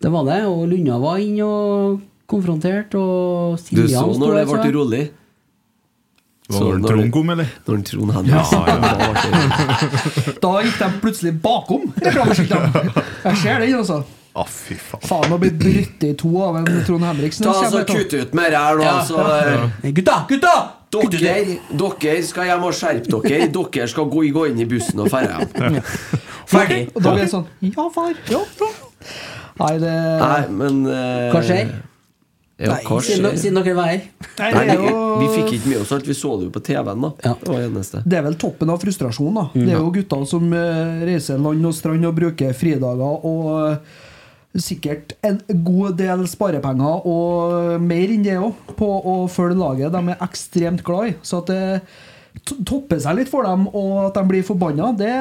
[SPEAKER 2] Det var det. Og Lunna var inn og konfrontert, og
[SPEAKER 3] Du
[SPEAKER 2] Siljan
[SPEAKER 3] så
[SPEAKER 2] sto
[SPEAKER 3] når det
[SPEAKER 2] der, så
[SPEAKER 3] ble
[SPEAKER 2] jeg.
[SPEAKER 3] rolig?
[SPEAKER 5] Var
[SPEAKER 3] Så
[SPEAKER 5] det
[SPEAKER 3] når
[SPEAKER 5] Trond
[SPEAKER 3] det-
[SPEAKER 5] kom, eller?
[SPEAKER 3] Når Trond Henriksen
[SPEAKER 5] Ja, ja.
[SPEAKER 3] Da ble det rolig.
[SPEAKER 4] Da gikk de plutselig bakom reklameskiltene. Jeg ser den,
[SPEAKER 5] Å,
[SPEAKER 4] altså.
[SPEAKER 5] Ah, fy faen.
[SPEAKER 4] Faen, å bli brutt i to av en Trond Henriksen.
[SPEAKER 3] Ta så
[SPEAKER 4] det kommer jeg til å-
[SPEAKER 3] Kutt ut med det her, nå,
[SPEAKER 2] Ja,
[SPEAKER 3] så eh,
[SPEAKER 2] Nei, Gutta! Gutta! Kutt ut
[SPEAKER 3] Dere,
[SPEAKER 2] det.
[SPEAKER 3] dere skal hjem og skjerpe dere. Dere skal gå, gå inn i bussen og dra hjem.
[SPEAKER 2] Ferdig!
[SPEAKER 4] Og da blir det sånn Ja, far. Ja, ja. Nei, det
[SPEAKER 3] Nei, men eh,
[SPEAKER 2] Hva skjer?
[SPEAKER 3] Ja, hva
[SPEAKER 2] Siden,
[SPEAKER 3] skjer?
[SPEAKER 2] siden dere var her.
[SPEAKER 4] Nei,
[SPEAKER 3] Nei,
[SPEAKER 4] det er
[SPEAKER 3] vi,
[SPEAKER 4] jo
[SPEAKER 3] vi fikk ikke med oss alt. Vi så det jo på TV-en, da.
[SPEAKER 2] Ja.
[SPEAKER 3] Det var det eneste.
[SPEAKER 4] Det er vel toppen av frustrasjonen. da
[SPEAKER 3] Mm,
[SPEAKER 4] Det er jo gutter som eh, reiser land og strand og bruker fridager og eh, sikkert en god del sparepenger og eh, mer enn det òg på å følge laget de er ekstremt glad i. Så at det to- topper seg litt for dem, og at de blir forbanna, det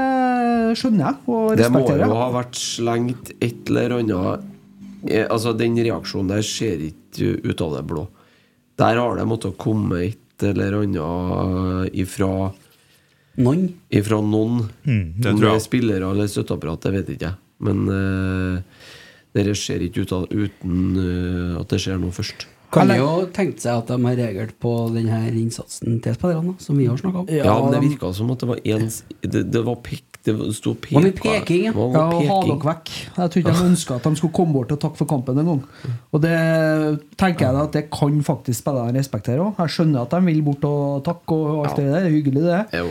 [SPEAKER 4] skjønner jeg og
[SPEAKER 3] Det må
[SPEAKER 4] respekterer.
[SPEAKER 3] jo ha vært slengt et eller annet eh, Altså, den reaksjonen der ser ikke ut av det blå. Der har det måttet komme et eller annet ifra,
[SPEAKER 2] Noen.
[SPEAKER 3] ifra noen.
[SPEAKER 5] Mm, det
[SPEAKER 3] Om
[SPEAKER 5] tror jeg.
[SPEAKER 3] er spillere eller støtteapparat, det vet ikke jeg. Men eh, dere ser ikke ut av uten eh, at det skjer noe først.
[SPEAKER 2] Kan jo tenke seg at de har reagert på denne innsatsen til spillerne, da, som vi har snakka om.
[SPEAKER 3] Ja, men det virka som at det var én Det, det var pek, det sto peka.
[SPEAKER 2] var mye peking, ja.
[SPEAKER 3] Det var
[SPEAKER 4] Ja, og ha
[SPEAKER 3] peking.
[SPEAKER 4] dere vekk. Jeg tror ikke de ønska at de skulle komme bort og takke for kampen engang. Og det tenker jeg da at det kan faktisk spillerne respektere òg. Jeg skjønner at de vil bort og takke og alt det der. Det er hyggelig, det.
[SPEAKER 3] Jo.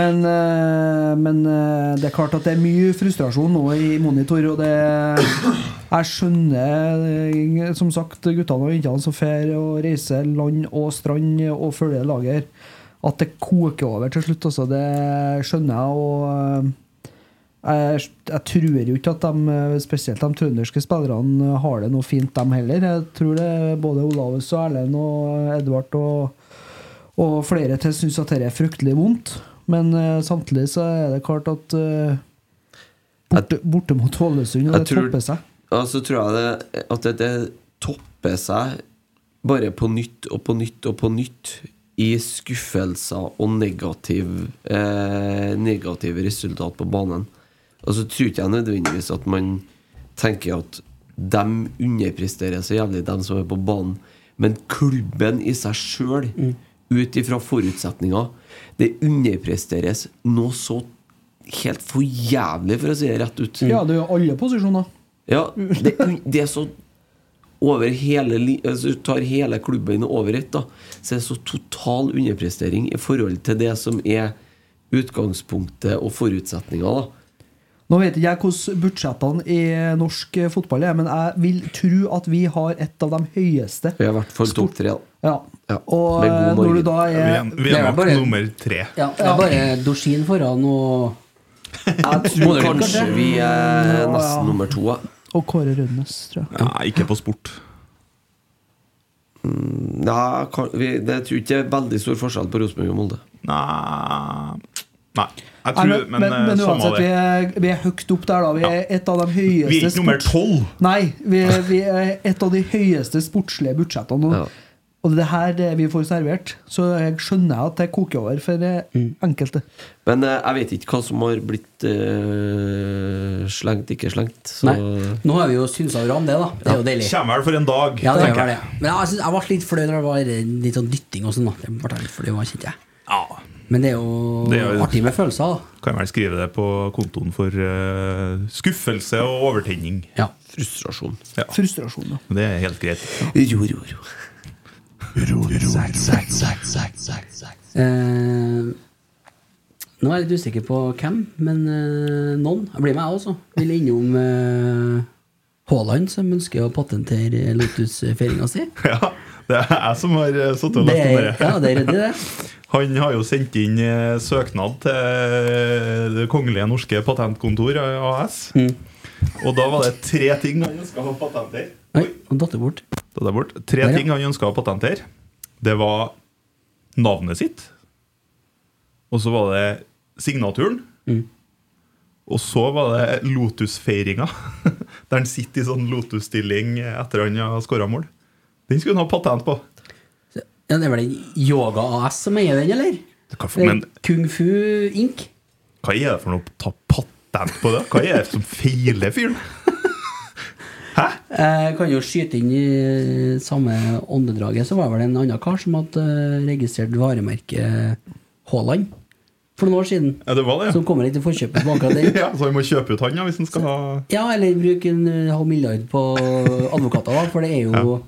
[SPEAKER 4] Men, eh, men eh, det er klart at det er mye frustrasjon nå i monitor, og det Jeg skjønner eh, som sagt guttene og jentene som drar og reiser land og strand og følger lager, at det koker over til slutt, altså. Det skjønner jeg. og... eh, jeg, jeg tror jo ikke at de, eh, spesielt de trønderske spillerne eh, har det noe fint, dem heller. Jeg tror det er både Olavus og Erlend og Edvard og, og flere til syns at dette er fryktelig vondt. Men eh, samtidig så er det klart at eh, borte, borte mot Ålesund, og
[SPEAKER 3] Jeg
[SPEAKER 4] det
[SPEAKER 3] tror-
[SPEAKER 4] topper seg.
[SPEAKER 3] Ja, så tror jeg det, at det, det topper seg bare på nytt og på nytt og på nytt i skuffelser og negativ, eh, negative resultat på banen. Og så tror ikke jeg nødvendigvis at man tenker at de underpresterer så jævlig, de som er på banen. Men klubben i seg sjøl, ut ifra forutsetninger, det underpresteres noe så helt for jævlig, for å si det rett ut.
[SPEAKER 4] Ja, det er jo alle posisjoner.
[SPEAKER 3] Ja, det, det er så over hele, li- altså, du Tar hele klubben over ett, da, så er det så total underprestering i forhold til det som er utgangspunktet og forutsetninga. da.
[SPEAKER 4] Nå vet ikke jeg hvordan budsjettene i norsk eh, fotball er, men jeg vil tro at vi har et av de høyeste.
[SPEAKER 3] Vi er i hvert fall topp tre. da.
[SPEAKER 4] Ja.
[SPEAKER 3] Ja,
[SPEAKER 4] Og
[SPEAKER 3] med god
[SPEAKER 4] når du
[SPEAKER 3] margin.
[SPEAKER 4] da
[SPEAKER 5] Vi er,
[SPEAKER 4] Eh, er
[SPEAKER 5] vi
[SPEAKER 2] det er
[SPEAKER 5] er nok
[SPEAKER 2] bare-
[SPEAKER 5] nummer tre.
[SPEAKER 2] Ja, det er bare Dorsin foran og
[SPEAKER 3] Jeg tror
[SPEAKER 2] Moderlin,
[SPEAKER 3] kanskje
[SPEAKER 2] kanskje?
[SPEAKER 3] vi er
[SPEAKER 4] Ja, ja.
[SPEAKER 3] nesten nummer to. ja.
[SPEAKER 4] Og Kåre Rønnes, tror jeg.
[SPEAKER 5] Nei, ikke på sport.
[SPEAKER 3] Nei, kan- vi- det- jeg tror ikke det er veldig stor forskjell på Rosenborg og Molde.
[SPEAKER 5] Nei Nei. Jeg
[SPEAKER 4] Nei,
[SPEAKER 5] tror,
[SPEAKER 4] men, men, men,
[SPEAKER 5] eh, samme
[SPEAKER 4] uansett, vi
[SPEAKER 5] det.
[SPEAKER 4] er, vi er høyt opp der, da. Vi er et av de høyeste
[SPEAKER 5] Vi er ikke nummer
[SPEAKER 4] sports-
[SPEAKER 5] tolv.
[SPEAKER 4] Nei, vi er, vi er et av de høyeste sportslige budsjettene. Og,
[SPEAKER 3] Ja.
[SPEAKER 4] og det her det vi får servert, så jeg skjønner jeg at det koker over for eh,
[SPEAKER 3] Mm.
[SPEAKER 4] enkelte.
[SPEAKER 3] Men eh, jeg vet ikke hva som har blitt eh, slengt, ikke slengt. Så
[SPEAKER 2] Nei. Nå har vi jo synsa over om det, da. Det er jo deilig.
[SPEAKER 5] Kommer vel for en dag.
[SPEAKER 2] Ja, det
[SPEAKER 5] tenker
[SPEAKER 2] var det.
[SPEAKER 5] jeg.
[SPEAKER 2] Men jeg, synes, jeg ble litt flau da det var litt sånn dytting og sånn. da Jeg ble litt flau, jeg kjente jeg.
[SPEAKER 5] Ja.
[SPEAKER 2] Men det er jo,
[SPEAKER 5] Det er jo-
[SPEAKER 2] artig med følelser, da.
[SPEAKER 5] Kan vel skrive det på kontoen for eh, skuffelse og overtenning.
[SPEAKER 2] Ja.
[SPEAKER 3] frustrasjon.
[SPEAKER 5] Ja.
[SPEAKER 4] Frustrasjon. Da.
[SPEAKER 5] Det er helt greit.
[SPEAKER 3] Jo, jo, jo.
[SPEAKER 2] Eh, nå er jeg litt usikker på hvem, men eh, noen. Jeg blir med, jeg også. Vil innom eh, Haaland, som ønsker å patentere Lotus-feiringa si.
[SPEAKER 5] Ja, det er jeg som har eh, sittet og
[SPEAKER 2] Det
[SPEAKER 5] lest om
[SPEAKER 2] er,
[SPEAKER 5] det.
[SPEAKER 2] ja, det er ryddig, det.
[SPEAKER 5] Han har jo sendt inn eh, søknad til eh, Det kongelige norske patentkontor eh, AS.
[SPEAKER 2] Mm.
[SPEAKER 5] Og da var det tre ting han ønska å patentere.
[SPEAKER 2] Oi, nå datt det bort.
[SPEAKER 5] Ta deg bort. Tre
[SPEAKER 2] Der, ja.
[SPEAKER 5] ting han ønska å patentere. Det var navnet sitt. Og så var det signaturen.
[SPEAKER 2] Mm.
[SPEAKER 5] Og så var det Lotus-feiringa, der han sitter i sånn Lotus-stilling etter han har skåra mål. Den skulle han ha patent på.
[SPEAKER 2] Ja, det er vel den Yoga AS som eier den, eller?
[SPEAKER 5] Hva- Men
[SPEAKER 2] Kung Fu Inc.
[SPEAKER 5] hva er det for noe å ta patent på det? Hva er det som feiler fyren?
[SPEAKER 2] Eh, Jeg kan jo skyte inn i samme åndedraget, så var det vel en annen kar som hadde eh, registrert varemerket Haaland for noen år siden.
[SPEAKER 5] Ja, det var det,
[SPEAKER 2] Som
[SPEAKER 5] ja.
[SPEAKER 2] kommer litt i forkjøpet på akkurat den.
[SPEAKER 5] ja så han må kjøpe ut han ja, hvis han skal ha
[SPEAKER 2] Ja, eller bruke en eh, halv milliard på advokater, da, for det er jo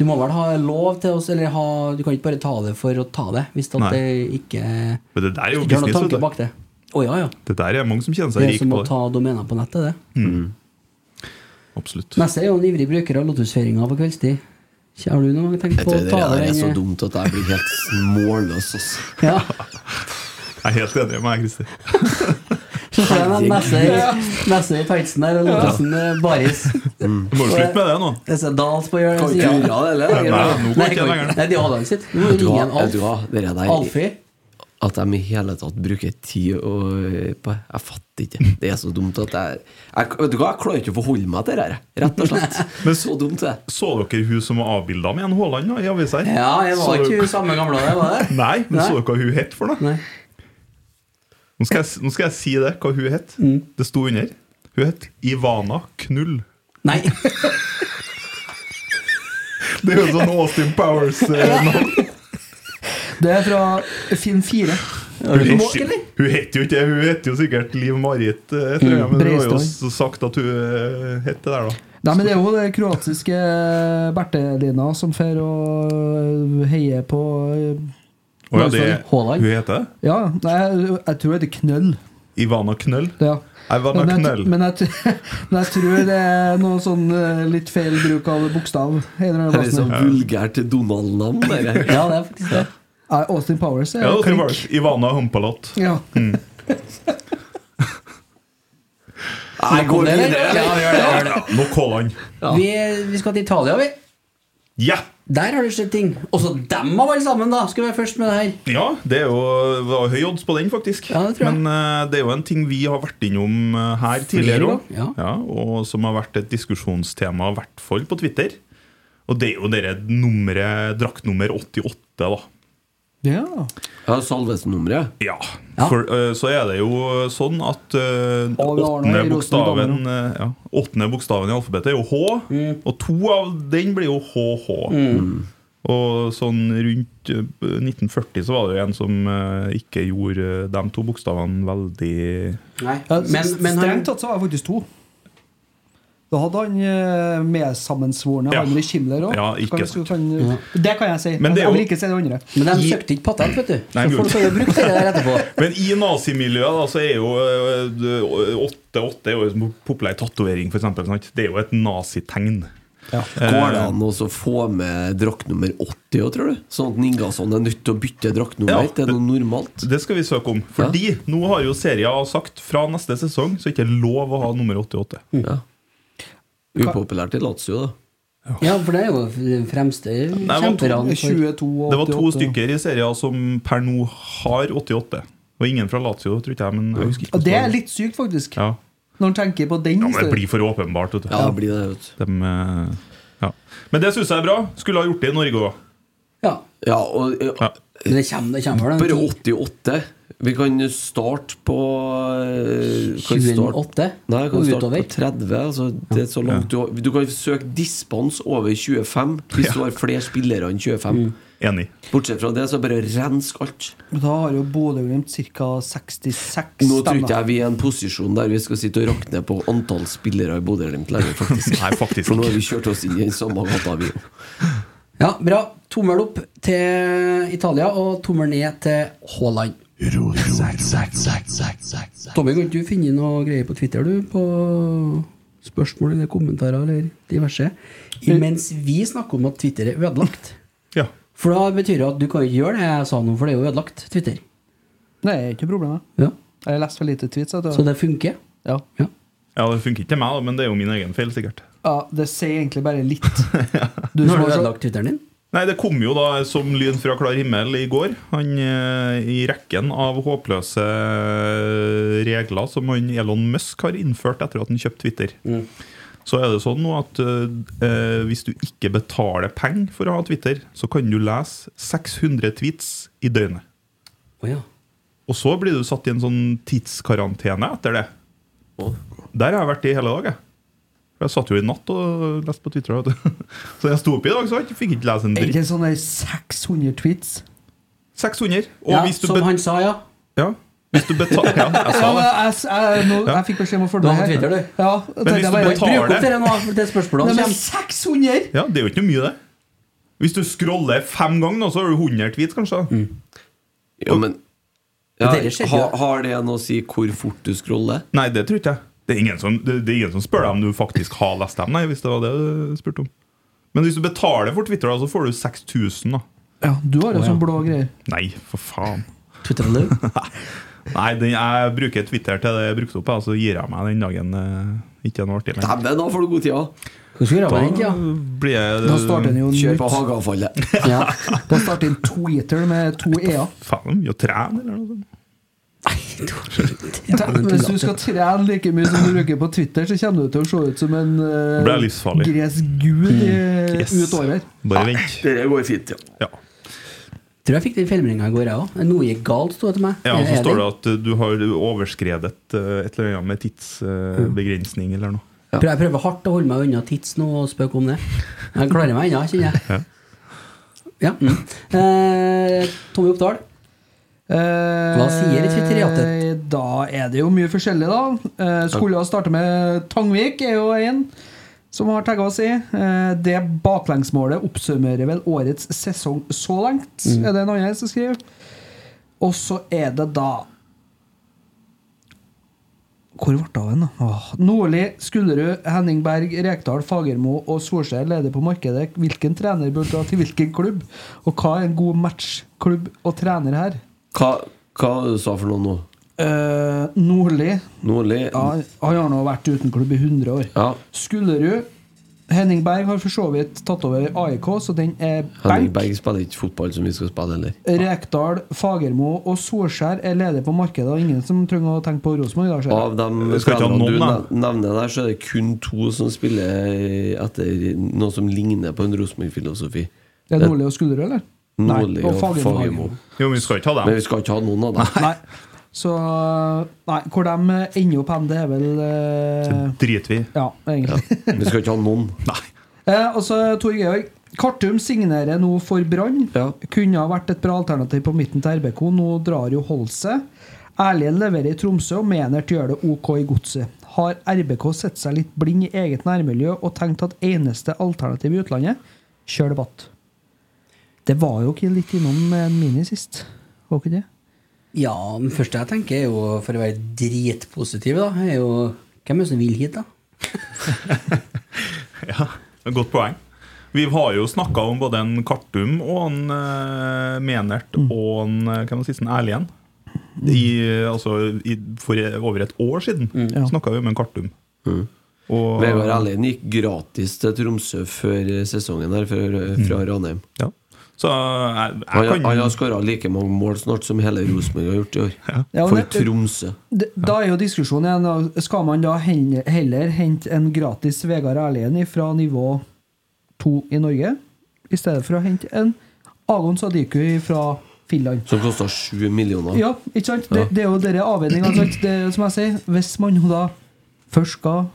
[SPEAKER 2] Du må vel ha lov til oss, eller ha, du kan ikke bare ta det for å ta det, hvis at
[SPEAKER 5] Nei.
[SPEAKER 2] det ikke
[SPEAKER 5] Men det der er jo
[SPEAKER 2] ikke har noen
[SPEAKER 5] business. Vet
[SPEAKER 2] tanke
[SPEAKER 5] du.
[SPEAKER 2] bak det. Å ja, ja.
[SPEAKER 5] Det der er mange som kjenner
[SPEAKER 2] Det
[SPEAKER 5] seg
[SPEAKER 2] er
[SPEAKER 5] rik
[SPEAKER 2] som
[SPEAKER 5] på
[SPEAKER 2] å
[SPEAKER 5] det.
[SPEAKER 2] ta domener på nettet, det.
[SPEAKER 5] Absolutt.
[SPEAKER 2] Neste er jo en ivrig bruker av Lotusfeiringa på kveldstid. Har du noe tenkt
[SPEAKER 3] Vet
[SPEAKER 2] på
[SPEAKER 3] du,
[SPEAKER 2] å
[SPEAKER 3] Det
[SPEAKER 2] ta
[SPEAKER 3] der
[SPEAKER 2] deg
[SPEAKER 3] er så
[SPEAKER 2] en-
[SPEAKER 3] dumt at jeg blir helt målløs. ass.
[SPEAKER 2] Ja.
[SPEAKER 5] Jeg er helt enig med deg, Christer.
[SPEAKER 2] Så får jeg den neste, neste i tightsen der, og Lotusen eh, baris.
[SPEAKER 5] Du må jo slutte med det nå.
[SPEAKER 2] Det er Dals på hjørnet.
[SPEAKER 3] Kan ikke
[SPEAKER 2] siden.
[SPEAKER 3] gjøre det, eller?
[SPEAKER 5] Nei, nå går
[SPEAKER 2] Nei,
[SPEAKER 5] ikke
[SPEAKER 2] kan
[SPEAKER 5] jeg
[SPEAKER 2] ikke.
[SPEAKER 5] lenger.
[SPEAKER 2] Nei, de har Adam sitt. Du må
[SPEAKER 3] Vet du
[SPEAKER 2] ringe
[SPEAKER 3] hva,
[SPEAKER 2] en
[SPEAKER 3] vet du
[SPEAKER 2] Alf.
[SPEAKER 3] hva? Det der der-
[SPEAKER 2] Alfie.
[SPEAKER 3] At de i hele tatt bruker tid og, på Jeg fatter ikke. Det er så dumt at jeg, jeg Vet du hva, jeg klarer ikke å forholde meg til det her. Rett og slett.
[SPEAKER 5] Men-
[SPEAKER 3] så dumt, det.
[SPEAKER 5] Så dere hun som var avbilda med en Haaland da, i avisa her?
[SPEAKER 2] Ja, jeg
[SPEAKER 5] Så
[SPEAKER 2] var ikke
[SPEAKER 5] dere-
[SPEAKER 2] hun samme gamle, det var det?
[SPEAKER 5] Nei, men
[SPEAKER 2] Nei.
[SPEAKER 5] så dere hva hun het for noe?
[SPEAKER 2] Nei.
[SPEAKER 5] Nå skal jeg, s- nå skal jeg si det, hva hun het.
[SPEAKER 2] Mm.
[SPEAKER 5] Det sto under. Hun het Ivana Knull.
[SPEAKER 2] Nei.
[SPEAKER 5] Det er jo sånn Austin Powers-navn.
[SPEAKER 4] Det er fra Finn 4.
[SPEAKER 5] Hun
[SPEAKER 2] Norsk,
[SPEAKER 5] het jo-
[SPEAKER 2] eller?
[SPEAKER 5] hun het jo ikke det, hun het jo sikkert Liv Marit, eh,
[SPEAKER 2] Mm,
[SPEAKER 5] tror jeg, men hun har jo
[SPEAKER 4] Breistad.
[SPEAKER 5] også sagt at hun eh, het det der, da.
[SPEAKER 4] Nei, men Det er jo det kroatiske Bertelina som får og heier på
[SPEAKER 5] Å ja,
[SPEAKER 4] Nei,
[SPEAKER 5] det,
[SPEAKER 2] sorry. Haaland.
[SPEAKER 5] hun heter det?
[SPEAKER 4] Ja, nei, jeg, jeg tror det heter Knøll.
[SPEAKER 5] Ivana Knøll?
[SPEAKER 4] Det, ja.
[SPEAKER 5] Ivana
[SPEAKER 4] Men jeg,
[SPEAKER 5] Knøll.
[SPEAKER 4] men, jeg, tr- men jeg tror det er noe sånn eh, litt feil bruk av bokstav. en eller annen
[SPEAKER 3] Det sånn? er
[SPEAKER 4] plass
[SPEAKER 3] så
[SPEAKER 5] sånn-
[SPEAKER 4] nå.
[SPEAKER 3] vulgært Donald-navn. det der.
[SPEAKER 2] Ja, det er faktisk det.
[SPEAKER 4] Nei, Austin Powers er
[SPEAKER 5] Ja,
[SPEAKER 2] eh,
[SPEAKER 5] Austin
[SPEAKER 4] klink.
[SPEAKER 5] Powers. Ivana Humpalot.
[SPEAKER 4] Ja.
[SPEAKER 3] Jeg går videre.
[SPEAKER 2] Ja, vi gjør det, vi gjør det.
[SPEAKER 5] Nok Haaland.
[SPEAKER 2] Vi, vi skal til Italia, vi.
[SPEAKER 5] Ja!
[SPEAKER 2] Der har det skjedd ting. Også dem av alle sammen, da. Skal vi være først med det her.
[SPEAKER 5] Ja, det er jo det var høy odds på den, faktisk.
[SPEAKER 2] Ja, det tror jeg.
[SPEAKER 5] Men eh, det er jo en ting vi har vært innom eh, her tidligere
[SPEAKER 2] ganger,
[SPEAKER 5] òg,
[SPEAKER 2] ja.
[SPEAKER 5] og som har vært et diskusjonstema, i hvert fall på Twitter. Og det er jo dere nummeret, draktnummer 88, da.
[SPEAKER 4] Ja.
[SPEAKER 3] Ja, Salvesen-nummeret.
[SPEAKER 5] Ja. For eh, så er det jo sånn at eh,
[SPEAKER 4] Ole Arne
[SPEAKER 5] åttende
[SPEAKER 4] i Rosenborg,
[SPEAKER 5] bokstaven eh, ja, Åttende bokstaven i alfabetet er jo H, og to av den blir jo HH. Og sånn rundt eh, 1940 så var det jo en som eh, ikke gjorde eh, de to bokstavene veldig
[SPEAKER 2] Nei.
[SPEAKER 4] Ja,
[SPEAKER 2] Men, men han,
[SPEAKER 4] Strengt tatt så var jeg faktisk to. Da hadde han eh, medsammensvorne
[SPEAKER 5] Ja.
[SPEAKER 4] Heinrich Himmler òg.
[SPEAKER 5] Ja, ikke sant.
[SPEAKER 4] Det kan jeg si.
[SPEAKER 5] Men det er
[SPEAKER 4] jeg vil
[SPEAKER 5] jo-
[SPEAKER 4] ikke si det andre.
[SPEAKER 2] men de søkte ikke patent, vet du. Så
[SPEAKER 5] Nei,
[SPEAKER 2] folk
[SPEAKER 5] gjorde-
[SPEAKER 2] har jo brukt det der etterpå.
[SPEAKER 5] Men i nazimiljøet da, så er jo øh, øh, 8-8 er jo en populær tatovering, for eksempel, sant? Det er jo et nazitegn. Eh.
[SPEAKER 3] Går det an å så få med draktnummer 80 òg, tror du? Sånn at Ningasson er nødt til å bytte draktnummer
[SPEAKER 5] Ja,
[SPEAKER 3] til noe normalt?
[SPEAKER 5] Det skal vi søke om. Fordi nå har jo Seria sagt fra neste sesong så er det ikke lov å ha nummer 88.
[SPEAKER 3] Ja. Upopulært i Lazio, da.
[SPEAKER 2] Ja, for det er jo den fremste
[SPEAKER 5] det var to-
[SPEAKER 2] kjemperne. for-
[SPEAKER 4] 22 og
[SPEAKER 5] Det var to
[SPEAKER 4] 88.
[SPEAKER 5] stykker i Seria som per nå har 88. Og ingen fra Lazio, tror ikke jeg. Men jeg husker ikke
[SPEAKER 4] Og det er
[SPEAKER 5] hvordan-
[SPEAKER 4] litt sykt, faktisk.
[SPEAKER 5] ja.
[SPEAKER 4] Når en tenker på den.
[SPEAKER 5] ja, men det
[SPEAKER 4] historien.
[SPEAKER 5] blir for åpenbart. Vet du.
[SPEAKER 3] Ja, det blir det, vet du.
[SPEAKER 5] Dem, øh, ja. Men det syns jeg er bra. Skulle ha gjort det i Norge òg.
[SPEAKER 2] Ja,
[SPEAKER 3] Ja, og ja,
[SPEAKER 2] men det kommer, det kommer vel
[SPEAKER 3] bare
[SPEAKER 2] en
[SPEAKER 3] 88. Vi kan starte på eh, kan starte-
[SPEAKER 2] 28
[SPEAKER 3] Nei, jeg kan
[SPEAKER 2] og
[SPEAKER 3] starte på
[SPEAKER 2] utover. 30.
[SPEAKER 3] 30. Altså, det er så langt du, har- du kan søke dispens over 25 hvis du har flere spillere enn 25.
[SPEAKER 5] Enig.
[SPEAKER 3] Bortsett fra det, så bare rensk alt.
[SPEAKER 4] Men Da har jo Bodø-Glimt ca. 66
[SPEAKER 3] Nå tror ikke
[SPEAKER 4] stemmer.
[SPEAKER 3] jeg vi er i en posisjon der vi skal sitte og rakne på antall spillere i Bodø-Glimt lenger, faktisk.
[SPEAKER 5] Nei, faktisk
[SPEAKER 3] For nå har
[SPEAKER 5] ikke.
[SPEAKER 3] vi kjørt oss inn i den samme gata, vi òg.
[SPEAKER 2] Ja, bra. Tommel opp til Italia og tommel ned til Haaland. Tommy, kan ikke du finne noe greier på Twitter, du? På spørsmål eller kommentarer eller diverse? Mens vi snakker om at Twitter er ødelagt.
[SPEAKER 5] Ja.
[SPEAKER 2] For da betyr det at du kan ikke gjøre det jeg sa nå, for det er jo ødelagt, Twitter.
[SPEAKER 4] Nei, ikke problemet.
[SPEAKER 2] Ja.
[SPEAKER 4] Jeg leste for lite tweets. vet du.
[SPEAKER 2] Så det funker.
[SPEAKER 4] ja.
[SPEAKER 2] Ja.
[SPEAKER 5] ja, det funker ikke til meg, da, men det er jo min egen feil, sikkert.
[SPEAKER 4] ja, det sier egentlig bare litt. Du
[SPEAKER 2] Nå
[SPEAKER 4] som
[SPEAKER 2] har du
[SPEAKER 4] har så-
[SPEAKER 2] ødelagt Twitteren din.
[SPEAKER 5] Nei, Det kom jo da som lyn fra klar himmel i går. Han eh, I rekken av håpløse eh, regler som han Elon Musk har innført etter at han kjøpte Twitter. Så er det sånn nå at eh, eh, hvis du ikke betaler penger for å ha Twitter, så kan du lese 600 tweets i døgnet.
[SPEAKER 2] Å ja.
[SPEAKER 5] Og så blir du satt i en sånn tidskarantene etter det. Der har jeg vært i hele dag, jeg. For jeg satt jo i natt og leste på Twitter. vet du. Så jeg sto opp i dag, så jeg fikk ikke lese en
[SPEAKER 4] Er
[SPEAKER 5] dritt.
[SPEAKER 4] ikke sånne 600 tweets?
[SPEAKER 5] 600. Og
[SPEAKER 2] ja
[SPEAKER 5] hvis du
[SPEAKER 2] som
[SPEAKER 5] bet-
[SPEAKER 2] han sa, ja.
[SPEAKER 5] Ja. Hvis du betaler Ja, jeg sa
[SPEAKER 4] Ja, men
[SPEAKER 5] det.
[SPEAKER 4] jeg, jeg, nå, jeg fikk beskjed om å følge
[SPEAKER 2] Du har
[SPEAKER 4] med
[SPEAKER 2] på
[SPEAKER 4] her.
[SPEAKER 2] Twitter, du.
[SPEAKER 4] Ja, jeg
[SPEAKER 5] Men
[SPEAKER 4] tenkte
[SPEAKER 5] hvis
[SPEAKER 4] jeg
[SPEAKER 5] du
[SPEAKER 4] bare,
[SPEAKER 5] betaler-
[SPEAKER 2] Bruk opp dere nå, for det spørsmålet
[SPEAKER 4] Nei,
[SPEAKER 2] som
[SPEAKER 4] men
[SPEAKER 2] kommer.
[SPEAKER 4] 600!
[SPEAKER 5] Ja, det er jo ikke noe mye, det. Hvis du scroller fem ganger, nå, så har du 100 tweets, kanskje.
[SPEAKER 3] Ja, men ja,
[SPEAKER 2] Dere skjedde
[SPEAKER 3] ha,
[SPEAKER 2] jo.
[SPEAKER 3] Har det noe å si hvor fort du scroller?
[SPEAKER 5] Nei, det tror ikke jeg. Det er ingen som, det, det er ingen som spør deg om du faktisk har lest dem, nei, hvis det var det du spurte om. Men hvis du betaler for Twitter, da, så får du 6000, da.
[SPEAKER 4] Ja, du har jo sånne blå greier.
[SPEAKER 5] Nei, for faen.
[SPEAKER 2] Twitter, du.
[SPEAKER 5] Nei, den, jeg bruker Twitter til det er brukt opp, jeg, så gir jeg meg den dagen eh, ikke er noe artig lenger.
[SPEAKER 3] Dæven, da får du god tid! Ja.
[SPEAKER 2] Hva skal vi gjøre med den,
[SPEAKER 5] Da
[SPEAKER 2] ja?
[SPEAKER 5] blir jeg
[SPEAKER 4] Da starter den jo
[SPEAKER 5] Mm.
[SPEAKER 3] Kjør på
[SPEAKER 4] nytt.
[SPEAKER 3] hageavfallet.
[SPEAKER 2] ja.
[SPEAKER 4] Da starter en Twitter med to e-er.
[SPEAKER 5] Faen, mye å trene, eller noe sånt.
[SPEAKER 4] Hvis du skal trene like mye som du bruker på Twitter, så kommer du til å se ut som en eh,
[SPEAKER 5] Ble livsfarlig. Mm.
[SPEAKER 4] gresk gud i-
[SPEAKER 5] Yes.
[SPEAKER 4] ut året.
[SPEAKER 5] Bare vent.
[SPEAKER 3] Det går fint, ja.
[SPEAKER 5] Ja.
[SPEAKER 2] Tror jeg fikk den feilmeldinga i går, jeg òg. Noe gikk galt, sto det til meg.
[SPEAKER 5] Ja, og så
[SPEAKER 2] Er
[SPEAKER 5] står det at eh, du har overskredet eh, et eller annet med tidsbegrensning eller noe.
[SPEAKER 2] Prøv- Jeg prøver hardt å holde meg unna tids nå og spøke om det. Jeg klarer meg ennå, kjenner jeg. Ja. Mm. Eh, Tommy Oppdal.
[SPEAKER 4] Hva
[SPEAKER 2] sier de twitteriatet?
[SPEAKER 4] Eh, Da er det jo mye forskjellig, da. Eh, Skulle ha starta med Tangvik, er jo en som har tagga oss i. Eh, Det baklengsmålet oppsummerer vel årets sesong så langt,
[SPEAKER 2] Mm.
[SPEAKER 4] er det en annen som skriver. Og så er det da Hvor ble det av en, da? Åh, Nordli, Skullerud, Henning Berg, Rekdal, Fagermo og Solskjær leder på markedet. Hvilken trener bør dra til hvilken klubb? Og hva er en god matchklubb og trener her?
[SPEAKER 3] Hva, hva du sa for noe nå?
[SPEAKER 4] Eh, Nordli
[SPEAKER 3] Nordli?
[SPEAKER 4] ja, Han har nå vært uten klubb i 100 år.
[SPEAKER 3] Ja.
[SPEAKER 4] Skullerud Henning Berg har for så vidt tatt over AIK, så den er
[SPEAKER 3] Henning
[SPEAKER 4] benk.
[SPEAKER 3] Berg spiller ikke fotball som vi skal spille heller.
[SPEAKER 4] Rekdal, Fagermo og Solskjær er leder på markedet, og ingen som trenger å tenke på Rosenborg. i dag, ser jeg.
[SPEAKER 3] Av de
[SPEAKER 5] Vi skal ikke ha
[SPEAKER 3] spillerne
[SPEAKER 5] noen,
[SPEAKER 3] du
[SPEAKER 5] da.
[SPEAKER 3] nev- nevner der, så er det kun to som spiller etter noe som ligner på en Rosenborg-filosofi.
[SPEAKER 4] Det er Nordli og Skulderud, eller? Nei,
[SPEAKER 3] Nordli og Fagermo.
[SPEAKER 5] Jo, men vi skal ikke ha
[SPEAKER 3] Men
[SPEAKER 5] dem.
[SPEAKER 3] vi skal ikke ha noen av dem.
[SPEAKER 4] Nei. Så Nei, hvor de ender opp hen, det er vel eh,
[SPEAKER 5] Driter vi i.
[SPEAKER 4] Ja, egentlig.
[SPEAKER 3] Vi skal ikke ha noen.
[SPEAKER 4] Eh, og så Tor Georg. Kartum signerer nå for Brann.
[SPEAKER 3] Ja.
[SPEAKER 4] Kunne ha vært et bra alternativ på midten til RBK. Nå drar jo Holse. Erlend leverer i Tromsø, og Menert gjør det OK i Godset. Har RBK sett seg litt blind i eget nærmiljø og tenkt at eneste alternativ i utlandet kjør debatt? Det var jo ikke litt innom eh, Mini sist, var ikke det?
[SPEAKER 2] Ja, den første jeg tenker, er jo, for å være dritpositiv, da, er jo Hvem er det som vil hit, da?
[SPEAKER 5] Ja, det er et godt poeng. Vi har jo snakka om både en Kartum og en eh, Menert og en eh, hva er det siste, en Erlien. I, eh, altså, i, for over et år siden
[SPEAKER 3] Mm.
[SPEAKER 4] Ja.
[SPEAKER 5] Snakket snakka vi om en Kartum. Og,
[SPEAKER 3] Vegard Erlien gikk gratis til Tromsø før eh, sesongen her, før- eh, fra Ranheim.
[SPEAKER 5] ja. Så eh, jeg, jeg
[SPEAKER 3] Han,
[SPEAKER 5] Mm. kan
[SPEAKER 3] han har skåra like mange mål snart som hele Rosenborg har gjort i år.
[SPEAKER 4] Ja,
[SPEAKER 3] For
[SPEAKER 4] men-
[SPEAKER 3] Tromsø.
[SPEAKER 4] D- Da er jo diskusjonen igjen da, Skal man da hen- heller hente en gratis Vegard Erlien fra nivå 2 i Norge, i stedet for å hente en Agon Sadiku fra Finland?
[SPEAKER 3] Som kosta sju millioner.
[SPEAKER 4] Ja, ikke sant? Det, det er jo dere avveiningene. sant? Det er Som jeg sier, hvis man jo da først skal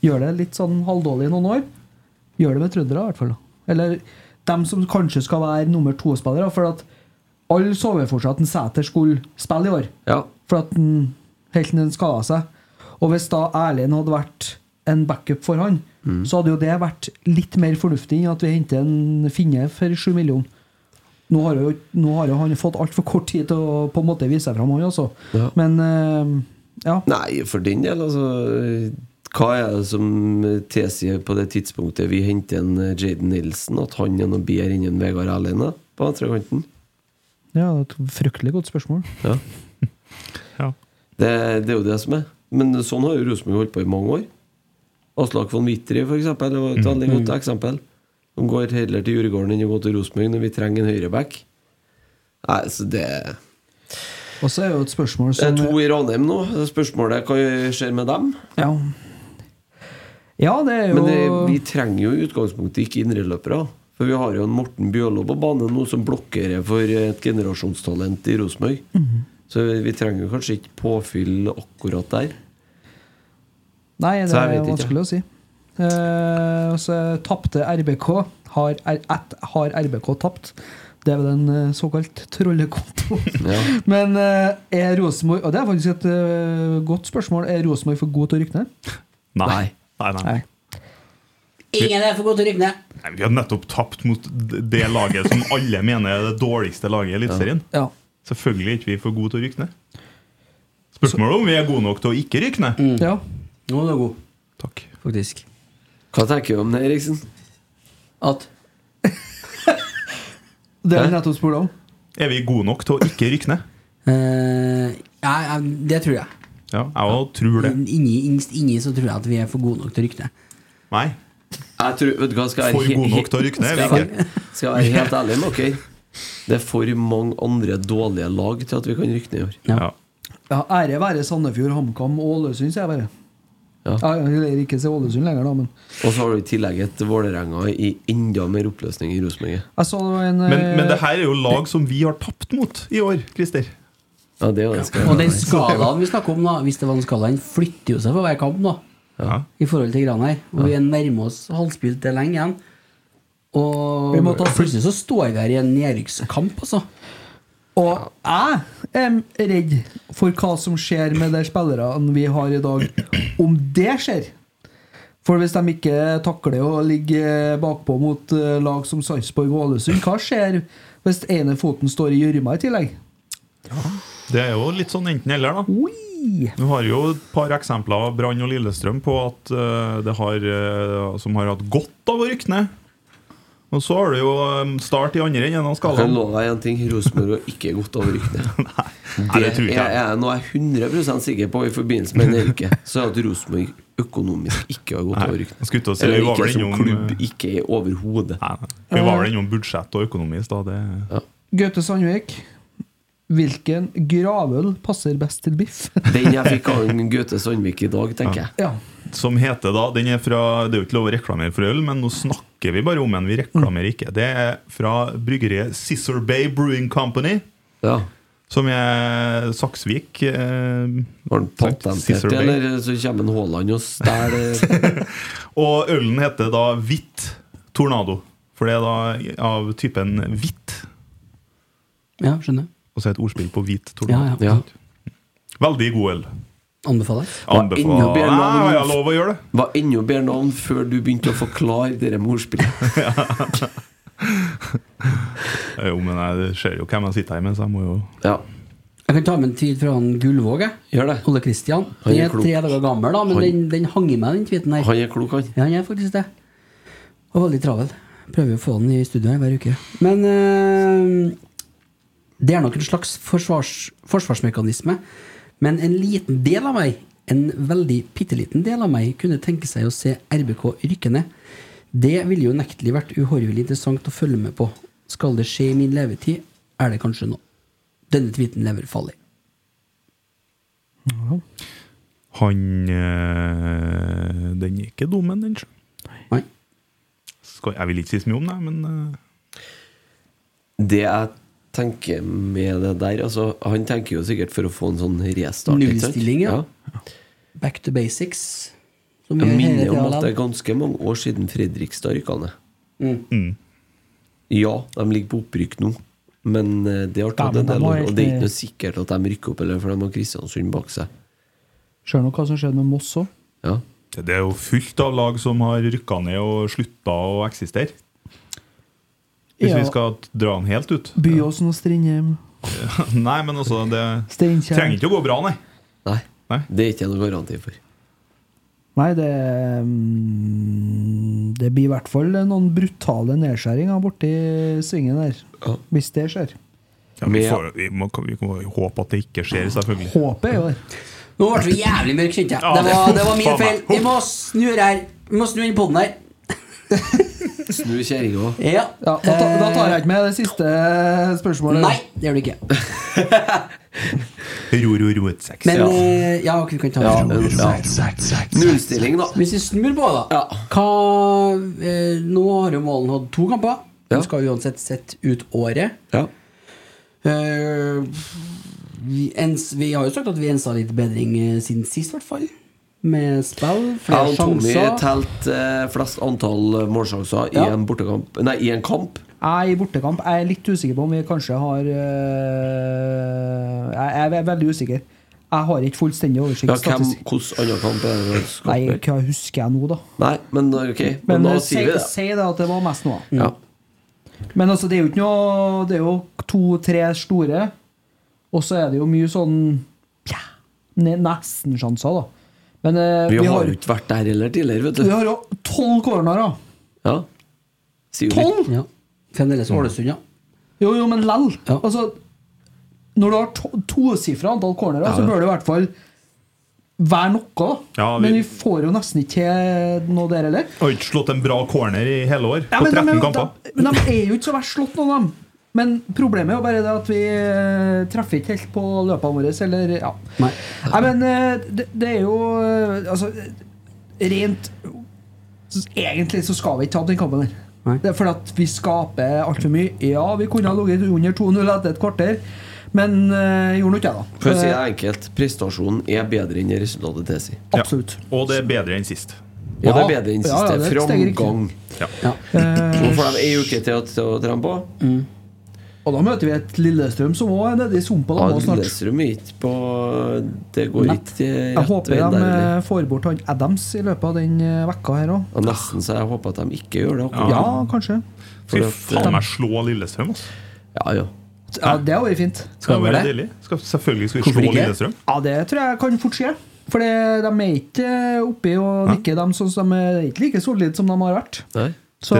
[SPEAKER 4] gjøre det litt sånn halvdårlig i noen år, gjør det med trøndere i hvert fall. da. Eller dem som kanskje skal være nummer to-spillere, for at alle så jo for seg at en Sæter skulle spille i år.
[SPEAKER 3] Ja.
[SPEAKER 4] For at den, helt til den skada seg. Og hvis da Erlend hadde vært en backup for han,
[SPEAKER 3] Mm.
[SPEAKER 4] så hadde jo det vært litt mer fornuftig enn at vi henter en finne for sju millioner. Nå har jo, nå har jo han fått altfor kort tid til å på en måte vise seg fram, han også.
[SPEAKER 3] Ja.
[SPEAKER 4] Men eh, ja.
[SPEAKER 3] Nei, for den del, altså. Hva er det som tilsier på det tidspunktet vi henter en eh, Jaden Nilsen, at han er noe bedre enn en Vegard Erlend da, på venstrekanten?
[SPEAKER 4] ja, det er et fryktelig godt spørsmål.
[SPEAKER 3] Ja.
[SPEAKER 5] Ja.
[SPEAKER 3] Det, det er jo det som er. Men sånn har jo Rosenborg holdt på i mange år. Aslak von Wittry, for eksempel, var et veldig godt eksempel. De går heller til Djurgården enn å gå til Rosenborg når vi trenger en høyreback. Nei, så det
[SPEAKER 4] Og så er jo et spørsmål
[SPEAKER 3] Det er
[SPEAKER 4] som
[SPEAKER 3] to i Ranheim nå. Det er Spørsmålet hva skjer med dem?
[SPEAKER 4] Ja, ja det er jo
[SPEAKER 3] Men det, vi trenger jo i utgangspunktet ikke indreløpere. For vi har jo en Morten Bjørlo på banen nå som blokkerer for et generasjonstalent i Rosenborg. Så vi trenger jo kanskje ikke påfyll akkurat der.
[SPEAKER 4] Nei, det
[SPEAKER 3] Så jeg
[SPEAKER 4] er
[SPEAKER 3] vet ikke.
[SPEAKER 4] vanskelig å si. Eh, og så tapte RBK. Har, R at, har RBK tapt? Det er vel en eh, såkalt trollekonto.
[SPEAKER 3] Ja.
[SPEAKER 4] Men eh, er Rosenborg Og det er faktisk et eh, godt spørsmål. Er Rosenborg for god til å rykke ned?
[SPEAKER 5] Nei. Nei. Nei, nei.
[SPEAKER 2] Ingen er for god til å rykke ned!
[SPEAKER 5] Vi har nettopp tapt mot d- det laget som alle mener er det dårligste laget i Eliteserien.
[SPEAKER 4] Ja.
[SPEAKER 5] Selvfølgelig er ikke vi for gode til å rykke ned. Spørsmålet er om vi er gode nok til å ikke rykke ned.
[SPEAKER 4] ja.
[SPEAKER 2] Nå er du god,
[SPEAKER 5] Takk.
[SPEAKER 2] faktisk.
[SPEAKER 3] Hva tenker du om det, Eriksen?
[SPEAKER 2] At
[SPEAKER 4] Det
[SPEAKER 3] Hæ?
[SPEAKER 4] er vi nettopp spurt om.
[SPEAKER 5] Er vi gode nok til å ikke rykke ned?
[SPEAKER 2] eh, ja, ja, det tror jeg.
[SPEAKER 5] Ja, jeg òg tror det.
[SPEAKER 2] Men Inni, innst inni så tror jeg at vi er for gode nok til å rykke ned.
[SPEAKER 5] Nei.
[SPEAKER 3] Jeg tror, vet du hva, skal jeg
[SPEAKER 5] For
[SPEAKER 3] he-
[SPEAKER 5] gode nok
[SPEAKER 3] he-
[SPEAKER 5] til å rykke ned, liksom.
[SPEAKER 3] Skal,
[SPEAKER 5] eller
[SPEAKER 3] jeg- skal jeg være helt ærlig med dere? Det er for mange andre dårlige lag til at vi kan rykke ned i år.
[SPEAKER 5] Ja.
[SPEAKER 4] Ja, ære være Sandefjord, HamKam og Ålesund, sier jeg bare.
[SPEAKER 3] Ja.
[SPEAKER 4] Ja, eller ikke se Ålesund lenger, da, men
[SPEAKER 3] Og så har du i tillegg et Vålerenga i enda mer oppløsning i Rosenborg.
[SPEAKER 4] jeg så det var en
[SPEAKER 5] Men, men det
[SPEAKER 4] eh,
[SPEAKER 5] her er jo lag som vi har tapt mot i år, Christer.
[SPEAKER 3] Ja, det er jo det skal
[SPEAKER 2] Og
[SPEAKER 3] være.
[SPEAKER 2] den skalaen vi snakker om, da hvis det var en skala, den flytter jo seg for hver kamp nå,
[SPEAKER 5] Ja.
[SPEAKER 2] i forhold til Granheim. Og vi er nærmer oss halvspilt det er lenge igjen. Og
[SPEAKER 4] Vi må ta-
[SPEAKER 2] plutselig så står vi her i en nedrykkskamp, altså.
[SPEAKER 4] Og jeg er redd for hva som skjer med de spillerne vi har i dag, om det skjer. For hvis de ikke takler å ligge bakpå mot eh, lag som Sarpsborg og Ålesund, hva skjer hvis ene foten står i gjørma i tillegg?
[SPEAKER 5] Det er jo litt sånn enten-eller, da.
[SPEAKER 4] Oi!
[SPEAKER 5] Du har jo et par eksempler av Brann og Lillestrøm på at eh, det har, eh, som har hatt godt av å rykke ned. Og så har du jo eh, Start i andre enden av
[SPEAKER 3] Jeg kan
[SPEAKER 5] skalaen.
[SPEAKER 3] love deg en ting. Rosenborg har ikke gått over rykk ned.
[SPEAKER 5] Nei, det tror ikke
[SPEAKER 3] jeg
[SPEAKER 5] jeg.
[SPEAKER 3] er nå er jeg 100 sikker på i forbindelse med Nerke, så er at Rosenborg økonomisk ikke har gått
[SPEAKER 5] Nei,
[SPEAKER 3] over rykten.
[SPEAKER 5] jeg skulle til å si,
[SPEAKER 3] Eller
[SPEAKER 5] vi var vel
[SPEAKER 3] ikke som
[SPEAKER 5] innom- eh,
[SPEAKER 3] klubb, ikke i overhodet.
[SPEAKER 5] Vi var vel innom budsjett og økonomi i stad. det-
[SPEAKER 4] Gaute Sandvik. Hvilken gravøl passer best til biff?
[SPEAKER 3] Den jeg fikk av en Gaute Sandvik i dag, tenker jeg.
[SPEAKER 4] Ja.
[SPEAKER 5] Som heter da Den er fra Det er jo ikke lov å reklamere for øl, men nå snakker vi bare om den. Vi reklamerer ikke. Det er fra bryggeriet Scissor Bay Brewing Company. Som er Saksvik. eh, Var den
[SPEAKER 3] Patentert, eller så kommer en Haaland og stjeler
[SPEAKER 5] Og ølen heter da Hvitt Tornado. For det er da av typen hvitt.
[SPEAKER 2] Ja, skjønner.
[SPEAKER 5] Og så et ordspill på hvit
[SPEAKER 2] Ja,
[SPEAKER 5] tornado.
[SPEAKER 2] ja.
[SPEAKER 5] Veldig god øl.
[SPEAKER 2] Anbefales.
[SPEAKER 5] Anbefaler. Nei, jeg har lov å gjøre det.
[SPEAKER 3] Var enda bedre navn før du begynte å forklare det der med ordspillet.
[SPEAKER 5] Eh, Jo, men jeg ser jo hvem jeg sitter her med, så jeg må jo
[SPEAKER 2] Jeg kan ta med en tweet fra han Gullvåg. jeg. Ole Kristian.
[SPEAKER 5] Han
[SPEAKER 2] Den
[SPEAKER 5] er
[SPEAKER 2] er
[SPEAKER 5] klok.
[SPEAKER 2] tre dager gammel, da, men
[SPEAKER 5] Han-
[SPEAKER 2] den, den hang i meg, den tweeten her.
[SPEAKER 3] Han er klok, han.
[SPEAKER 2] Ja, han er faktisk det. Og veldig travel. Prøver å få den i studio her hver uke. Men eh, det er nok en slags forsvars, forsvarsmekanisme. Men en liten del av meg, en veldig bitte liten del av meg, kunne tenke seg å se RBK rykke ned. Det ville jo nektelig vært uhorvelig interessant å følge med på. Skal det skje i min levetid, er det kanskje nå. Denne tweeten lever farlig.
[SPEAKER 5] Han eh, Den er ikke dum, men den sjø. Skal- Jeg vil ikke si så mye om det, men eh,
[SPEAKER 3] Det jeg tenker med det der altså, Han tenker jo sikkert for å få en sånn restart. ikke sant?
[SPEAKER 2] Nullstilling, ja. Back to basics. som
[SPEAKER 3] Jeg
[SPEAKER 2] gjør hele
[SPEAKER 3] minner om
[SPEAKER 2] tiden
[SPEAKER 3] at det
[SPEAKER 2] lag.
[SPEAKER 3] er ganske mange år siden Fredrikstad rykka ned.
[SPEAKER 2] Mm.
[SPEAKER 3] Ja, de ligger på opprykk nå, men eh, det har tatt
[SPEAKER 4] Ja, men
[SPEAKER 3] en
[SPEAKER 4] de
[SPEAKER 3] del
[SPEAKER 4] var
[SPEAKER 3] år. Og det er
[SPEAKER 4] helt-
[SPEAKER 3] ikke noe sikkert at de rykker opp, eller for de har Kristiansund bak seg.
[SPEAKER 4] Ser nå hva som skjedde med Moss òg.
[SPEAKER 5] det er jo fullt av lag som har rykka ned og slutta å eksistere. Hvis
[SPEAKER 4] Ja.
[SPEAKER 5] vi skal dra den helt ut.
[SPEAKER 4] Byåsen og Strindheim.
[SPEAKER 5] Nei, men altså Det
[SPEAKER 4] Steinkjer.
[SPEAKER 5] trenger ikke å gå bra, nei.
[SPEAKER 3] Nei. Det er ikke noe garanti for.
[SPEAKER 4] Nei, det mm, Det blir i hvert fall noen brutale nedskjæringer borti svingen der. Hvis det skjer.
[SPEAKER 5] Ja, vi, får, vi, må, vi må håpe at det ikke skjer, selvfølgelig.
[SPEAKER 4] Håpet er jo der.
[SPEAKER 2] Nå ble vi jævlig mørke, kjente jeg.
[SPEAKER 5] Ja,
[SPEAKER 2] Det var, det var min
[SPEAKER 5] faen meg.
[SPEAKER 2] feil. Vi må snu det her. Vi må snu inn på den her.
[SPEAKER 3] Snu kjerringa.
[SPEAKER 2] Ja.
[SPEAKER 4] Ja, da, ta, da tar jeg ikke med det siste spørsmålet.
[SPEAKER 2] Nei, det gjør du ikke.
[SPEAKER 5] Ro, ro, ro, et sex.
[SPEAKER 2] Men eh, ja, ok, vi kan ta det.
[SPEAKER 3] Nullstilling, da.
[SPEAKER 2] Hvis vi snur på, da hva, eh, Nå har jo Målen hatt to kamper. De skal uansett sett ut året. Eh, vi, ens, vi har jo sagt at vi ensa litt bedring eh, siden sist, i hvert fall. Med spill, flere
[SPEAKER 3] Jeg og Tommy
[SPEAKER 2] sjanser.
[SPEAKER 3] telte eh, flest antall målsjanser i
[SPEAKER 4] Ja.
[SPEAKER 3] en bortekamp Nei, i en kamp.
[SPEAKER 4] Jeg i bortekamp Jeg er litt usikker på om vi kanskje har øh, jeg, jeg er veldig usikker. Jeg har ikke fullstendig oversikt.
[SPEAKER 3] Ja, hvem,
[SPEAKER 4] statistikk.
[SPEAKER 3] hvordan annen kamp er det?
[SPEAKER 4] Nei,
[SPEAKER 3] skaper?
[SPEAKER 4] hva husker jeg nå, da?
[SPEAKER 3] Nei, men da- ok. Men,
[SPEAKER 4] Men
[SPEAKER 3] da
[SPEAKER 4] eh, si,
[SPEAKER 3] sier vi det.
[SPEAKER 4] si det at det var mest nå, da.
[SPEAKER 3] Ja.
[SPEAKER 4] Men altså, det er jo ikke noe Det er jo to-tre store, og så er det jo mye sånn ja, ne- nesten-sjanser, da. Men eh,
[SPEAKER 3] Vi har jo ikke vært der heller tidligere, vet
[SPEAKER 4] vi
[SPEAKER 3] du.
[SPEAKER 4] har jo tolv cornerer.
[SPEAKER 3] Ja. Sier jo litt.
[SPEAKER 4] Tolv!
[SPEAKER 2] Ja. Fremdeles Ålesund, ja.
[SPEAKER 4] Jo, jo, men lell. Altså, når du har to- tosifra antall cornerer,
[SPEAKER 5] Ja,
[SPEAKER 4] så
[SPEAKER 5] ja.
[SPEAKER 4] bør det i hvert fall være noe. da
[SPEAKER 5] Ja, vi-
[SPEAKER 4] Men vi får jo nesten ikke til noe der heller.
[SPEAKER 5] Har ikke slått en bra corner i hele år.
[SPEAKER 4] Ja,
[SPEAKER 5] på
[SPEAKER 4] men de er
[SPEAKER 5] 13
[SPEAKER 4] jo-
[SPEAKER 5] kamper.
[SPEAKER 4] de- Men de er jo ikke så verst slått, noen av dem. Men problemet er jo bare det at vi eh, treffer ikke helt på løpene våre, eller ja. Nei, men eh, det, det er jo eh, Altså, rent Egentlig så skal vi ikke ta den kampen der. Det er fordi at vi skaper altfor mye. Ja, vi kunne ha ligget under 2-0 etter et kvarter, men eh, gjorde nå ikke det, da.
[SPEAKER 3] For å si det
[SPEAKER 4] Eh,
[SPEAKER 3] enkelt, prestasjonen er bedre enn det resultatet tilsier.
[SPEAKER 4] Absolutt.
[SPEAKER 5] Og det er bedre enn sist.
[SPEAKER 3] Ja, det er
[SPEAKER 4] Ja,
[SPEAKER 3] bedre enn
[SPEAKER 4] ja,
[SPEAKER 3] sist.
[SPEAKER 4] ja,
[SPEAKER 3] det
[SPEAKER 4] det Eh, Mm.
[SPEAKER 3] er
[SPEAKER 4] er et steg riktig.
[SPEAKER 3] framgang. Nå får de ei uke til å- til å trene på.
[SPEAKER 4] Mm. og da møter vi et Lillestrøm som òg er nede i sumpa.
[SPEAKER 3] Ja,
[SPEAKER 4] da, nå snart.
[SPEAKER 3] Lillestrøm er ikke på Det går
[SPEAKER 4] Nei.
[SPEAKER 3] ikke
[SPEAKER 4] Jeg
[SPEAKER 3] rett
[SPEAKER 4] håper
[SPEAKER 3] vei
[SPEAKER 4] de
[SPEAKER 3] der. eller?
[SPEAKER 4] eh, får bort han Adams i løpet av den eh, vekka her òg.
[SPEAKER 3] Ja, nesten så jeg håper at de ikke gjør det.
[SPEAKER 4] Ja,
[SPEAKER 3] akkurat nå.
[SPEAKER 4] kanskje.
[SPEAKER 3] For
[SPEAKER 5] Skal vi
[SPEAKER 3] det-
[SPEAKER 5] faen meg slå Lillestrøm, altså?
[SPEAKER 3] Ja, ja.
[SPEAKER 4] Ja, Det hadde vært fint.
[SPEAKER 5] Skal det være deilig? Skal, selvfølgelig skal vi slå Lillestrøm.
[SPEAKER 4] Ja, det tror jeg kan fort skje. For det- de er ikke eh, oppi og nikker, dem, sånn som de er ikke like solide som de har vært.
[SPEAKER 3] Nei.
[SPEAKER 4] Så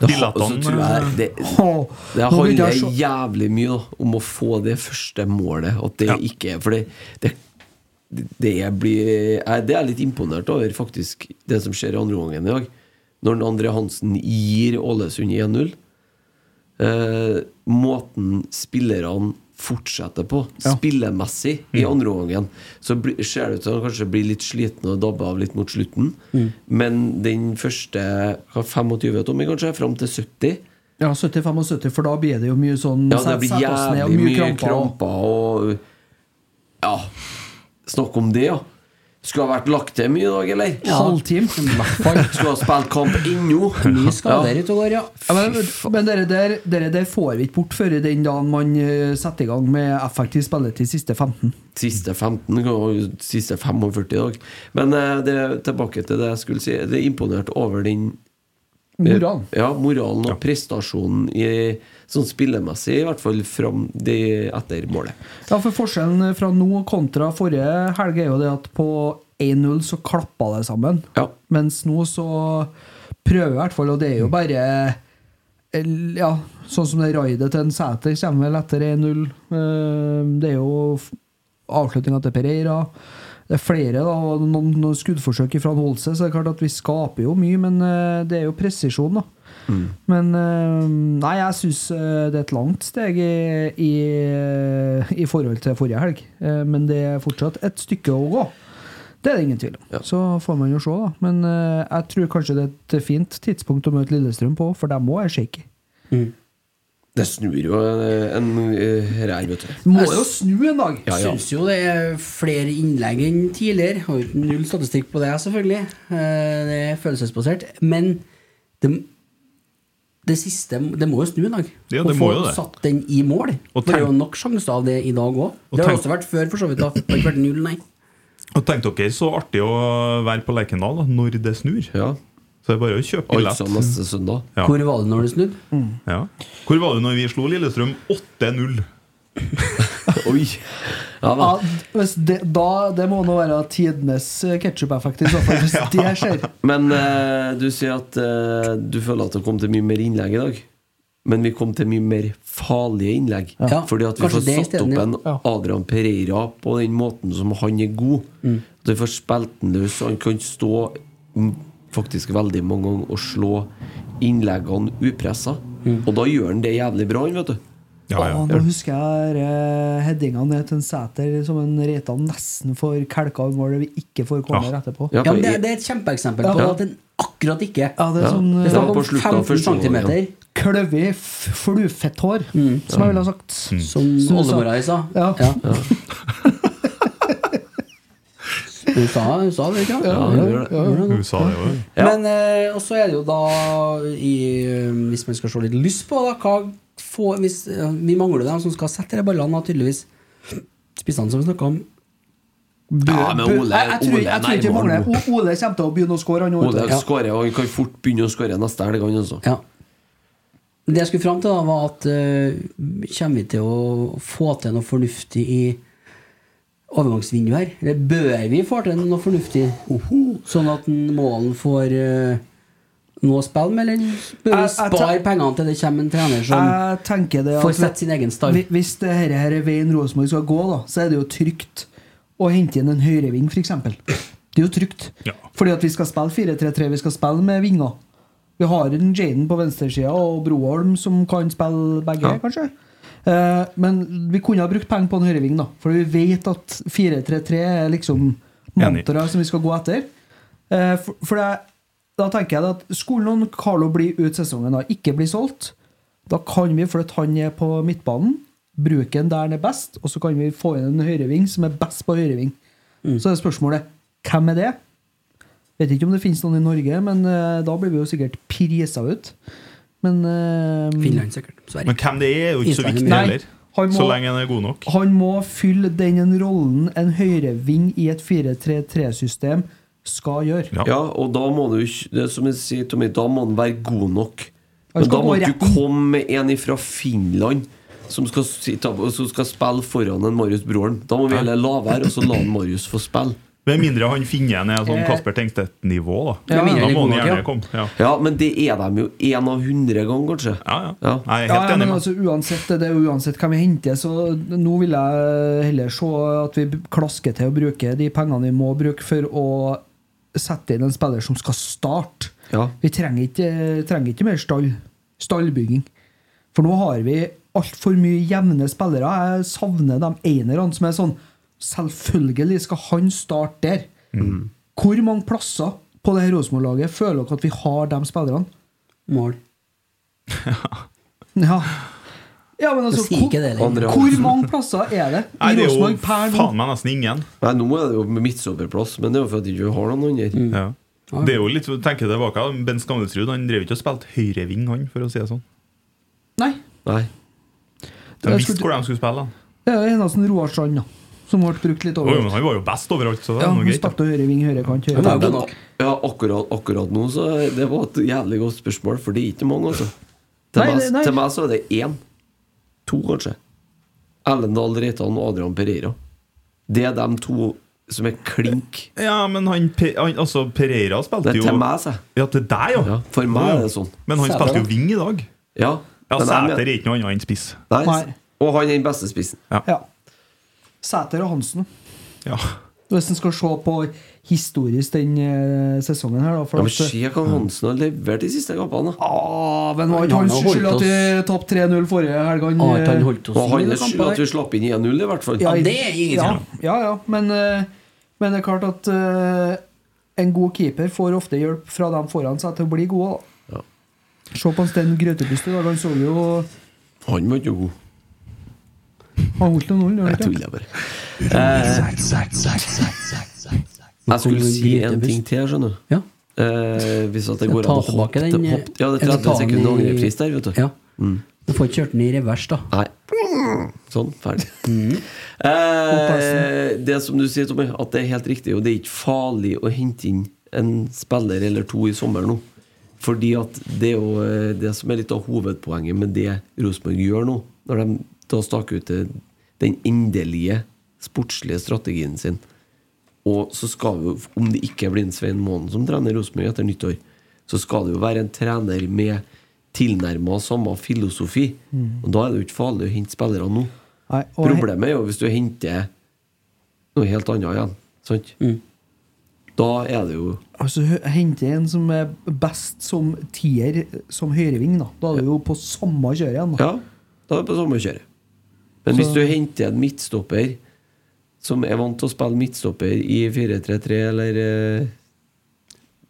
[SPEAKER 3] Det, har- og så tror jeg det,
[SPEAKER 4] Åh,
[SPEAKER 3] det
[SPEAKER 4] nå begynte
[SPEAKER 3] handler
[SPEAKER 4] jeg å se-
[SPEAKER 3] jævlig mye da, om å få det første målet. At det ikke For det, det det blir, jeg, det er jeg litt imponert over, faktisk, det som skjer i andre omgangen i dag. Når André Hansen gir Ålesund 1-0. Eh, måten spillerne fortsetter på,
[SPEAKER 4] Ja. Mm.
[SPEAKER 3] spillemessig, i andre omgangen, så bli, ser det ut som han kanskje blir litt sliten og dabber av litt mot slutten.
[SPEAKER 4] Mm.
[SPEAKER 3] Men den første hva, 25, Tommy, kanskje, fram til 70
[SPEAKER 4] Ja, 70-75, for da blir det jo mye sånn
[SPEAKER 3] ja, det
[SPEAKER 4] set-
[SPEAKER 3] blir
[SPEAKER 4] sett oss ned og
[SPEAKER 3] jævlig mye kramper,
[SPEAKER 4] og-
[SPEAKER 3] og Ja. Snakk om det, ja. Skulle ha vært lagt til mye i dag, eller?
[SPEAKER 4] Ja. Halvtime.
[SPEAKER 3] Skulle ha spilt kamp ennå.
[SPEAKER 2] Mye skader ute og går, ja.
[SPEAKER 4] Ja, men men dere, der, dere der får vi ikke bort før i den dagen man eh, setter i gang med effektiv spilletid siste 15.
[SPEAKER 3] Siste 15, og siste 45 i dag. Men eh, det, tilbake til det jeg skulle si. Det er imponert over den
[SPEAKER 4] Moralen.
[SPEAKER 3] Eh, Ja, moralen og prestasjonen i, sånn spillemessig, i hvert fall fram det etter målet.
[SPEAKER 4] Ja, for Forskjellen fra nå kontra forrige helg er jo det at på 1-0 så klappa det sammen. Mens nå så prøver i hvert fall, og det er jo bare el- Ja, sånn som det raidet til en Sæter kommer vel etter 1-0. Eh, Det er jo avslutninga til Pereira. Det er flere da, og noen, noen skuddforsøk fra Holse, så det er klart at vi skaper jo mye, men eh, det er jo presisjon, da. Men eh, nei, jeg syns det er et langt steg i, i, eh, i forhold til forrige helg. Eh, Men det er fortsatt et stykke å gå. Det er det ingen tvil om. Så får man jo se, da. Men eh, jeg tror kanskje det er et eh, fint tidspunkt å møte Lillestrøm på, for dem òg er shaky.
[SPEAKER 3] Det snur jo eh, en eh, her, vet du.
[SPEAKER 4] Må jo snu en dag!
[SPEAKER 3] Ja, ja.
[SPEAKER 2] Syns jo det er flere innlegg enn tidligere. Har jo null statistikk på det, selvfølgelig. Eh, Det er følelsesbasert. Men det, det siste Det må jo snu en dag.
[SPEAKER 5] Ja, det
[SPEAKER 2] Å
[SPEAKER 5] må
[SPEAKER 2] få
[SPEAKER 5] jo det.
[SPEAKER 2] satt den i mål.
[SPEAKER 5] Og
[SPEAKER 2] For det er jo
[SPEAKER 5] tenk-
[SPEAKER 2] nok sjanser av det i dag òg.
[SPEAKER 5] Og
[SPEAKER 2] Det har
[SPEAKER 5] tenk-
[SPEAKER 2] også vært før, for så vidt. da Det har ikke vært null, nei.
[SPEAKER 5] eh, Og tenk dere så artig å være på Lerkendal da, når det snur. Så det er bare å kjøpe billett.
[SPEAKER 3] Altså neste søndag.
[SPEAKER 5] Ja.
[SPEAKER 2] Hvor var du når det snudde?
[SPEAKER 5] Ja. Hvor var du når vi slo Lillestrøm 8-0?
[SPEAKER 3] Oi! Ja,
[SPEAKER 4] Ja, hvis det, da, det må nå være tidenes ketsjup-effekt, i så fall, hvis det skjer.
[SPEAKER 3] Men eh, du sier at eh, du føler at det kom til mye mer innlegg i dag. Men vi kom til mye mer farlige innlegg.
[SPEAKER 2] Ja.
[SPEAKER 3] Fordi at vi
[SPEAKER 2] Kanskje
[SPEAKER 3] får
[SPEAKER 2] det
[SPEAKER 3] satt
[SPEAKER 2] isteden,
[SPEAKER 3] opp
[SPEAKER 2] ja.
[SPEAKER 3] en Adrian Pereira på den måten som han er god.
[SPEAKER 2] Mm.
[SPEAKER 3] At vi får spilt den løs. Han kan stå mm, faktisk veldig mange ganger og slå innleggene upressa.
[SPEAKER 2] Mm.
[SPEAKER 3] Og da gjør han det jævlig bra, han, vet du.
[SPEAKER 4] Å, nå husker jeg uh, headinga ned til en Sæter som en Reitan nesten får kelka i mål. Vi ikke får corner etterpå.
[SPEAKER 3] Ja,
[SPEAKER 2] Ja, men det, det er et kjempeeksempel på
[SPEAKER 4] Ja.
[SPEAKER 2] at den akkurat ikke
[SPEAKER 4] Ja, det er sånn
[SPEAKER 2] Det er
[SPEAKER 4] ja,
[SPEAKER 2] snakk om 15 centimeter.
[SPEAKER 4] kløvig, f- flufett hår, som jeg ville ha sagt.
[SPEAKER 2] Som
[SPEAKER 4] Som du sa.
[SPEAKER 2] oldemora di sa.
[SPEAKER 4] Ja.
[SPEAKER 2] Hun sa, hun sa det, ikke sant?
[SPEAKER 3] Ja, hun gjør det.
[SPEAKER 5] Hun sa det jo.
[SPEAKER 2] Men eh, også er det jo da i, eh, Hvis man skal se litt lyst på da, hva få, hvis, eh, Vi mangler dem som skal sette de ballene, da, tydeligvis. Spissene som vi snakka om.
[SPEAKER 3] Ja, men Ole,
[SPEAKER 4] jeg, jeg tror,
[SPEAKER 3] Ole,
[SPEAKER 4] jeg
[SPEAKER 3] nei,
[SPEAKER 4] tror ikke
[SPEAKER 3] Morten.
[SPEAKER 4] Ole, Ole kommer til å begynne å score. han nå,
[SPEAKER 3] Ole
[SPEAKER 4] vet du.
[SPEAKER 3] skårer, og han kan fort begynne å skåre neste helg, han også.
[SPEAKER 2] Ja. Det jeg skulle fram til, da, var at eh, kommer vi til å få til noe fornuftig i overgangsvinduet her? Eller bør vi få til noe fornuftig, sånn at en målen får eh, noe å spille med, eller bør vi
[SPEAKER 4] Jeg- jeg
[SPEAKER 2] spare
[SPEAKER 4] tenk-
[SPEAKER 2] pengene til det kommer en trener som
[SPEAKER 4] Jeg tenker det at
[SPEAKER 2] får sette sin egen stall?
[SPEAKER 4] Hvi- Hvis det her, her er veien Rosenborg skal gå, da, så er det jo trygt å hente inn en høyreving, f.eks. Det er jo trygt.
[SPEAKER 5] Ja.
[SPEAKER 4] Fordi at vi skal spille 4-3-3, vi skal spille med vinger. Vi har en Jaden på venstresida og Broholm som kan spille begge, kanskje. Eh, men vi kunne ha brukt penger på en høyreving, da. For vi vet at 4-3-3 er liksom
[SPEAKER 5] Enig.
[SPEAKER 4] mantraet som vi skal gå etter. Eh, for for det, da tenker jeg det at skulle noen Carlo bli ut sesongen da, ikke bli solgt, da kan vi flytte han ned på midtbanen, bruke han der han er best, og så kan vi få inn en høyreving som er best på høyreving. Så er spørsmålet hvem er det? Vet ikke om det finnes noen i Norge, men eh, da blir vi jo sikkert prisa ut. Men eh,
[SPEAKER 2] Finland, sikkert. Sverige.
[SPEAKER 5] Men hvem det er, er jo ikke så
[SPEAKER 2] Island,
[SPEAKER 5] viktig
[SPEAKER 4] nei.
[SPEAKER 5] heller.
[SPEAKER 4] Han må-
[SPEAKER 5] Så lenge han er god nok.
[SPEAKER 4] han må fylle den rollen en høyreving i et 4-3-3-system skal gjøre.
[SPEAKER 5] Ja.
[SPEAKER 3] Ja, og da må du ikke- det er Som jeg sier, Tommy, da må han være god nok.
[SPEAKER 4] Han
[SPEAKER 3] Men
[SPEAKER 4] skal
[SPEAKER 3] da må
[SPEAKER 4] gå
[SPEAKER 3] du
[SPEAKER 4] retten.
[SPEAKER 3] komme med en fra Finland som skal, sitte, opp- og som skal spille foran en Marius Broholm. Da må vi heller la være, og så la han Marius få spille.
[SPEAKER 5] Vet Med mindre han finner en sånn
[SPEAKER 3] Eh.
[SPEAKER 5] Kasper Tengstedt-nivå, da.
[SPEAKER 3] Ja,
[SPEAKER 5] da må
[SPEAKER 3] mindre
[SPEAKER 5] han
[SPEAKER 3] god nok,
[SPEAKER 5] gjerne
[SPEAKER 3] ja.
[SPEAKER 5] komme. Ja.
[SPEAKER 3] Ja, men det er de jo én av hundre ganger, kanskje. Ja.
[SPEAKER 4] Ja, ja, men altså, uansett, det er jo uansett hva vi henter, så nå vil jeg heller se at vi klasker til å bruke de pengene vi må bruke for å sette inn en spiller som skal starte.
[SPEAKER 3] Ja.
[SPEAKER 4] Vi trenger ikke, trenger ikke mer stall. Stallbygging. For nå har vi altfor mye jevne spillere. Jeg savner de enerne som er sånn Selvfølgelig skal han starte der.
[SPEAKER 2] Mm.
[SPEAKER 4] Hvor mange plasser på det her Rosenborg-laget føler dere at vi har de spillerne?
[SPEAKER 2] Mål.
[SPEAKER 4] Ja. ja, men altså
[SPEAKER 2] Det sier ikke det
[SPEAKER 4] hvor,
[SPEAKER 3] lenger.
[SPEAKER 4] hvor mange plasser er det i Rosenborg per nå?
[SPEAKER 5] meg nesten ingen.
[SPEAKER 3] Nei, nå er det jo midtstopperplass, men det er jo fordi vi ikke har noen andre.
[SPEAKER 4] Mm.
[SPEAKER 5] Ja. Det er jo litt, tenker jeg tilbake Ben Skamnesrud han drev ikke og spilte høyreving, han, for å si det sånn.
[SPEAKER 4] Nei.
[SPEAKER 3] Nei.
[SPEAKER 5] De
[SPEAKER 4] Jeg
[SPEAKER 5] visste
[SPEAKER 4] skulle-
[SPEAKER 5] hvor de skulle spille. da.
[SPEAKER 4] Det er eneste Roar Strand, da. Som ble brukt litt
[SPEAKER 5] Jo,
[SPEAKER 4] over.
[SPEAKER 5] jo, men han var jo best overalt, så det
[SPEAKER 4] Ja,
[SPEAKER 5] er
[SPEAKER 4] han
[SPEAKER 5] noe greit.
[SPEAKER 4] starta høyreving, høyrekant,
[SPEAKER 3] Men,
[SPEAKER 4] høyrekant.
[SPEAKER 3] ja, akkurat, akkurat nå, så er- Det var et jævlig godt spørsmål, for det er ikke mange, altså. Til,
[SPEAKER 4] Nei,
[SPEAKER 3] meg,
[SPEAKER 4] det- nei.
[SPEAKER 3] til meg så er det én. To, kanskje. Ellendal Reitan og Adrian Pereira. Det er de to som er klink
[SPEAKER 5] Ja, men han, Pe- han altså Pereira spilte
[SPEAKER 3] Det er
[SPEAKER 5] jo
[SPEAKER 3] til meg, sa jeg.
[SPEAKER 5] Ja, til deg, ja.
[SPEAKER 3] for meg
[SPEAKER 5] Ja, ja.
[SPEAKER 3] er det sånn.
[SPEAKER 5] Men han
[SPEAKER 3] Sæter,
[SPEAKER 5] spilte jo
[SPEAKER 3] da.
[SPEAKER 5] wing i dag.
[SPEAKER 3] Ja,
[SPEAKER 5] Ja,
[SPEAKER 3] men jeg
[SPEAKER 5] Sæter
[SPEAKER 3] mener-
[SPEAKER 5] er ikke noe annet enn spiss.
[SPEAKER 3] Nei.
[SPEAKER 4] Nei.
[SPEAKER 3] Og han er den beste spissen.
[SPEAKER 4] Ja. Sæter og Hansen.
[SPEAKER 5] Ja.
[SPEAKER 4] Hvis en skal se på historisk den eh, sesongen her, da. For
[SPEAKER 3] Ja, men
[SPEAKER 4] at-
[SPEAKER 3] Se hva Hansen har levert de siste kampene.
[SPEAKER 4] Mm. Ah, men var ikke hans skyld at vi tapte 3-0 forrige helg? Han,
[SPEAKER 3] Og
[SPEAKER 4] eh,
[SPEAKER 3] hans skyld at vi slapp inn 1-0, i hvert fall.
[SPEAKER 4] ja, ja, ja, men, eh, men det er klart at eh, en god keeper får ofte hjelp fra dem foran seg til å bli gode. da.
[SPEAKER 3] Ja.
[SPEAKER 4] Se på en Sten Grøtebust i dag. Han så jo
[SPEAKER 3] Han var ikke god.
[SPEAKER 4] Han holdt noen null. gjorde han
[SPEAKER 3] Jeg
[SPEAKER 4] ikke?
[SPEAKER 3] tuller bare. Jeg skulle si en ting til, skjønner du. Eh, hvis at det
[SPEAKER 2] Skal
[SPEAKER 3] går
[SPEAKER 2] jeg
[SPEAKER 3] an å
[SPEAKER 2] ta
[SPEAKER 3] hoppe,
[SPEAKER 2] tilbake den, eh,
[SPEAKER 3] hoppe Ja, det er
[SPEAKER 2] eller ta
[SPEAKER 3] 30
[SPEAKER 2] den
[SPEAKER 3] sekunder
[SPEAKER 2] i-
[SPEAKER 3] angrepris der, vet du.
[SPEAKER 2] Ja.
[SPEAKER 3] Mm.
[SPEAKER 2] Du får ikke kjørt den i revers, da.
[SPEAKER 3] Nei. Sånn, ferdig.
[SPEAKER 2] Mm.
[SPEAKER 3] Eh, det som du sier, Tommy, at det er helt riktig, og det er ikke farlig å hente inn en spiller eller to i sommer nå. Fordi at det er jo eh, det som er litt av hovedpoenget med det Rosenborg gjør nå, når de da staker ut eh, den endelige sportslige strategien sin. Og så skal jo, om det ikke blir en Svein Månen som trener Rosenborg etter nyttår, så skal det jo være en trener med tilnærma samme filosofi.
[SPEAKER 4] Mm.
[SPEAKER 3] Og da er det jo ikke farlig å hente spillere nå.
[SPEAKER 4] Nei, og-
[SPEAKER 3] Problemet er jo hvis du henter noe helt annet igjen. Sant? Da er det jo
[SPEAKER 4] Altså, hø- hente en som er best som tier som høyreving, da. Da er du jo på samme kjøret igjen. da.
[SPEAKER 3] Ja, da er det på samme kjøret. Men hvis
[SPEAKER 4] Så-
[SPEAKER 3] du henter en midtstopper som er vant til å spille midtstopper i 4-3-3 eller eh,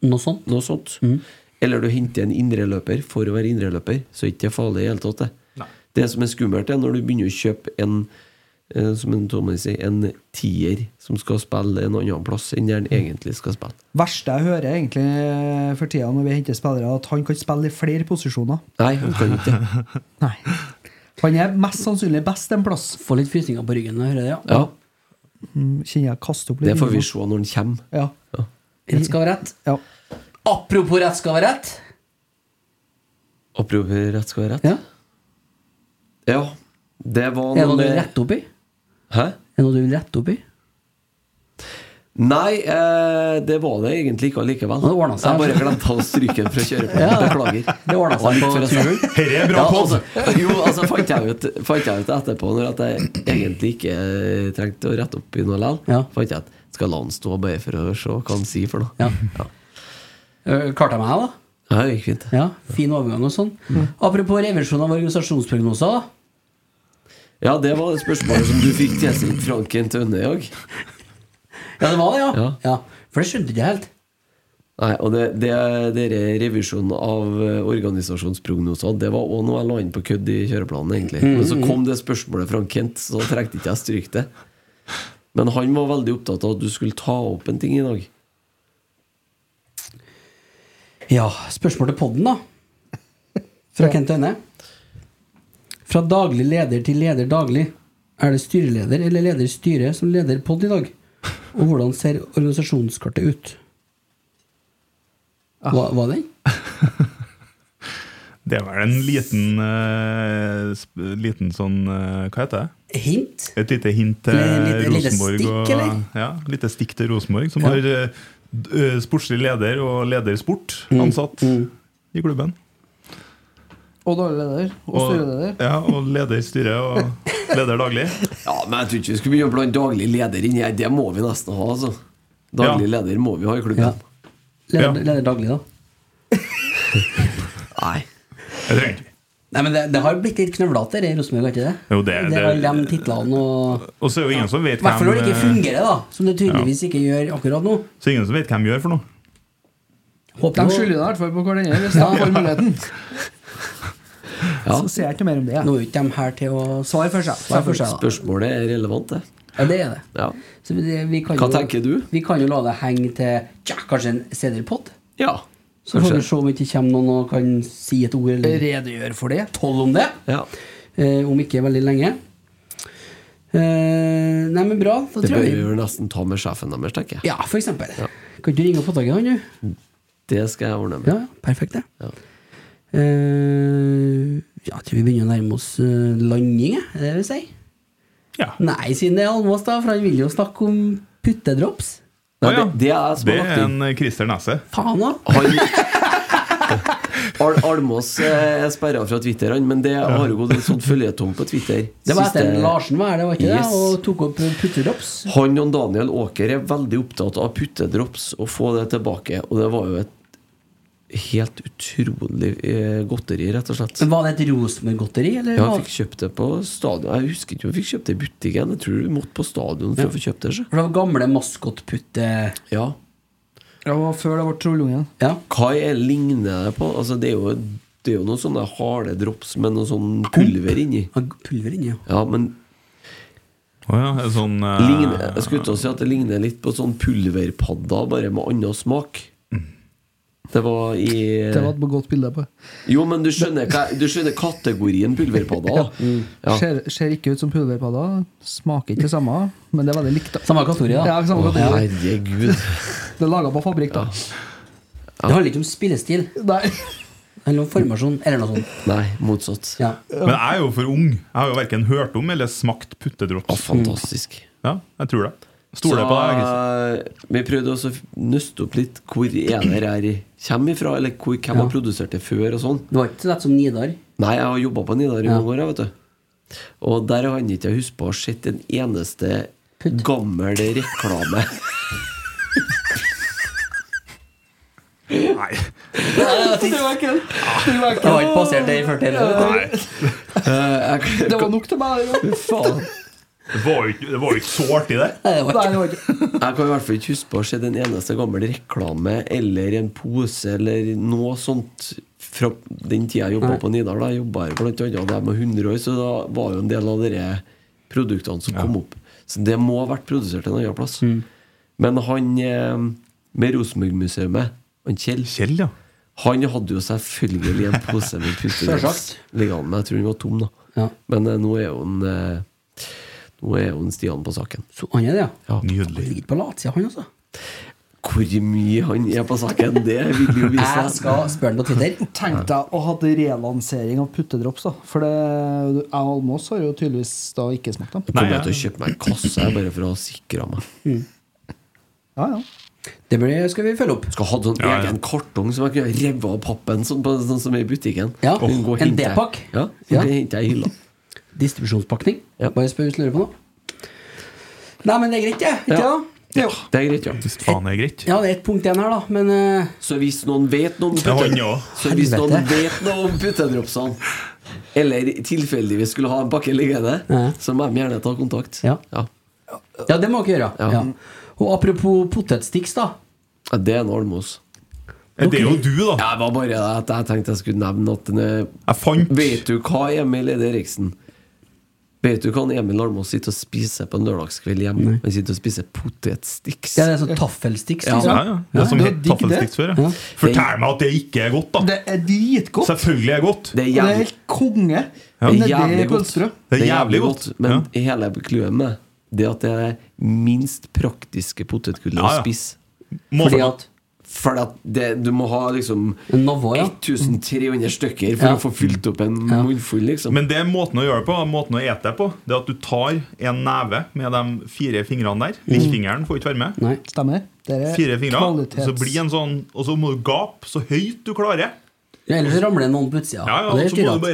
[SPEAKER 2] Noe sånt.
[SPEAKER 3] Noe sånt. Eller du henter en indreløper for å være indreløper, så er ikke det farlig i det hele tatt. Det. det som er skummelt, er når du begynner å kjøpe en eh, som en Tommy sier, en tier som skal spille en annen plass enn der han egentlig skal spille.
[SPEAKER 4] Verste jeg hører egentlig eh, for tida når vi henter spillere, at han kan spille i flere posisjoner.
[SPEAKER 3] Nei, han kan ikke det.
[SPEAKER 4] Han er mest sannsynlig best en plass.
[SPEAKER 2] Få litt frysninger på ryggen når jeg hører det,
[SPEAKER 3] Ja,
[SPEAKER 4] Mm, Kjenner jeg kaster opp litt.
[SPEAKER 3] det får vi
[SPEAKER 4] nå.
[SPEAKER 3] se når han kommer.
[SPEAKER 4] Ja.
[SPEAKER 2] Rett skal være rett.
[SPEAKER 4] Ja.
[SPEAKER 2] Apropos rett skal være rett.
[SPEAKER 3] Opprop rett skal være rett. Ja. Det var
[SPEAKER 2] Er det noe du
[SPEAKER 3] med-
[SPEAKER 2] vil rette opp i?
[SPEAKER 3] Hæ?
[SPEAKER 2] Er det noe du vil rette opp i?
[SPEAKER 3] Nei, eh, det var det egentlig ikke allikevel.
[SPEAKER 2] Det ordnet seg.
[SPEAKER 3] Jeg bare glemte å stryke den fra kjøreplanen.
[SPEAKER 2] Ja,
[SPEAKER 3] Beklager.
[SPEAKER 2] det ordnet seg
[SPEAKER 3] Og litt
[SPEAKER 2] på
[SPEAKER 3] for å-
[SPEAKER 2] turen.
[SPEAKER 5] Herre er bra podd.
[SPEAKER 3] altså, jo, altså fant jeg, ut, fant jeg ut etterpå, når at jeg egentlig ikke eh, trengte å rette opp i noe likevel, fant jeg at skal la han stå bare for å se hva han sier for noe.
[SPEAKER 2] Eh, Klarte jeg meg, da?
[SPEAKER 3] Ja, Mm. det gikk fint.
[SPEAKER 2] Ja, Fin overgang og sånn. Apropos revisjon av organisasjonsprognoser, da.
[SPEAKER 3] Ja, det var det spørsmålet som du fikk tilsendt Franken Tønne i dag.
[SPEAKER 2] Ja, det var det, ja. For det skjønte jeg ikke helt.
[SPEAKER 3] Nei, og det, det, det er revisjonen av eh, organisasjonsprognoser Det var også noe jeg la inn på kødd i kjøreplanen, egentlig.
[SPEAKER 2] Mm,
[SPEAKER 3] Men så
[SPEAKER 2] mm,
[SPEAKER 3] kom det spørsmålet fra Kent, så da trengte ikke jeg stryke det. Men han var veldig opptatt av at du skulle ta opp en ting i dag.
[SPEAKER 2] Ja, spørsmål til podden, da. Fra Kent Øyne. Fra daglig leder til leder daglig. Er det styreleder eller leder i styret som leder pod i dag? Og hvordan ser organisasjonskartet ut?
[SPEAKER 4] Ah.
[SPEAKER 2] Hva, hva er den?
[SPEAKER 5] Det er vel en liten eh, sp- Liten sånn eh, Hva heter det?
[SPEAKER 2] Hint?
[SPEAKER 5] Et lite hint til
[SPEAKER 2] Lite- lite
[SPEAKER 5] Rosenborg.
[SPEAKER 2] stikk, eller?
[SPEAKER 5] og, ja, lite stikk til Rosenborg, som
[SPEAKER 2] Ja.
[SPEAKER 5] har eh, d- eh, sportslig leder og leder sport
[SPEAKER 2] Mm,
[SPEAKER 5] ansatt i klubben.
[SPEAKER 4] Og daglig leder. Og styreleder.
[SPEAKER 5] Ja, og leder styret og leder daglig.
[SPEAKER 3] Ja, men jeg tror ikke vi skulle begynne å blande daglig leder inn i her. Det må vi nesten ha, altså. Daglig leder må vi ha i klubben.
[SPEAKER 2] Leder, leder daglig, da.
[SPEAKER 3] Nei.
[SPEAKER 5] Jeg trenger ikke.
[SPEAKER 2] Nei, men det, det har blitt litt knøvlete her i Rosenborg, har ikke det?
[SPEAKER 5] Jo, det-
[SPEAKER 2] det
[SPEAKER 5] det-
[SPEAKER 2] har de titlene og
[SPEAKER 5] Og så er jo ingen som vet
[SPEAKER 2] I hvert fall når det ikke
[SPEAKER 5] eh,
[SPEAKER 2] fungerer, da. Som det tydeligvis ikke gjør akkurat nå.
[SPEAKER 5] Så ingen som vet hvem gjør for noe.
[SPEAKER 2] Håper
[SPEAKER 4] De
[SPEAKER 2] jo-
[SPEAKER 4] skylder deg i hvert fall på hverandre hvis de får muligheten. Så sier jeg ikke noe mer om det. jeg.
[SPEAKER 2] Nå er jo ikke de her til å
[SPEAKER 4] Svar for seg. Svar for seg. da.
[SPEAKER 3] Spørsmålet er relevant, det.
[SPEAKER 2] Ja, det er det.
[SPEAKER 3] Ja.
[SPEAKER 2] Så vi, vi kan
[SPEAKER 3] Hva
[SPEAKER 2] jo,
[SPEAKER 3] tenker du?
[SPEAKER 2] Vi kan jo la det henge til ja, kanskje en senere-pod.
[SPEAKER 3] Ja.
[SPEAKER 2] Så får
[SPEAKER 3] Kanskje.
[SPEAKER 2] vi se om ikke kommer noen og kan si et ord eller redegjøre for det. Tolv om det.
[SPEAKER 3] Ja.
[SPEAKER 2] Eh, om ikke veldig lenge. Eh, nei, men bra. Da
[SPEAKER 3] Det
[SPEAKER 2] tror
[SPEAKER 3] bør vi
[SPEAKER 2] jeg vi
[SPEAKER 3] jo nesten ta med sjefen deres, tenker jeg.
[SPEAKER 2] Ja, for eksempel. Kan ikke du ringe og få tak i han, du?
[SPEAKER 3] Det skal jeg ordne med.
[SPEAKER 2] Ja, perfekt, det.
[SPEAKER 3] Ja.
[SPEAKER 2] Eh, ja, jeg tror vi begynner å nærme oss eh, landing, jeg, er det det vi sier?
[SPEAKER 5] Ja.
[SPEAKER 2] Nei, siden det er Almås, da, for han vil jo snakke om puttedrops.
[SPEAKER 5] Å,
[SPEAKER 3] Nei,
[SPEAKER 5] ja.
[SPEAKER 3] det, det er jeg som
[SPEAKER 5] Det
[SPEAKER 3] har
[SPEAKER 5] er
[SPEAKER 3] lagt inn.
[SPEAKER 5] en eh, Christer Nesse.
[SPEAKER 2] Faen, da!
[SPEAKER 3] Han Al Almås eh, er sperra fra Twitter, han, men det har jo gått en sånn føljetong på Twitter.
[SPEAKER 2] Det var etter
[SPEAKER 3] Siste-
[SPEAKER 2] Larsen var her, det var ikke
[SPEAKER 3] Yes.
[SPEAKER 2] det? Og tok opp puttedrops.
[SPEAKER 3] Han og Daniel Åker er veldig opptatt av puttedrops og få det tilbake. Og det var jo et helt utrolig eh, godteri, rett og slett.
[SPEAKER 2] Var det et Rosenborg-godteri, eller?
[SPEAKER 3] Ja,
[SPEAKER 2] var-
[SPEAKER 3] jeg fikk kjøpt det på stadion. Jeg husker ikke om jeg fikk kjøpt det i butikken. Jeg tror du måtte på stadion for å få kjøpt det. sjø.
[SPEAKER 2] For det var gamle maskotputte...
[SPEAKER 3] Ja.
[SPEAKER 4] Det var før det ble Trollungen.
[SPEAKER 2] Ja.
[SPEAKER 3] Hva er ligner det på? Altså, det er jo, det er jo noen sånne harde drops med noe sånn pulver inni.
[SPEAKER 2] Han Pulver inni, ja.
[SPEAKER 3] Ja, men
[SPEAKER 5] Å ja, en sånn eh,
[SPEAKER 3] ligner, jeg skulle til å si at det ligner litt på sånn pulverpadda, bare med annen smak. Det var i
[SPEAKER 4] Det var et godt bilde på.
[SPEAKER 3] Jo, men du skjønner, hva- du skjønner kategorien pulverpadda. da. Ja.
[SPEAKER 4] Ser, ser ikke ut som pulverpadda. Smaker ikke det samme, men det er veldig likt. da.
[SPEAKER 2] Samme kategori, da.
[SPEAKER 4] Ja, samme
[SPEAKER 3] Å,
[SPEAKER 4] kategori.
[SPEAKER 3] herregud.
[SPEAKER 4] Det er laga på fabrikk, da.
[SPEAKER 2] Det handler ikke om spillestil,
[SPEAKER 4] Nei.
[SPEAKER 2] eller om formasjon, eller noe sånt.
[SPEAKER 3] Nei, motsatt.
[SPEAKER 2] Ja.
[SPEAKER 5] Men jeg er jo for ung. Jeg har jo verken hørt om eller smakt
[SPEAKER 3] Ja,
[SPEAKER 5] puttedrops.
[SPEAKER 3] fantastisk.
[SPEAKER 5] Ja, jeg tror det. Stoler på deg. Christer.
[SPEAKER 3] Så, eh, Vi prøvde også å nøste opp litt hvor er det her kommer ifra, eller hvor, hvem har produsert det før, og sånn.
[SPEAKER 2] Det var ikke så lett som Nidar.
[SPEAKER 3] Nei, jeg har jobba på Nidar i
[SPEAKER 2] Ja.
[SPEAKER 3] mange år, jeg, vet du. Og der har han ikke husket på å ha sett en eneste gammel reklame.
[SPEAKER 5] Nei.
[SPEAKER 2] Det var ikke basert det i 40 heller.
[SPEAKER 5] Nei.
[SPEAKER 3] Eh,
[SPEAKER 4] Det var nok til meg. det, da.
[SPEAKER 3] Faen.
[SPEAKER 5] Det var jo ikke, det var jo ikke så artig, det.
[SPEAKER 2] Nei, det var
[SPEAKER 4] Nei,
[SPEAKER 2] ikke.
[SPEAKER 4] det var ikke.
[SPEAKER 3] Jeg kan i hvert fall ikke huske på å se en eneste gammel reklame eller en pose eller noe sånt fra den tida jeg jobba på Nidar. Da jobba jeg blant annet der med 100 år, så da var jo en del av de produktene som kom opp. Så det må ha vært produsert en annen plass. Men han eh, med Rosenborg-museet, han Kjell,
[SPEAKER 5] Kjell, ja.
[SPEAKER 3] han hadde jo selvfølgelig en pose med pustegress
[SPEAKER 2] Selvsagt.
[SPEAKER 3] liggende, men jeg tror den var tom, da.
[SPEAKER 2] Ja.
[SPEAKER 3] Men eh, nå er jo en, eh, nå er jo en Stian på saken.
[SPEAKER 2] Så han er det, ja.
[SPEAKER 3] Ja.
[SPEAKER 5] Ah, Nydelig.
[SPEAKER 2] Ligger på latsida, han altså. også.
[SPEAKER 3] Hvor mye han er på saken, det vil jo vise
[SPEAKER 2] Jeg
[SPEAKER 3] seg.
[SPEAKER 2] skal spørre han på Twitter.
[SPEAKER 4] Tenk deg å ha hatt relansering av puttedrops, da. For det, jeg og Almås har jo tydeligvis da ikke smakt dem.
[SPEAKER 3] Kommer
[SPEAKER 5] Nei,
[SPEAKER 3] jeg til å kjøpe meg en kasse jeg, bare for å sikre meg.
[SPEAKER 4] Ja, ja.
[SPEAKER 2] Det blir, skal vi følge opp.
[SPEAKER 3] Skal ha sånn
[SPEAKER 5] Ja, ja.
[SPEAKER 3] egen kartong som jeg kunne revet av pappen, sånn, på, sånn som er i butikken.
[SPEAKER 2] Ja,
[SPEAKER 3] Kunne gå og
[SPEAKER 2] en
[SPEAKER 3] hente-
[SPEAKER 2] D-pakk.
[SPEAKER 3] Ja,
[SPEAKER 2] Ja.
[SPEAKER 3] Det henter jeg i hylla.
[SPEAKER 2] Distribusjonspakning.
[SPEAKER 3] Ja.
[SPEAKER 2] Bare spør hvis du lurer på noe. Nei, men det er greit, det. Ikke
[SPEAKER 3] Ja.
[SPEAKER 2] da?
[SPEAKER 3] Det er greit, ja.
[SPEAKER 5] Hvis faen er greit.
[SPEAKER 2] Ja, det er ett punkt igjen her, da. Men eh,
[SPEAKER 3] Så hvis noen vet noe om
[SPEAKER 5] Ja, han
[SPEAKER 3] putte-
[SPEAKER 5] òg.
[SPEAKER 3] Så hvis
[SPEAKER 2] Helvete.
[SPEAKER 3] noen vet noe om puttedropsene, eller tilfeldigvis skulle ha en pakke liggende,
[SPEAKER 2] Ja.
[SPEAKER 3] så må de gjerne ta kontakt.
[SPEAKER 2] Ja. ja, det må dere gjøre. Ja.
[SPEAKER 3] Ja.
[SPEAKER 2] Og apropos potetsticks, da.
[SPEAKER 3] Ja, Det er en almos.
[SPEAKER 5] Det er jo du, da.
[SPEAKER 3] Det var bare at jeg tenkte jeg skulle nevne at den er
[SPEAKER 5] Jeg fant
[SPEAKER 3] Vet du hva, Emil Eide Eriksen? Vet du hva han Emil Almås sitter og spiser på en lørdagskveld hjemme? Han sitter og spiser potetsticks.
[SPEAKER 2] Det er det sånn taffelsticks.
[SPEAKER 3] Ja.
[SPEAKER 5] ja,
[SPEAKER 2] Liksom.
[SPEAKER 5] ja. Det som
[SPEAKER 4] Ja,
[SPEAKER 5] het
[SPEAKER 4] det er digg, det.
[SPEAKER 5] taffelsticks før. Ja. Fortell meg at det ikke er godt, da.
[SPEAKER 4] Det er dritgodt.
[SPEAKER 5] Selvfølgelig er det godt.
[SPEAKER 3] Det er
[SPEAKER 4] Det er
[SPEAKER 3] jævlig,
[SPEAKER 4] helt konge.
[SPEAKER 3] det
[SPEAKER 4] Men
[SPEAKER 3] er jævlig
[SPEAKER 4] det er
[SPEAKER 3] godt.
[SPEAKER 4] pølsebrød.
[SPEAKER 5] Det er jævlig godt.
[SPEAKER 3] Men
[SPEAKER 5] Ja.
[SPEAKER 3] hele clouet med det er at det er det minst praktiske potetgullet
[SPEAKER 5] Ja, ja.
[SPEAKER 3] å spise.
[SPEAKER 5] Må
[SPEAKER 2] Fordi
[SPEAKER 5] få-
[SPEAKER 2] at
[SPEAKER 3] For at det, du må ha liksom 1300 stykker for
[SPEAKER 5] Ja.
[SPEAKER 3] å få fylt opp en munnfull, liksom.
[SPEAKER 5] Men det er måten å gjøre det på, måten å ete det på, det er at du tar en neve med de fire fingrene der.
[SPEAKER 4] Mm.
[SPEAKER 5] Lillefingeren får ikke være med.
[SPEAKER 4] Stemmer. Det er
[SPEAKER 5] Fire fingre, og
[SPEAKER 4] kvalitets-
[SPEAKER 5] så blir en sånn Og så må du gape så høyt du klarer.
[SPEAKER 2] Ja, ellers ramler det noen på utsida.
[SPEAKER 5] Ja, ja,
[SPEAKER 2] og
[SPEAKER 5] og
[SPEAKER 2] det er
[SPEAKER 5] så må
[SPEAKER 2] styret.
[SPEAKER 5] du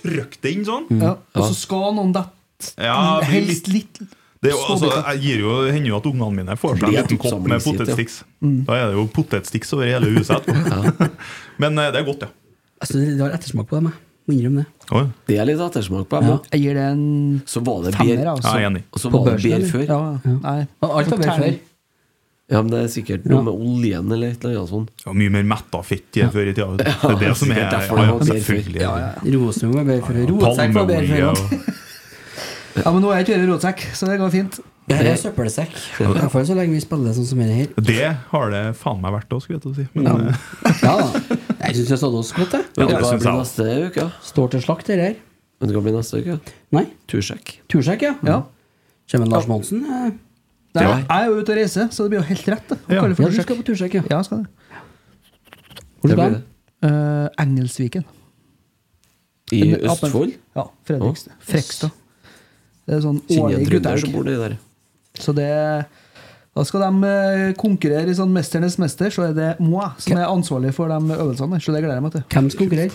[SPEAKER 5] bare trykke det inn sånn.
[SPEAKER 4] Ja. Og så skal noen dette.
[SPEAKER 5] Ja, det blir
[SPEAKER 4] Helst litt
[SPEAKER 5] Det er jo, altså,
[SPEAKER 4] småbiter.
[SPEAKER 5] jeg gir jo, det hender jo at ungene mine får
[SPEAKER 3] Det
[SPEAKER 5] seg en
[SPEAKER 3] blir et
[SPEAKER 5] liten kopp med
[SPEAKER 3] oppsamlingshit, ja.
[SPEAKER 5] potetsticks.
[SPEAKER 4] Mm.
[SPEAKER 5] Da er det jo potetsticks over hele huset etterpå. Men eh, det er godt, ja.
[SPEAKER 2] Altså, det det har ettersmak på dem, jeg. Må innrømme det.
[SPEAKER 3] Det er litt ettersmak
[SPEAKER 2] Ja.
[SPEAKER 3] på dem.
[SPEAKER 4] Jeg gir det en
[SPEAKER 3] Så var det
[SPEAKER 4] femmer,
[SPEAKER 3] bedre.
[SPEAKER 4] altså.
[SPEAKER 3] Ja, jeg er enig. Og så
[SPEAKER 2] På
[SPEAKER 3] var det
[SPEAKER 2] børsen,
[SPEAKER 3] bedre
[SPEAKER 2] eller?
[SPEAKER 3] før.
[SPEAKER 4] Ja, ja. Nei.
[SPEAKER 2] Alt var bedre
[SPEAKER 4] Terning.
[SPEAKER 2] før.
[SPEAKER 3] Ja, men det er sikkert noe med oljen eller et eller annet sånt.
[SPEAKER 5] Ja, mye mer metta fett i før i tida. Det er det som er
[SPEAKER 3] sikkert derfor
[SPEAKER 5] ja,
[SPEAKER 3] det
[SPEAKER 5] ja,
[SPEAKER 3] var bedre før.
[SPEAKER 5] selvfølgelig.
[SPEAKER 3] Ja,
[SPEAKER 2] Rosenborg var bedre før. Rotsekk var bedre
[SPEAKER 5] Palmeolje
[SPEAKER 2] før.
[SPEAKER 5] og
[SPEAKER 4] Ja, men nå er jeg ikke i rådsekk, så det går fint.
[SPEAKER 2] Det her er søppelsekk. I hvert fall så lenge vi spiller sånn som det her.
[SPEAKER 5] Det har det faen meg vært òg, skulle jeg til å si. Men
[SPEAKER 2] Ja.
[SPEAKER 5] eh,
[SPEAKER 2] Ja da. Jeg syns vi har stått oss godt, jeg.
[SPEAKER 5] Ja, det
[SPEAKER 3] Hva
[SPEAKER 5] synes jeg
[SPEAKER 3] blir
[SPEAKER 5] også.
[SPEAKER 3] neste uke?
[SPEAKER 2] Står til slakt, det her.
[SPEAKER 3] Vet du hva blir neste uke?
[SPEAKER 2] Nei.
[SPEAKER 3] Tursjekk.
[SPEAKER 2] Tursjekk, ja.
[SPEAKER 4] Ja.
[SPEAKER 2] Kommer Lars Monsen? eh?
[SPEAKER 4] Nei,
[SPEAKER 3] Ja.
[SPEAKER 4] jeg er jo ute og reiser, så det blir jo helt rett. det. Å
[SPEAKER 5] Ja.
[SPEAKER 4] kalle det
[SPEAKER 2] Ja, du
[SPEAKER 4] for tursjekk.
[SPEAKER 2] skal på tursjekk, ja.
[SPEAKER 4] Ja, jeg skal det.
[SPEAKER 2] Hvor
[SPEAKER 3] Det
[SPEAKER 2] skal
[SPEAKER 3] blir
[SPEAKER 2] du?
[SPEAKER 3] det.
[SPEAKER 4] Eh, Engelsviken.
[SPEAKER 3] I
[SPEAKER 4] En-
[SPEAKER 3] Østfold?
[SPEAKER 4] Ja. Fredrikstad. Frekstad. Det er sånn
[SPEAKER 3] Siden jeg
[SPEAKER 4] årlig
[SPEAKER 3] er trønder, så
[SPEAKER 4] guttehelg.
[SPEAKER 3] bor de der.
[SPEAKER 4] Så det Da skal de eh, konkurrere i sånn Mesternes mester, så er det moi som er ansvarlig for de øvelsene. Så det gleder jeg meg til.
[SPEAKER 2] Hvem skal konkurrere?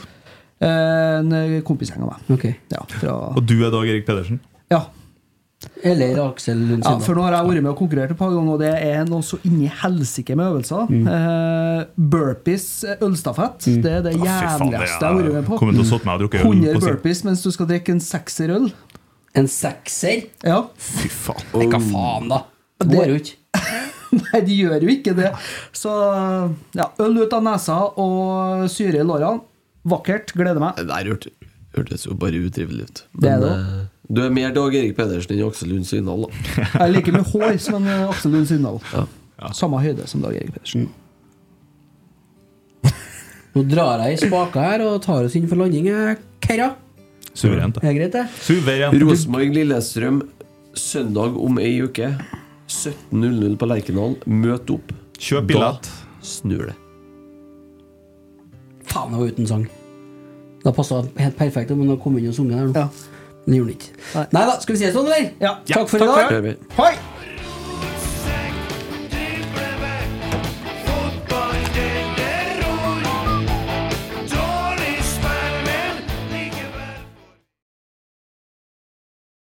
[SPEAKER 4] Eh, En kompisgjeng av meg.
[SPEAKER 2] Ok.
[SPEAKER 4] Ja, fra,
[SPEAKER 5] Og du er Dag Erik Pedersen?
[SPEAKER 4] ja.
[SPEAKER 2] Eller Aksel Lund
[SPEAKER 4] ja,
[SPEAKER 2] Sundal.
[SPEAKER 4] for nå har jeg vært med og konkurrert et par ganger, og det er noe så inni helsike med øvelser.
[SPEAKER 3] Mm.
[SPEAKER 4] Eh, burpees eh, ølstafett, det er det
[SPEAKER 5] Å, fy faen, det er-
[SPEAKER 4] jævligste jeg har vært med på.
[SPEAKER 5] Kommer til å sitte meg og drukke øl
[SPEAKER 4] 100
[SPEAKER 5] på scenen.
[SPEAKER 4] burpees mens du skal drikke en sekser øl.
[SPEAKER 2] En sekser?
[SPEAKER 4] Ja.
[SPEAKER 5] Fy faen.
[SPEAKER 2] Nei,
[SPEAKER 4] Oh.
[SPEAKER 2] hva faen, da? Det går jo ikke.
[SPEAKER 4] Nei, de gjør jo ikke det. Så ja, øl ut av nesa og syre i lårene. Vakkert. Gleder meg.
[SPEAKER 3] Det der hørte- hørtes jo bare utrivelig ut.
[SPEAKER 4] Det er
[SPEAKER 3] Men
[SPEAKER 4] det
[SPEAKER 3] eh, du er mer Dag Erik Pedersen enn Aksel Lund Svindal, da.
[SPEAKER 4] Jeg liker mye hår som en eh, Aksel Lund Sindal.
[SPEAKER 3] Ja.
[SPEAKER 4] Samme høyde som Dag Erik Pedersen.
[SPEAKER 2] Mm. Nå drar jeg i spaka her og tar oss inn for landing, jeg, Kerra.
[SPEAKER 5] Suverent.
[SPEAKER 2] Er det greit, det?
[SPEAKER 5] Suverent.
[SPEAKER 3] Rosenborg-Lillestrøm søndag om ei uke. 17.00 på Lerkendal. Møt opp.
[SPEAKER 5] Kjøp billett.
[SPEAKER 3] Da snur det.
[SPEAKER 2] Faen, jeg var uten sang. Det passa helt perfekt om han hadde kommet inn og sunget der nå.
[SPEAKER 4] Ja.
[SPEAKER 2] Men det gjorde han ikke.
[SPEAKER 4] Nei.
[SPEAKER 2] Nei da, skal vi si det sånn, eller?
[SPEAKER 4] Ja.
[SPEAKER 2] Takk for i dag.
[SPEAKER 3] Gjør vi.
[SPEAKER 4] Hoi!